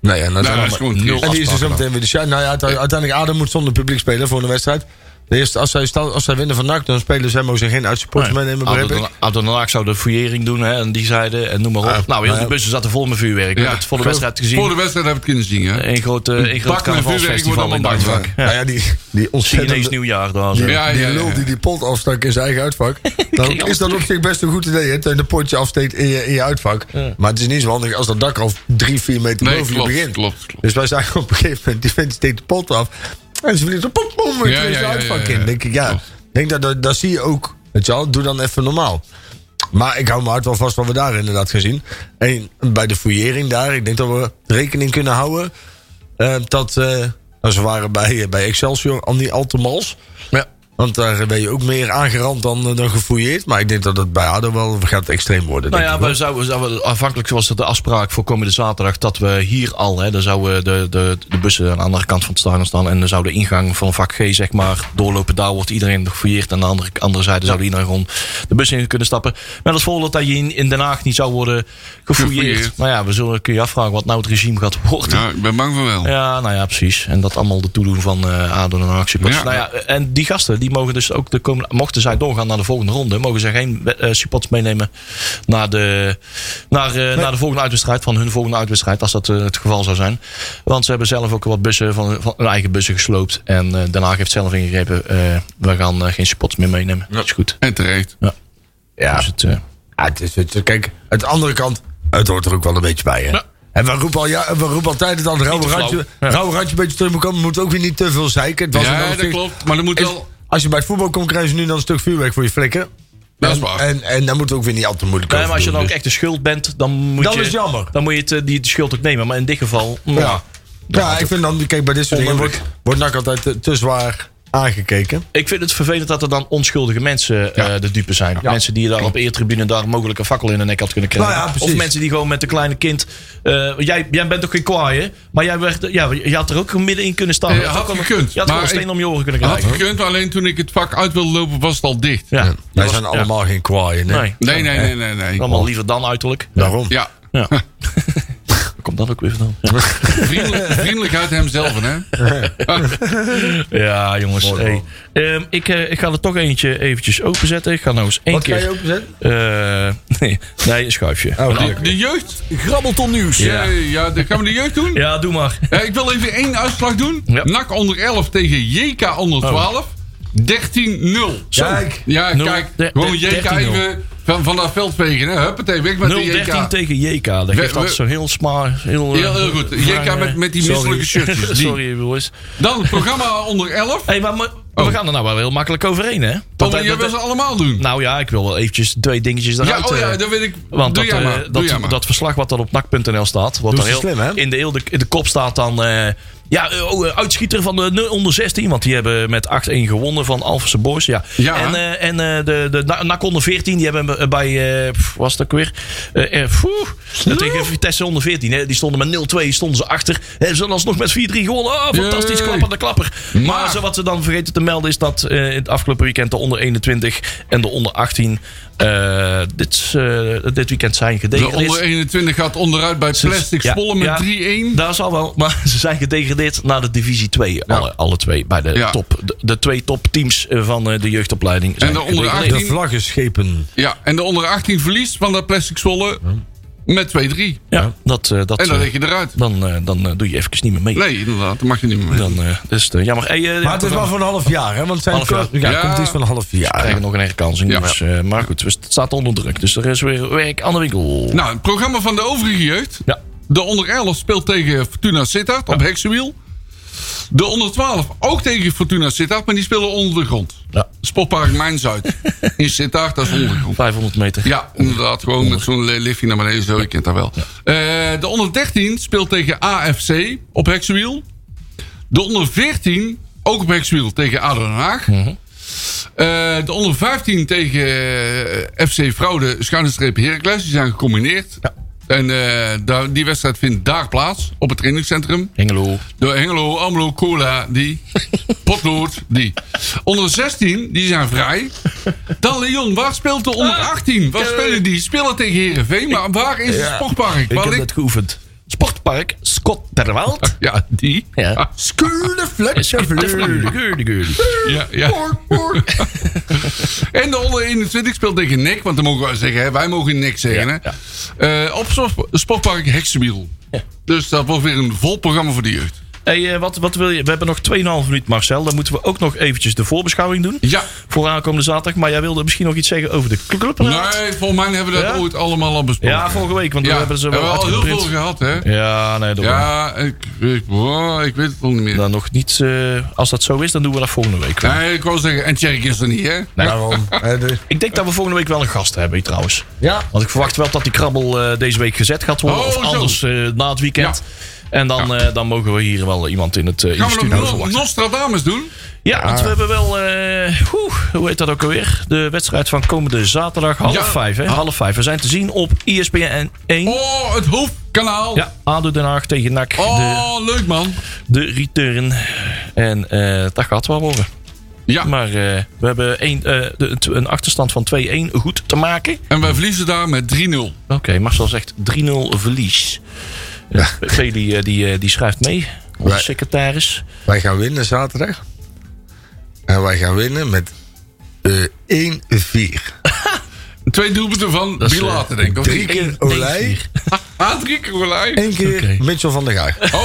[SPEAKER 3] Nee, en, dat
[SPEAKER 4] Nou, dat is gewoon
[SPEAKER 2] nul
[SPEAKER 4] triest.
[SPEAKER 3] en die is er zo
[SPEAKER 2] afspraken
[SPEAKER 3] meteen weer de shine. Nou ja, uite- uiteindelijk ADO moet zonder publiek spelen voor een wedstrijd. De eerste, als, zij staan- als zij winnen van NAC, dan spelen zij mogen ze geen uitsupporters meenemen, begrijp ik.
[SPEAKER 2] Adonaak zou de fouillering doen hè, en die zeiden en noem maar op.
[SPEAKER 3] Ah,
[SPEAKER 2] nou, heel
[SPEAKER 3] maar
[SPEAKER 2] die
[SPEAKER 3] ja.
[SPEAKER 2] bussen zaten vol met vuurwerk. Ik heb het voor de wedstrijd gezien.
[SPEAKER 4] Voor de wedstrijd heb ik het kunnen zien, hè?
[SPEAKER 2] Een groot, eh, een groot
[SPEAKER 4] bak met vuurwerk
[SPEAKER 2] carnavalsfestival
[SPEAKER 4] wordt allemaal
[SPEAKER 2] in het uitvak.
[SPEAKER 4] bang.
[SPEAKER 2] Ja.
[SPEAKER 3] Nou ja, die, die
[SPEAKER 2] Chinees
[SPEAKER 3] ontzettende...
[SPEAKER 2] nieuwjaar daar. zo.
[SPEAKER 3] Die,
[SPEAKER 4] Ja,
[SPEAKER 3] die
[SPEAKER 4] ja, ja,
[SPEAKER 3] lul
[SPEAKER 4] ja.
[SPEAKER 3] die die pot afstak in zijn eigen uitvak. Dan
[SPEAKER 2] kreeg alles
[SPEAKER 3] is dat op zich best een goed idee. Hè? Dat je een potje afsteekt in je, in je uitvak. Maar het is niet zo handig als dat dak al drie, vier meter
[SPEAKER 4] Nee,
[SPEAKER 3] boven
[SPEAKER 4] klopt,
[SPEAKER 3] je begint.
[SPEAKER 4] klopt, klopt.
[SPEAKER 3] Dus wij zagen op een gegeven moment, die vent steekt de pot af. En ze vliegt zo pop, pop, weer
[SPEAKER 4] Ja,
[SPEAKER 3] in
[SPEAKER 4] ja,
[SPEAKER 3] zijn
[SPEAKER 4] ja,
[SPEAKER 3] uitvak
[SPEAKER 4] ja, ja.
[SPEAKER 3] in. denk ik, ja.
[SPEAKER 4] Klopt.
[SPEAKER 3] denk dat, dat, dat zie je ook. Weet je wel, doe dan even normaal. Maar ik hou me hart wel vast wat we daar inderdaad gaan zien. En bij de fouillering daar, ik denk dat we rekening kunnen houden. eh, dat eh, nou, ze waren bij, eh, bij Excelsior al niet al te mals. Want daar ben je ook meer aangerand dan, eh, dan gefouilleerd. Maar ik denk dat het bij ADO wel gaat extreem worden.
[SPEAKER 2] Nou
[SPEAKER 3] denk
[SPEAKER 2] ja,
[SPEAKER 3] ik, hoor.
[SPEAKER 2] we zouden, zouden- afhankelijk was dat de afspraak voor komende zaterdag dat we hier al, hè, dan zouden de, de, de bussen aan de andere kant van het stadion staan en dan zou de ingang van vak G zeg maar doorlopen. Daar wordt iedereen gefouilleerd en aan de andere, andere zijde zou iedereen gewoon de bus in kunnen stappen. Met als voorbeeld dat je in, in Den Haag niet zou worden gefouilleerd.
[SPEAKER 4] Gefouilleerd.
[SPEAKER 2] Nou ja, we zullen kun je afvragen wat nou het regime gaat worden.
[SPEAKER 4] Nou, ik ben bang van wel.
[SPEAKER 2] Ja, nou ja, precies. En dat allemaal de toedoen van eh Ado en Ajax. supporters.
[SPEAKER 4] Ja.
[SPEAKER 2] Nou ja, en die gasten, die mogen dus ook de komende, mochten zij doorgaan naar de volgende ronde, mogen zij geen eh, supporters meenemen naar de, naar, eh, naar de volgende uitwedstrijd, van hun volgende uitwedstrijd, als dat eh, het geval zou zijn. Want ze hebben zelf ook wat bussen van, van hun eigen bussen gesloopt. En eh, Den Haag heeft zelf ingegrepen, eh, we gaan eh, geen supporters meer meenemen. Dat is goed.
[SPEAKER 4] En terecht.
[SPEAKER 3] ja.
[SPEAKER 2] Dus het, eh,
[SPEAKER 3] Ja, het is, het is- kijk, aan de andere kant, het hoort er ook wel een beetje bij. Hè? En we roepen, al, ja, we roepen altijd dat het rauwe
[SPEAKER 2] te
[SPEAKER 3] randje,
[SPEAKER 2] flauw. Ja.
[SPEAKER 3] rauwe randje een beetje terug moet komen. Moet ook weer niet te veel zeiken. Het was een
[SPEAKER 4] Ja,
[SPEAKER 3] hoofdstuk-
[SPEAKER 4] dat klopt. Maar er moet
[SPEAKER 3] Is-
[SPEAKER 4] wel...
[SPEAKER 3] Als je bij het voetbal komt, krijg je nu dan een stuk vuurwerk voor je flikken.
[SPEAKER 4] Dat is
[SPEAKER 3] En-
[SPEAKER 4] waar.
[SPEAKER 3] En, en dan moeten we ook weer niet al te moeilijk
[SPEAKER 2] Nee,
[SPEAKER 3] over
[SPEAKER 2] maar als je
[SPEAKER 3] doen,
[SPEAKER 2] dan ook
[SPEAKER 3] dus.
[SPEAKER 2] echt de schuld bent, dan moet
[SPEAKER 3] Dat
[SPEAKER 2] je,
[SPEAKER 3] is jammer.
[SPEAKER 2] Dan moet je het, eh, die, de schuld ook nemen. Maar in dit geval, nou,
[SPEAKER 3] dus- Ja, ja, ik vind dan, kijk, bij dit soort dingen wordt, wordt NAC altijd te, te zwaar aangekeken.
[SPEAKER 2] Ik vind het vervelend dat er dan onschuldige mensen eh, de dupe zijn. Mensen die daar op eertribune daar mogelijk een fakkel in de nek had kunnen krijgen.
[SPEAKER 3] Nou ja, precies.
[SPEAKER 2] of mensen die gewoon met een kleine kind... eh, jij, jij bent toch geen kwaai, hè? Maar jij, werd, ja, je had er ook middenin kunnen staan.
[SPEAKER 4] Eh,
[SPEAKER 2] Je
[SPEAKER 4] had
[SPEAKER 2] ook al-
[SPEAKER 4] gekund,
[SPEAKER 2] Je had
[SPEAKER 4] maar
[SPEAKER 2] gewoon een steen
[SPEAKER 4] ik-
[SPEAKER 2] om je oren kunnen
[SPEAKER 4] Had
[SPEAKER 2] krijgen.
[SPEAKER 4] gekund, alleen toen ik het vak uit wilde lopen was het al dicht.
[SPEAKER 2] Ja.
[SPEAKER 3] Wij
[SPEAKER 2] Dat
[SPEAKER 3] zijn
[SPEAKER 2] was-
[SPEAKER 3] allemaal geen kwaaien.
[SPEAKER 2] ja.
[SPEAKER 3] Nee.
[SPEAKER 2] Nee,
[SPEAKER 4] Nee, nee, nee, nee, nee.
[SPEAKER 2] allemaal liever dan uiterlijk.
[SPEAKER 3] Daarom.
[SPEAKER 4] Ja.
[SPEAKER 2] Ja. Waar Komt dat ook weer vandaan? Ja.
[SPEAKER 4] Vriendelijk, vriendelijkheid hemzelf, hè?
[SPEAKER 2] Ja, jongens. hey. Ehm, ik, eh, ik ga er toch eentje eventjes openzetten. Ik ga nou eens één
[SPEAKER 3] Wat ga
[SPEAKER 2] keer...
[SPEAKER 3] je openzetten?
[SPEAKER 2] Eh, nee, nee, een schuifje.
[SPEAKER 3] Oh,
[SPEAKER 4] De, de jeugd.
[SPEAKER 1] Grabbelton nieuws.
[SPEAKER 4] Ja, ja de, gaan we de jeugd doen?
[SPEAKER 2] Ja, doe maar.
[SPEAKER 4] Eh, ik wil even één uitslag doen.
[SPEAKER 2] Ja. Oh.
[SPEAKER 4] NAC onder 11 tegen JK onder 12. 13-0.
[SPEAKER 3] Kijk.
[SPEAKER 4] Ja,
[SPEAKER 2] Nul-
[SPEAKER 4] kijk.
[SPEAKER 2] de-
[SPEAKER 4] Gewoon
[SPEAKER 2] de-
[SPEAKER 4] JK
[SPEAKER 2] 13-0.
[SPEAKER 4] even van, van dat veld vegen. Hè? Huppatee, weg met de
[SPEAKER 2] 0-13
[SPEAKER 4] JK.
[SPEAKER 2] tegen JK. Dat geeft
[SPEAKER 4] we-
[SPEAKER 2] altijd zo heel smaar. Heel, eh,
[SPEAKER 4] Heel, heel goed.
[SPEAKER 2] maar,
[SPEAKER 4] JK
[SPEAKER 2] eh,
[SPEAKER 4] met- met die
[SPEAKER 2] sorry.
[SPEAKER 4] misselijke shirtjes, die. Oh.
[SPEAKER 2] sorry, boys.
[SPEAKER 4] Dan het programma onder 11.
[SPEAKER 2] Hé, hey, maar maar- we gaan er nou wel heel makkelijk overheen, hè?
[SPEAKER 4] Dat
[SPEAKER 2] Want, eh,
[SPEAKER 4] jij
[SPEAKER 2] dat-
[SPEAKER 4] wil ze allemaal doen.
[SPEAKER 2] nou ja, ik wil wel eventjes twee dingetjes eruit.
[SPEAKER 4] ja, oh ja,
[SPEAKER 2] eh,
[SPEAKER 4] dat weet ik.
[SPEAKER 2] want
[SPEAKER 4] doe
[SPEAKER 2] dat,
[SPEAKER 4] jij
[SPEAKER 2] eh,
[SPEAKER 4] maar. doe
[SPEAKER 2] dat,
[SPEAKER 4] jij maar.
[SPEAKER 2] dat verslag wat dan op nak.nl staat, wat
[SPEAKER 3] Doen
[SPEAKER 2] dan
[SPEAKER 3] ze
[SPEAKER 2] heel
[SPEAKER 3] slim, hè?
[SPEAKER 2] in de, heel de, in de kop staat dan. eh, ja, eh, oh, eh, uitschieter van de nu- onder 16. Want die hebben met 8-1 gewonnen van Alphense Boys. Ja.
[SPEAKER 4] Ja.
[SPEAKER 2] En, eh, en eh, de, de Na- NAC onder 14, die hebben eh, bij. eh, pff, was dat ook weer? Eh, eh, poeh, tegen Vitesse onder 14. Hè, die stonden met 0-2, stonden ze achter. Hebben ze dan alsnog met 4-3 gewonnen. Oh, fantastisch,
[SPEAKER 4] Yay.
[SPEAKER 2] klapper de klapper. Maar
[SPEAKER 4] Maar-
[SPEAKER 2] zo wat ze dan vergeten te melden is dat eh, in het afgelopen weekend de onder 21 en de onder 18 eh, dit, eh, dit weekend zijn
[SPEAKER 4] De
[SPEAKER 2] gedegradeerd.
[SPEAKER 4] onder 21 gaat onderuit bij
[SPEAKER 2] Ze-
[SPEAKER 4] Plastic
[SPEAKER 2] ja,
[SPEAKER 4] Spollen met
[SPEAKER 2] ja,
[SPEAKER 4] 3-1.
[SPEAKER 2] Daar zal wel, maar ze zijn gedegradeerd naar de divisie 2. Alle, alle twee, bij de,
[SPEAKER 4] Ja.
[SPEAKER 2] top, de, de twee topteams eh, van eh, de jeugdopleiding. zijn
[SPEAKER 4] de onder
[SPEAKER 2] gedegradeerd.
[SPEAKER 3] De
[SPEAKER 4] 18
[SPEAKER 3] vlaggenschepen.
[SPEAKER 4] Ja, en de onder 18 verliest van dat Plastic Zwolle. met 2-3.
[SPEAKER 2] Ja, dat, eh, dat,
[SPEAKER 4] En dan
[SPEAKER 2] eh,
[SPEAKER 4] leg je eruit.
[SPEAKER 2] dan, eh, dan eh, doe je even niet meer mee.
[SPEAKER 4] Nee, inderdaad, dat mag je niet meer mee.
[SPEAKER 2] Dan eh, is het eh, jammer. Hey, eh,
[SPEAKER 3] Maar het is maar voor een half jaar, hè? Want zijn
[SPEAKER 2] Half jaar.
[SPEAKER 3] Ja,
[SPEAKER 4] Ja.
[SPEAKER 3] komt iets van een half
[SPEAKER 2] we
[SPEAKER 3] jaar.
[SPEAKER 2] krijgen nog een herkansing.
[SPEAKER 4] Ja.
[SPEAKER 2] Dus, eh, maar goed, dus het staat onder druk. Dus er is weer werk aan de winkel.
[SPEAKER 4] Nou, het programma van de overige jeugd.
[SPEAKER 2] Ja.
[SPEAKER 4] De onder 11 speelt tegen Fortuna Sittard op heksenwiel. De onder 12 ook tegen Fortuna Sittard, maar die spelen onder de grond.
[SPEAKER 2] Ja.
[SPEAKER 4] Sportpark Mijnzuid in Sittard, dat is onder de grond.
[SPEAKER 2] 500 meter.
[SPEAKER 4] Ja, inderdaad. Gewoon met zo'n li- liftje naar beneden. Zo, je kent dat wel. Eh, de onder 13 speelt tegen AFC op heksenwiel. De onder 14 ook op heksenwiel tegen ADO Den Haag. Eh, de onder 15 tegen eh, FC Fraude Schuinenstreep Heracles. Die zijn gecombineerd. En eh, daar- die wedstrijd vindt daar plaats. Op het trainingscentrum.
[SPEAKER 2] Hengelo.
[SPEAKER 4] De Hengelo, Amlo, Cola, die. Potlood, die. Onder 16, die zijn vrij. Dan Leon, waar speelt de onder 18? Waar spelen die? Spelen tegen Herenveen, maar waar is het sportpark?
[SPEAKER 2] Ik
[SPEAKER 4] Waar
[SPEAKER 2] heb
[SPEAKER 4] ligt...
[SPEAKER 2] net geoefend. Sportpark Scott Terwald.
[SPEAKER 4] Ja, die.
[SPEAKER 2] Ja.
[SPEAKER 4] Ah,
[SPEAKER 3] Schuurde flesje
[SPEAKER 2] Geurde, geurde, geurde.
[SPEAKER 4] ja, ja. en de onder 21 speelt tegen NEC, want dan mogen we zeggen, hè, wij mogen NEC zeggen.
[SPEAKER 2] Ja,
[SPEAKER 4] hè. Eh, op sport- sportpark Heksenwiel. Dus dat wordt weer een vol programma voor de jeugd.
[SPEAKER 2] Hey, eh, wat, wat wil je? We hebben nog 2,5 minuut, Marcel. Dan moeten we ook nog eventjes de voorbeschouwing doen.
[SPEAKER 4] Ja.
[SPEAKER 2] Voor aankomende zaterdag. Maar jij wilde misschien nog iets zeggen over de clubraad.
[SPEAKER 4] Nee, volgens mij hebben we dat
[SPEAKER 2] Ja?
[SPEAKER 4] ooit allemaal al besproken.
[SPEAKER 2] Ja, vorige week, want we
[SPEAKER 4] Ja,
[SPEAKER 2] hebben ze wel
[SPEAKER 4] we al heel
[SPEAKER 2] uitgeprint.
[SPEAKER 4] veel gehad, hè?
[SPEAKER 2] Ja, nee, dat
[SPEAKER 4] Ja, ik, ik, oh, ik weet het nog niet meer.
[SPEAKER 2] Dan nog niet. eh, als dat zo is, dan doen we dat volgende week. wel.
[SPEAKER 4] Nee, ik wou zeggen, en Tjerk is er niet, hè?
[SPEAKER 3] Daarom. hè, de-
[SPEAKER 2] Ik denk dat we volgende week wel een gast hebben, trouwens.
[SPEAKER 3] Ja.
[SPEAKER 2] Want ik verwacht wel dat die krabbel eh, deze week gezet gaat worden.
[SPEAKER 4] Oh,
[SPEAKER 2] of
[SPEAKER 4] zo.
[SPEAKER 2] anders eh, na het weekend. En dan, eh, dan mogen we hier wel iemand in het eh in de
[SPEAKER 4] Gaan we
[SPEAKER 2] studio
[SPEAKER 4] nog Nos-
[SPEAKER 2] verwachten.
[SPEAKER 4] Nostradamus doen?
[SPEAKER 2] Ja, want we hebben wel. eh, oeh, hoe heet dat ook alweer? De wedstrijd van komende zaterdag half
[SPEAKER 4] Ja.
[SPEAKER 2] vijf. Hè? Half vijf. We zijn te zien op E ESPN 1.
[SPEAKER 4] Oh, het hoofdkanaal.
[SPEAKER 2] Ja, ADO Den Haag tegen NAC. De,
[SPEAKER 4] Oh, leuk man.
[SPEAKER 2] de return. En eh, dat gaat wel worden.
[SPEAKER 4] Ja,
[SPEAKER 2] Maar eh, we hebben één, eh, de- t- een achterstand van 2-1 goed te maken.
[SPEAKER 4] en wij verliezen daar met 3-0.
[SPEAKER 2] Oké, Marcel zegt 3-0 verlies. Ja. G die, eh, die, eh, die schrijft mee. Onze
[SPEAKER 3] Wij-
[SPEAKER 2] secretaris.
[SPEAKER 3] Wij gaan winnen zaterdag. En wij gaan winnen met eh 1-4.
[SPEAKER 4] Twee doelpunten van
[SPEAKER 2] is,
[SPEAKER 4] Bilate,
[SPEAKER 2] eh,
[SPEAKER 4] denk ik. of
[SPEAKER 3] Drie
[SPEAKER 4] niet?
[SPEAKER 3] keer
[SPEAKER 2] Eén-
[SPEAKER 3] Olij,
[SPEAKER 2] één-vier.
[SPEAKER 4] Ah, drie keer gelijk.
[SPEAKER 3] één keer
[SPEAKER 2] Oké.
[SPEAKER 3] Mitchell van der Gaag.
[SPEAKER 4] Oh,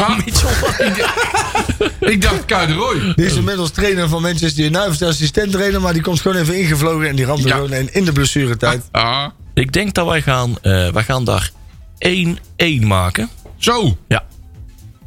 [SPEAKER 4] ah, ik dacht- ik dacht Kai de Roy.
[SPEAKER 3] Die is inmiddels trainer van Manchester United, assistent trainer, maar die komt gewoon even ingevlogen en die ramt er
[SPEAKER 4] Ja.
[SPEAKER 3] gewoon in, in de blessuretijd.
[SPEAKER 4] Ah,
[SPEAKER 2] Ik denk dat wij gaan, eh, wij gaan daar 1-1 maken.
[SPEAKER 4] zo.
[SPEAKER 2] Ja.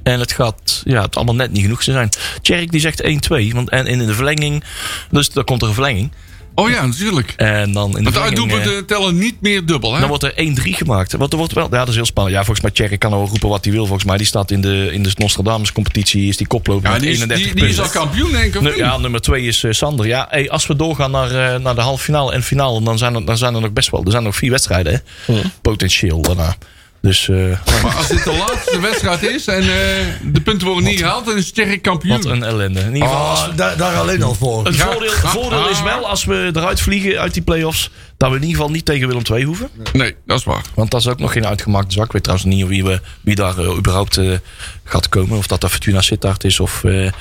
[SPEAKER 2] En het gaat ja, het allemaal net niet genoeg te zijn. Tjerk die zegt 1-2. Want, en in de verlenging. Dus dan komt er een verlenging.
[SPEAKER 4] Oh ja, natuurlijk.
[SPEAKER 2] En dan in de
[SPEAKER 4] Want de
[SPEAKER 2] verlenging. eh,
[SPEAKER 4] uitdoelpunten tellen niet meer dubbel, hè?
[SPEAKER 2] dan wordt er 1-3 gemaakt. Want er wordt wel. Ja, dat is heel spannend. Ja, volgens mij Tjerk kan al roepen wat hij wil. Volgens mij die staat in de, in de Nostradamus-competitie. Is die koploper
[SPEAKER 4] Ja,
[SPEAKER 2] met
[SPEAKER 4] die is,
[SPEAKER 2] 31
[SPEAKER 4] die, die is
[SPEAKER 2] punten.
[SPEAKER 4] al kampioen, denk ik. of
[SPEAKER 2] Nu-
[SPEAKER 4] niet?
[SPEAKER 2] ja, nummer 2 is eh, Sander. Ja, hey, als we doorgaan naar, eh, naar de halve finale en finale, dan zijn, er, dan zijn er nog best wel. Er zijn nog vier wedstrijden, hè? Potentieel daarna. Dus eh,
[SPEAKER 4] Maar als dit de laatste wedstrijd is en eh, de punten worden niet gehaald, dan is Tjerk kampioen.
[SPEAKER 2] wat een ellende. In ieder geval, als
[SPEAKER 3] Oh,
[SPEAKER 2] we-
[SPEAKER 3] daar, daar alleen al voor.
[SPEAKER 2] het
[SPEAKER 4] Ja.
[SPEAKER 2] voordeel, voordeel
[SPEAKER 4] Ah.
[SPEAKER 2] is wel als we eruit vliegen uit die play-offs, dat we in ieder geval niet tegen Willem II hoeven.
[SPEAKER 4] Nee, dat is waar.
[SPEAKER 2] Want dat is ook nog geen uitgemaakte zak. Ik weet trouwens niet wie, we, wie daar eh, überhaupt eh, gaat komen. Of dat dat Fortuna Sittard is of eh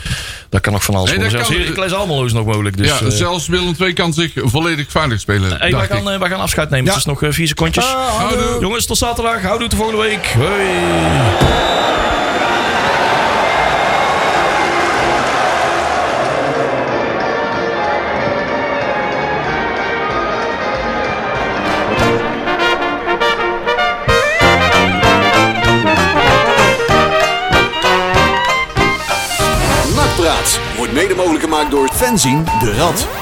[SPEAKER 2] dat kan nog van alles
[SPEAKER 4] Nee,
[SPEAKER 2] worden.
[SPEAKER 4] dat
[SPEAKER 2] Zelfs
[SPEAKER 4] kan-
[SPEAKER 2] Heracles Almelo is nog mogelijk. Dus,
[SPEAKER 4] ja,
[SPEAKER 2] eh,
[SPEAKER 4] zelfs Willem II kan zich volledig veilig spelen.
[SPEAKER 2] hey, wij,
[SPEAKER 4] dacht
[SPEAKER 2] gaan,
[SPEAKER 4] ik.
[SPEAKER 2] eh, wij gaan afscheid nemen. Het is nog eh, vier secondjes.
[SPEAKER 4] Houdoe.
[SPEAKER 2] Jongens, tot zaterdag. Houdoe tot volgende week. Hoi.
[SPEAKER 1] Nakpraat wordt mede mogelijk gemaakt door fanzine de Rad.